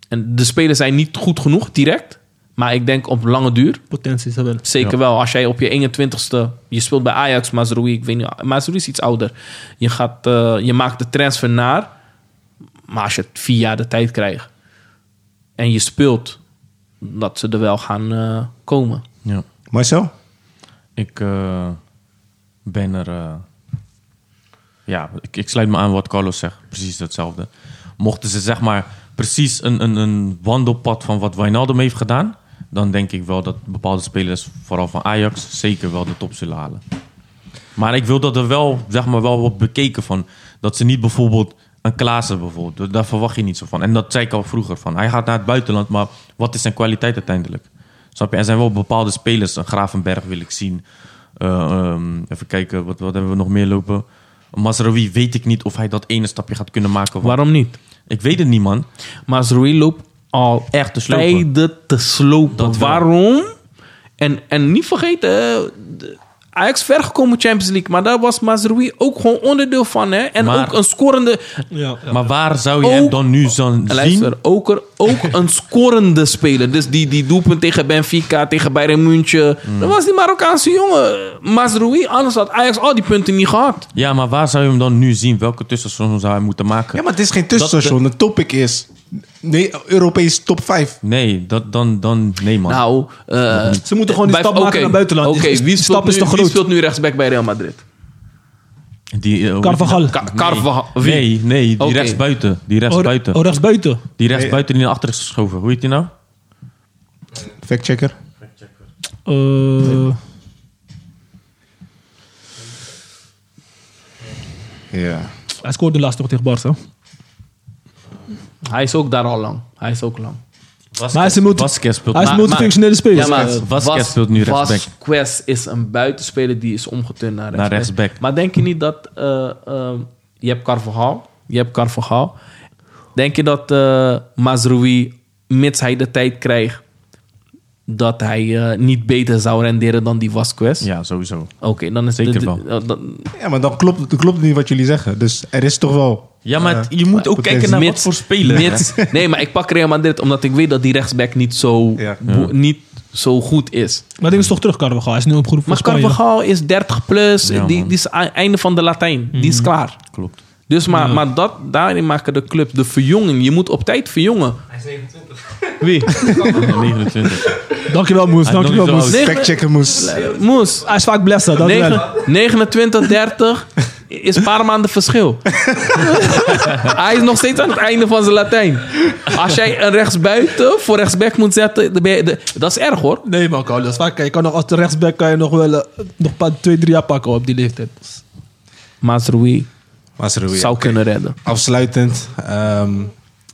S1: en de spelers zijn niet goed genoeg direct. Maar ik denk op lange duur.
S3: Potenties hebben.
S1: Zeker wel. Als jij op je 21ste... Je speelt bij Ajax, Mazrui. Ik weet niet. Mazrui is iets ouder. Je, gaat, eh, je maakt de transfer naar. Maar als je het vier jaar de tijd krijgt. En je speelt. Dat ze er wel gaan eh, komen.
S4: Ja.
S2: Marcel?
S4: Ik eh, ben er. eh, ja, ik, ik sluit me aan wat Carlos zegt. Precies hetzelfde. Mochten ze zeg maar precies een, een, een wandelpad van wat Wijnaldum heeft gedaan, dan denk ik wel dat bepaalde spelers, vooral van Ajax, zeker wel de top zullen halen. Maar ik wil dat er wel, zeg maar, wel wordt bekeken van dat ze niet bijvoorbeeld een Klaassen bijvoorbeeld, daar verwacht je niet zo van. En dat zei ik al vroeger van. Hij gaat naar het buitenland, maar wat is zijn kwaliteit uiteindelijk? Snap je? Er zijn wel bepaalde spelers. Een Gravenberg wil ik zien. Eh, ehm, even kijken, wat, wat hebben we nog meer lopen? Masraoui weet ik niet of hij dat ene stapje gaat kunnen maken. Want
S1: Waarom niet?
S4: Ik weet het niet, man.
S1: Mazrui loopt al
S4: Echt te slopen.
S1: tijden te slopen.
S4: Dat wel.
S1: Waarom? En, en niet vergeten, eh, de- Ajax vergekomen Champions League, maar daar was Mazrui ook gewoon onderdeel van. Hè? En
S4: Maar-
S1: ook een scorende.
S3: Ja, ja.
S4: Maar waar zou je hem
S1: Ook-
S4: dan nu zo zien?
S1: Luister, ook, er, ook een scorende speler. Dus die, die doelpunt tegen Benfica, tegen Bayern München. Dat was die Marokkaanse jongen. Mazrui, anders had Ajax al die punten niet gehad.
S4: Ja, maar waar zou je hem dan nu zien? Welke tussenstation zou hij moeten maken?
S2: Ja, maar het is geen tussenstation. Een topic is Nee, Europees top 5.
S4: Nee, dat, dan, dan, nee man.
S1: Nou, eh,
S3: Ze moeten gewoon die
S1: bij-
S3: stap maken
S1: oké,
S3: naar buitenland.
S1: Oké,
S3: Die
S1: wie, speelt
S3: stap is
S1: nu-
S3: te
S1: wie
S3: groot.
S1: speelt nu rechtsback bij Real Madrid?
S4: die, eh, hoe
S3: Carvajal.
S4: heet die
S1: Ka-
S4: nou?
S1: Carvajal,
S4: Nee,
S1: wie?
S4: nee, nee, die
S1: Oké.
S4: rechtsbuiten. Die rechtsbuiten.
S3: Oh, rechtsbuiten.
S4: Die rechtsbuiten die naar achter is geschoven. Hoe heet die nou?
S2: Factchecker.
S3: Eh,
S2: Ja.
S3: hij scoorde laatst nog tegen Barca.
S1: Hij is ook daar al lang. Hij is ook lang.
S4: Vasquez,
S3: Maar hij is een multi-
S4: Vasquez speelt
S3: Hij is
S1: Maar-
S3: multifunctionele speler.
S1: Ja, maar
S4: Vasquez speelt nu rechtsback.
S1: Vasquez is een buitenspeler die is omgeturnd naar rechtsback.
S4: rechtsback.
S1: Maar denk je niet dat... eh, ehm, je hebt Carvajal. Je hebt Carvajal. Denk je dat eh Mazrui, mits hij de tijd krijgt... dat hij eh, niet beter zou renderen dan die Vasquez?
S4: Ja, sowieso.
S1: Oké, dan is
S4: Zeker
S1: dit-
S4: wel.
S1: eh, dan-
S2: ja, maar dan klopt, dan klopt niet wat jullie zeggen. Dus er is toch wel... eh,
S4: Ja, maar het- je moet ook kijken naar wat
S1: mits-
S4: voor speler.
S1: mits- nee, maar ik pak Real Madrid omdat ik weet dat die rechtsback niet zo,
S2: Ja.
S1: bo- niet zo goed is.
S3: Maar ding is toch terug, Carvajal. Hij is nu opgeroepen voor
S1: Maar
S3: Spanje.
S1: Carvajal is 30 plus.
S4: Ja,
S1: die,
S4: man. Mhm.
S1: die is a- einde van de Latijn. Die is klaar.
S4: Klopt.
S1: Dus maar, maar dat, daarin maken de clubs de verjonging. Je moet op tijd verjongen.
S5: Hij is 29.
S1: Wie?
S3: Dus
S4: 29.
S3: Dankjewel, Moes.
S4: Hij is nog
S3: Dankjewel,
S4: niet zo
S3: Moes.
S1: Nee,
S2: Factchecker moest...
S1: Eh, Moes.
S3: Hij is vaak blessed. Dat wel.
S1: negen- 29, 30 is een paar maanden verschil. Hij is nog steeds aan het einde van zijn Latijn. Als jij een rechtsbuiten voor rechtsback moet zetten, dan ben je de- dat is erg hoor.
S3: Nee, man, Carlos. Vaak, je kan nog als de rechtsback kan je nog wel eh, nog een paar, twee, drie jaar pakken op die leeftijd.
S1: Mazrui
S2: Mazraoui,
S1: zou kunnen redden.
S2: afsluitend. ehm,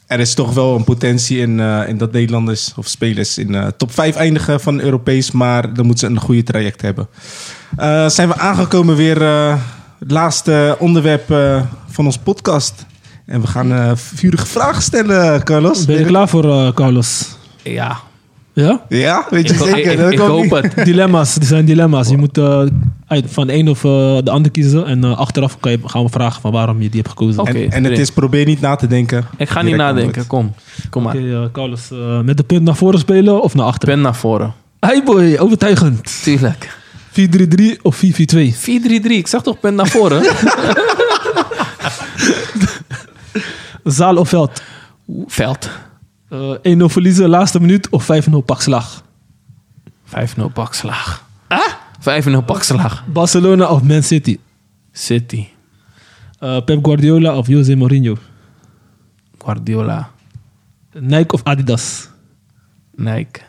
S2: er is toch wel een potentie in, eh, in dat Nederlanders of spelers in eh, top 5 eindigen van Europees. Maar dan moeten ze een goede traject hebben. Eh, zijn we aangekomen weer eh, het laatste onderwerp eh, van ons podcast. En we gaan eh, vurige vragen stellen, Carlos.
S3: Ben je er klaar voor, eh, Carlos?
S1: Ja,
S3: Ja?
S2: Ja, weet
S1: ik,
S2: je
S1: ho-
S2: zeker?
S1: ik-
S2: Dat
S1: ik
S2: kan
S1: hoop
S2: niet.
S1: het.
S3: Dilemma's. Er zijn dilemma's. Je moet eh, uit, van de een of eh, de ander kiezen. En eh, achteraf kan je, gaan we vragen van waarom je die hebt gekozen.
S1: Oké.
S3: Oké,
S2: En, en het
S1: erin.
S2: is probeer niet na te denken.
S1: Ik ga niet
S2: Direct
S1: nadenken.
S2: antwoord.
S1: Kom, kom maar.
S3: eh, Carlos, eh, met de punt naar voren spelen of naar achteren?
S1: Pen naar voren.
S3: Hey boy, overtuigend.
S1: Tuurlijk.
S3: 4-3-3 of 4-4-2?
S1: 4-3-3, ik zag toch punt naar voren?
S3: Zaal of veld?
S1: Oeh, Veld.
S3: Eh, 1-0 verliezen, laatste minuut of 5-0 pakslag?
S1: 5-0 pakslaag. Ah? 5-0 pakslaag.
S3: Barcelona of Man City?
S1: City,
S3: Eh, Pep Guardiola of Jose Mourinho?
S1: Guardiola,
S3: Nike of Adidas?
S1: Nike.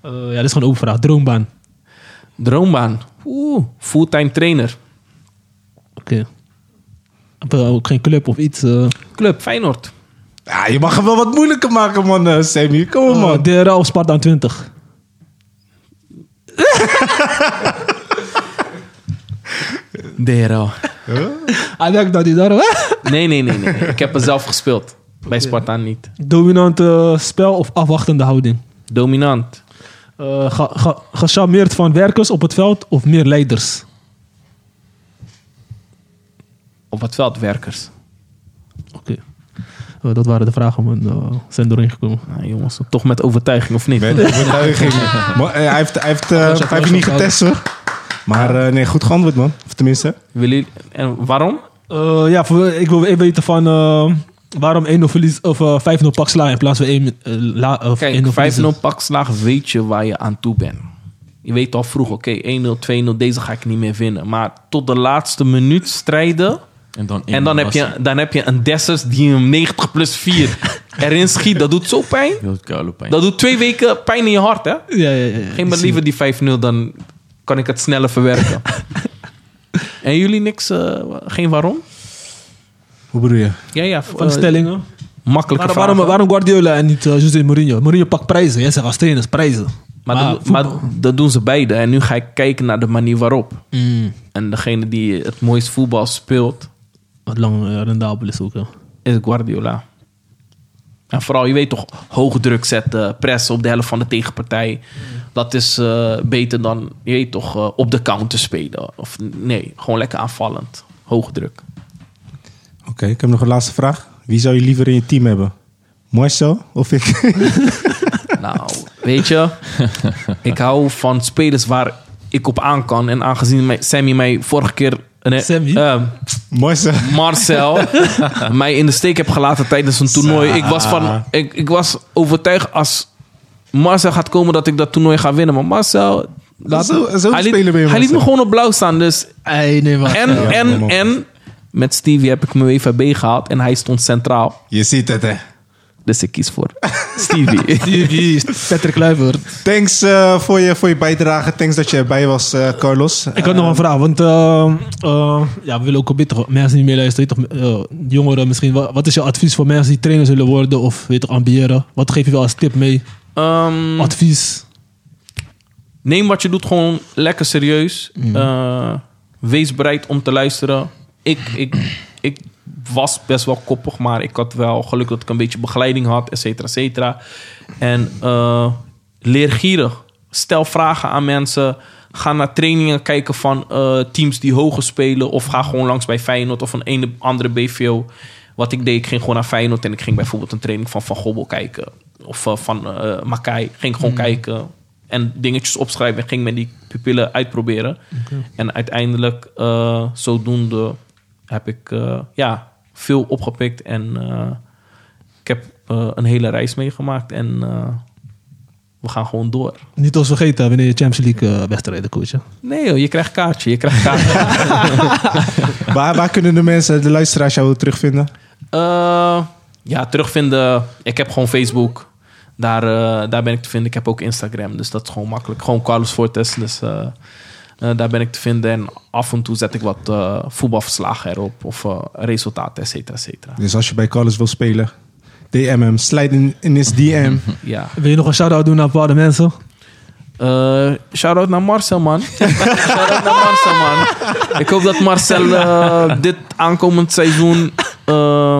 S3: Eh, ja, dit is gewoon een open vraag. Droombaan.
S1: Droombaan. Oeh, fulltime trainer.
S3: Oké. Heb je Ook geen club of iets. eh
S1: Club Feyenoord.
S2: Ja, je mag hem wel wat moeilijker maken, man, eh, Sammy. Kom
S1: Oh,
S2: op, man.
S3: Eh, DRA of Sparta 20?
S1: Dero.
S3: Hij werkt dat die daar.
S1: Nee, nee, nee, nee. Ik heb er zelf gespeeld. Bij Spartaan niet.
S3: Dominant eh, spel of afwachtende houding?
S1: Dominant.
S3: Eh, ge- ge- gecharmeerd van werkers op het veld of meer leiders?
S1: Op het veld werkers.
S3: Oké. Eh, dat waren de vragen, man. Eh, zijn doorheen gekomen.
S1: Nou, jongens, toch met overtuiging of niet?
S2: Met overtuiging. Maar, eh, hij heeft, hij heeft, eh,
S3: was echt
S2: hij heeft niet
S3: wel
S2: getest hoor. Maar eh, nee, goed geantwoord man. Of tenminste.
S1: Wil jullie- en waarom?
S3: Eh, ja, voor- ik wil even weten van eh, waarom 1-0 verlies of eh, 5-0 pak slaan in plaats van 1 eh, la, of 1-0
S1: Kijk,
S3: verliezen.
S1: 5-0 pakslaag weet je waar je aan toe bent. Je weet al vroeg, oké, 1-0, 2-0, deze ga ik niet meer winnen. Maar tot de laatste minuut strijden.
S4: En dan,
S1: En dan heb, je, dan heb je een Dessers die hem 90 plus 4 erin schiet. Dat doet zo pijn.
S4: Heel koude pijn.
S1: Dat doet twee weken pijn in je hart, hè?
S3: Ja, ja, ja. ja.
S1: Geef me liever die 5-0, dan kan ik het sneller verwerken. en jullie niks, eh, geen waarom?
S2: Hoe bedoel je?
S1: Ja, ja. eh,
S3: Van de stellingen.
S1: Makkelijke
S3: Waarom, waarom,
S1: vragen.
S3: waarom Guardiola en niet eh, José Mourinho? Mourinho pakt prijzen. Jij zegt als trainers prijzen.
S1: Maar, dat,
S3: voetbal-
S1: maar dat doen ze beide. En nu ga ik kijken naar de manier waarop.
S3: Mm.
S1: En degene die het mooist voetbal speelt,
S3: Wat lang eh, rendabel is ook. hè.
S1: is Guardiola. En vooral, je weet toch, hoog druk zetten, pressen op de helft van de tegenpartij. Dat is eh, beter dan, je weet toch, eh, op de counter spelen. Of nee, gewoon lekker aanvallend. Hoog druk.
S2: Oké, ik heb nog een laatste vraag. Wie zou je liever in je team hebben? Marcel of ik?
S1: Nou, weet je, ik hou van spelers waar ik op aan kan. En aangezien mij- Sammy mij vorige keer eh, nee,
S3: Sammy?
S1: ehm,
S2: Mooi zeg.
S1: Marcel mij in de steek heb gelaten tijdens een toernooi. Ik was, van, ik, ik was overtuigd als Marcel gaat komen dat ik dat toernooi ga winnen. Maar Marcel...
S2: Zo- zo'n
S1: hij liet,
S2: speler ben je,
S1: hij liet me
S2: Marcel.
S1: gewoon op blauw staan. Dus
S3: nee, maar.
S1: en, en,
S2: man.
S1: en met Stevie heb ik mijn WVB gehaald en hij stond centraal.
S2: Je ziet het, hè.
S1: Dus ik kies voor Stevie.
S3: Die, die is Patrick Kluivert.
S2: Thanks eh, voor, je, voor je bijdrage. Thanks dat je erbij was, eh, Carlos.
S3: Ik had nog een vraag, want eh, eh, ja, we willen ook een beetje toch mensen die meeluisteren. Toch, eh, jongeren misschien. Wat, wat is je advies voor mensen die trainer zullen worden of weet toch, ambiëren? Wat geef je wel als tip mee? Oh,
S1: Ehm,
S3: Advies?
S1: neem wat je doet gewoon lekker serieus. Eh, wees bereid om te luisteren. Ik, ik, ik was best wel koppig, maar ik had wel geluk dat ik een beetje begeleiding had, et cetera, et cetera. En eh, leergierig. Stel vragen aan mensen. Ga naar trainingen kijken van eh, teams die hoger spelen. Of ga gewoon langs bij Feyenoord of een ene- andere BVO. Wat ik deed, ik ging gewoon naar Feyenoord en ik ging bijvoorbeeld een training van Van Gobbel kijken. Of eh, van eh Makai. Ging gewoon kijken en dingetjes opschrijven en ging met die pupillen uitproberen. En uiteindelijk, eh, zodoende, heb ik eh, ja, veel opgepikt en eh, ik heb eh, een hele reis meegemaakt. En eh, we gaan gewoon door.
S3: Niet als vergeten wanneer je Champions League eh, wedstrijden coacht. hè?
S1: Nee, joh, je krijgt kaartje. Je krijgt kaartje.
S2: Waar, waar kunnen de mensen, de luisteraars jou terugvinden?
S1: Eh, ja, terugvinden. Ik heb gewoon Facebook. Daar, eh, daar ben ik te vinden. Ik heb ook Instagram. Dus dat is gewoon makkelijk. Gewoon Carlos Fortes. Dus eh, eh, daar ben ik te vinden. En af en toe zet ik wat eh, voetbalverslagen erop. Of eh, resultaten, et cetera, et cetera.
S2: Dus als je bij Carlos wil spelen, DM hem. Slide in, in his
S4: Eh,
S2: DM.
S1: Ja.
S3: Wil je nog een shout-out doen naar bepaalde mensen?
S1: Eh, Shout-out naar Marcel, man. Shout-out naar Marcel, man. Ik hoop dat Marcel eh, dit aankomend seizoen eh,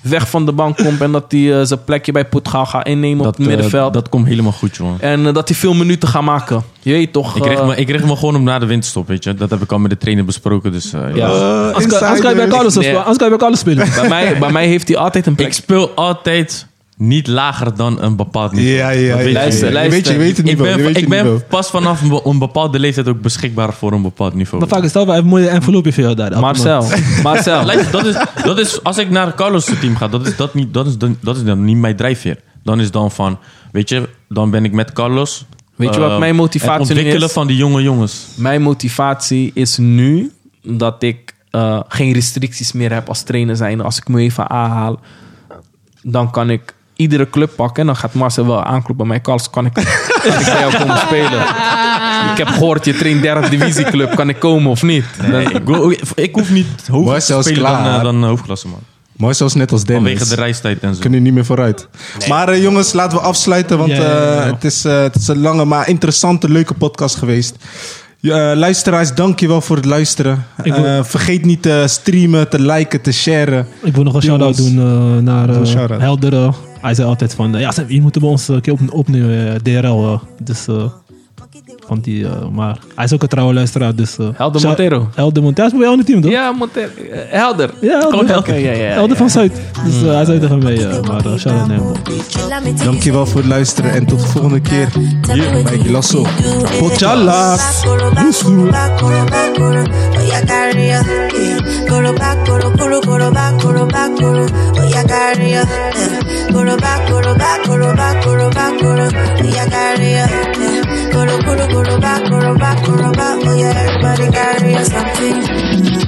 S1: weg van de bank komt. En dat hij eh, zijn plekje bij Poetgaal gaat innemen op
S4: Dat,
S1: het middenveld.
S4: eh, dat komt helemaal goed, jongen.
S1: En eh, dat hij veel minuten gaat maken. Je weet toch?
S4: Ik richt,
S1: eh,
S4: me, ik richt me gewoon om na de winterstop, weet je. Dat heb ik al met de trainer besproken, dus... eh,
S1: Ja.
S2: Eh,
S3: Anders kan- anders kan je bij
S2: insider.
S3: Carlos
S1: Nee.
S3: spelen. Anders kan je bij Carlos spelen.
S1: bij, mij, bij mij heeft hij altijd een plek.
S4: Ik speel altijd niet lager dan een bepaald niveau.
S2: Ja, ja, ja.
S1: Luister,
S2: ja. Je
S1: luister.
S2: weet, je weet het
S4: Ik
S2: niveau.
S4: ben,
S2: je weet
S4: ik
S2: het niveau.
S4: ben pas vanaf een be- een bepaalde leeftijd ook beschikbaar voor een bepaald niveau.
S3: Maar vaak is dat wel een mooie envelopje voor jou daar.
S1: Marcel, Marcel.
S4: Luister, dat is, dat is, als ik naar Carlos' team ga, dat is, dat, niet, dat, is, dan- dat is dan niet mijn drijfveer. Dan is dan van, weet je, dan ben ik met Carlos.
S1: Weet je wat
S4: eh,
S1: mijn motivatie
S4: Het ontwikkelen
S1: is?
S4: van die jonge jongens.
S1: Mijn motivatie is nu dat ik eh, geen restricties meer heb als trainer zijn. Als ik me even aanhaal, dan kan ik iedere club pakken. En dan gaat Marcel wel aankloppen bij mij. Carlos, kan ik, kan ik bij jou komen spelen? Ik heb gehoord, je traint derde divisieclub. Kan ik komen of niet?
S4: Nee, ik, wil- ik hoef niet hoger
S2: Marcel
S4: te
S2: is
S4: spelen dan,
S2: klaar.
S4: eh, dan hoofdklasse, man.
S2: Mooi zoals net als Dennis.
S4: Vanwege de reistijd en zo.
S2: kunnen niet meer vooruit. Maar eh, jongens, laten we afsluiten. Want
S3: Ja, ja, ja,
S2: eh,
S3: ja.
S2: het, is, eh, het is een lange, maar interessante, leuke podcast geweest. Ja, eh, luisteraars, dankjewel voor het luisteren.
S3: Ik wil-
S2: Eh, vergeet niet te streamen, te liken, te sharen.
S3: Ik wil nog een
S2: Jongens.
S3: shout-out doen eh, naar eh,
S2: Doe een shout-out.
S3: Helder. Hij zei altijd van, eh, ja, Sam, je moet bij ons eh, een keer op, opnemen, eh, DRL. eh. dus, eh, van die, eh, maar hij is ook een trouwe luisteraar, dus... eh,
S1: Helder
S3: shout-
S1: Montero.
S3: Helder Montero, hij is bij jou in het team, toch?
S1: Ja, Monter, eh, helder.
S3: Ja, Helder.
S1: Gewoon Helder. Ja, ja, ja.
S3: Helder van Zuid. Dus eh, hij zei tegen mij, eh, maar eh, shout-out naar hem. man.
S2: Dankjewel voor het luisteren en tot de volgende keer hier bij Gilasso. Potjallas!
S6: Something.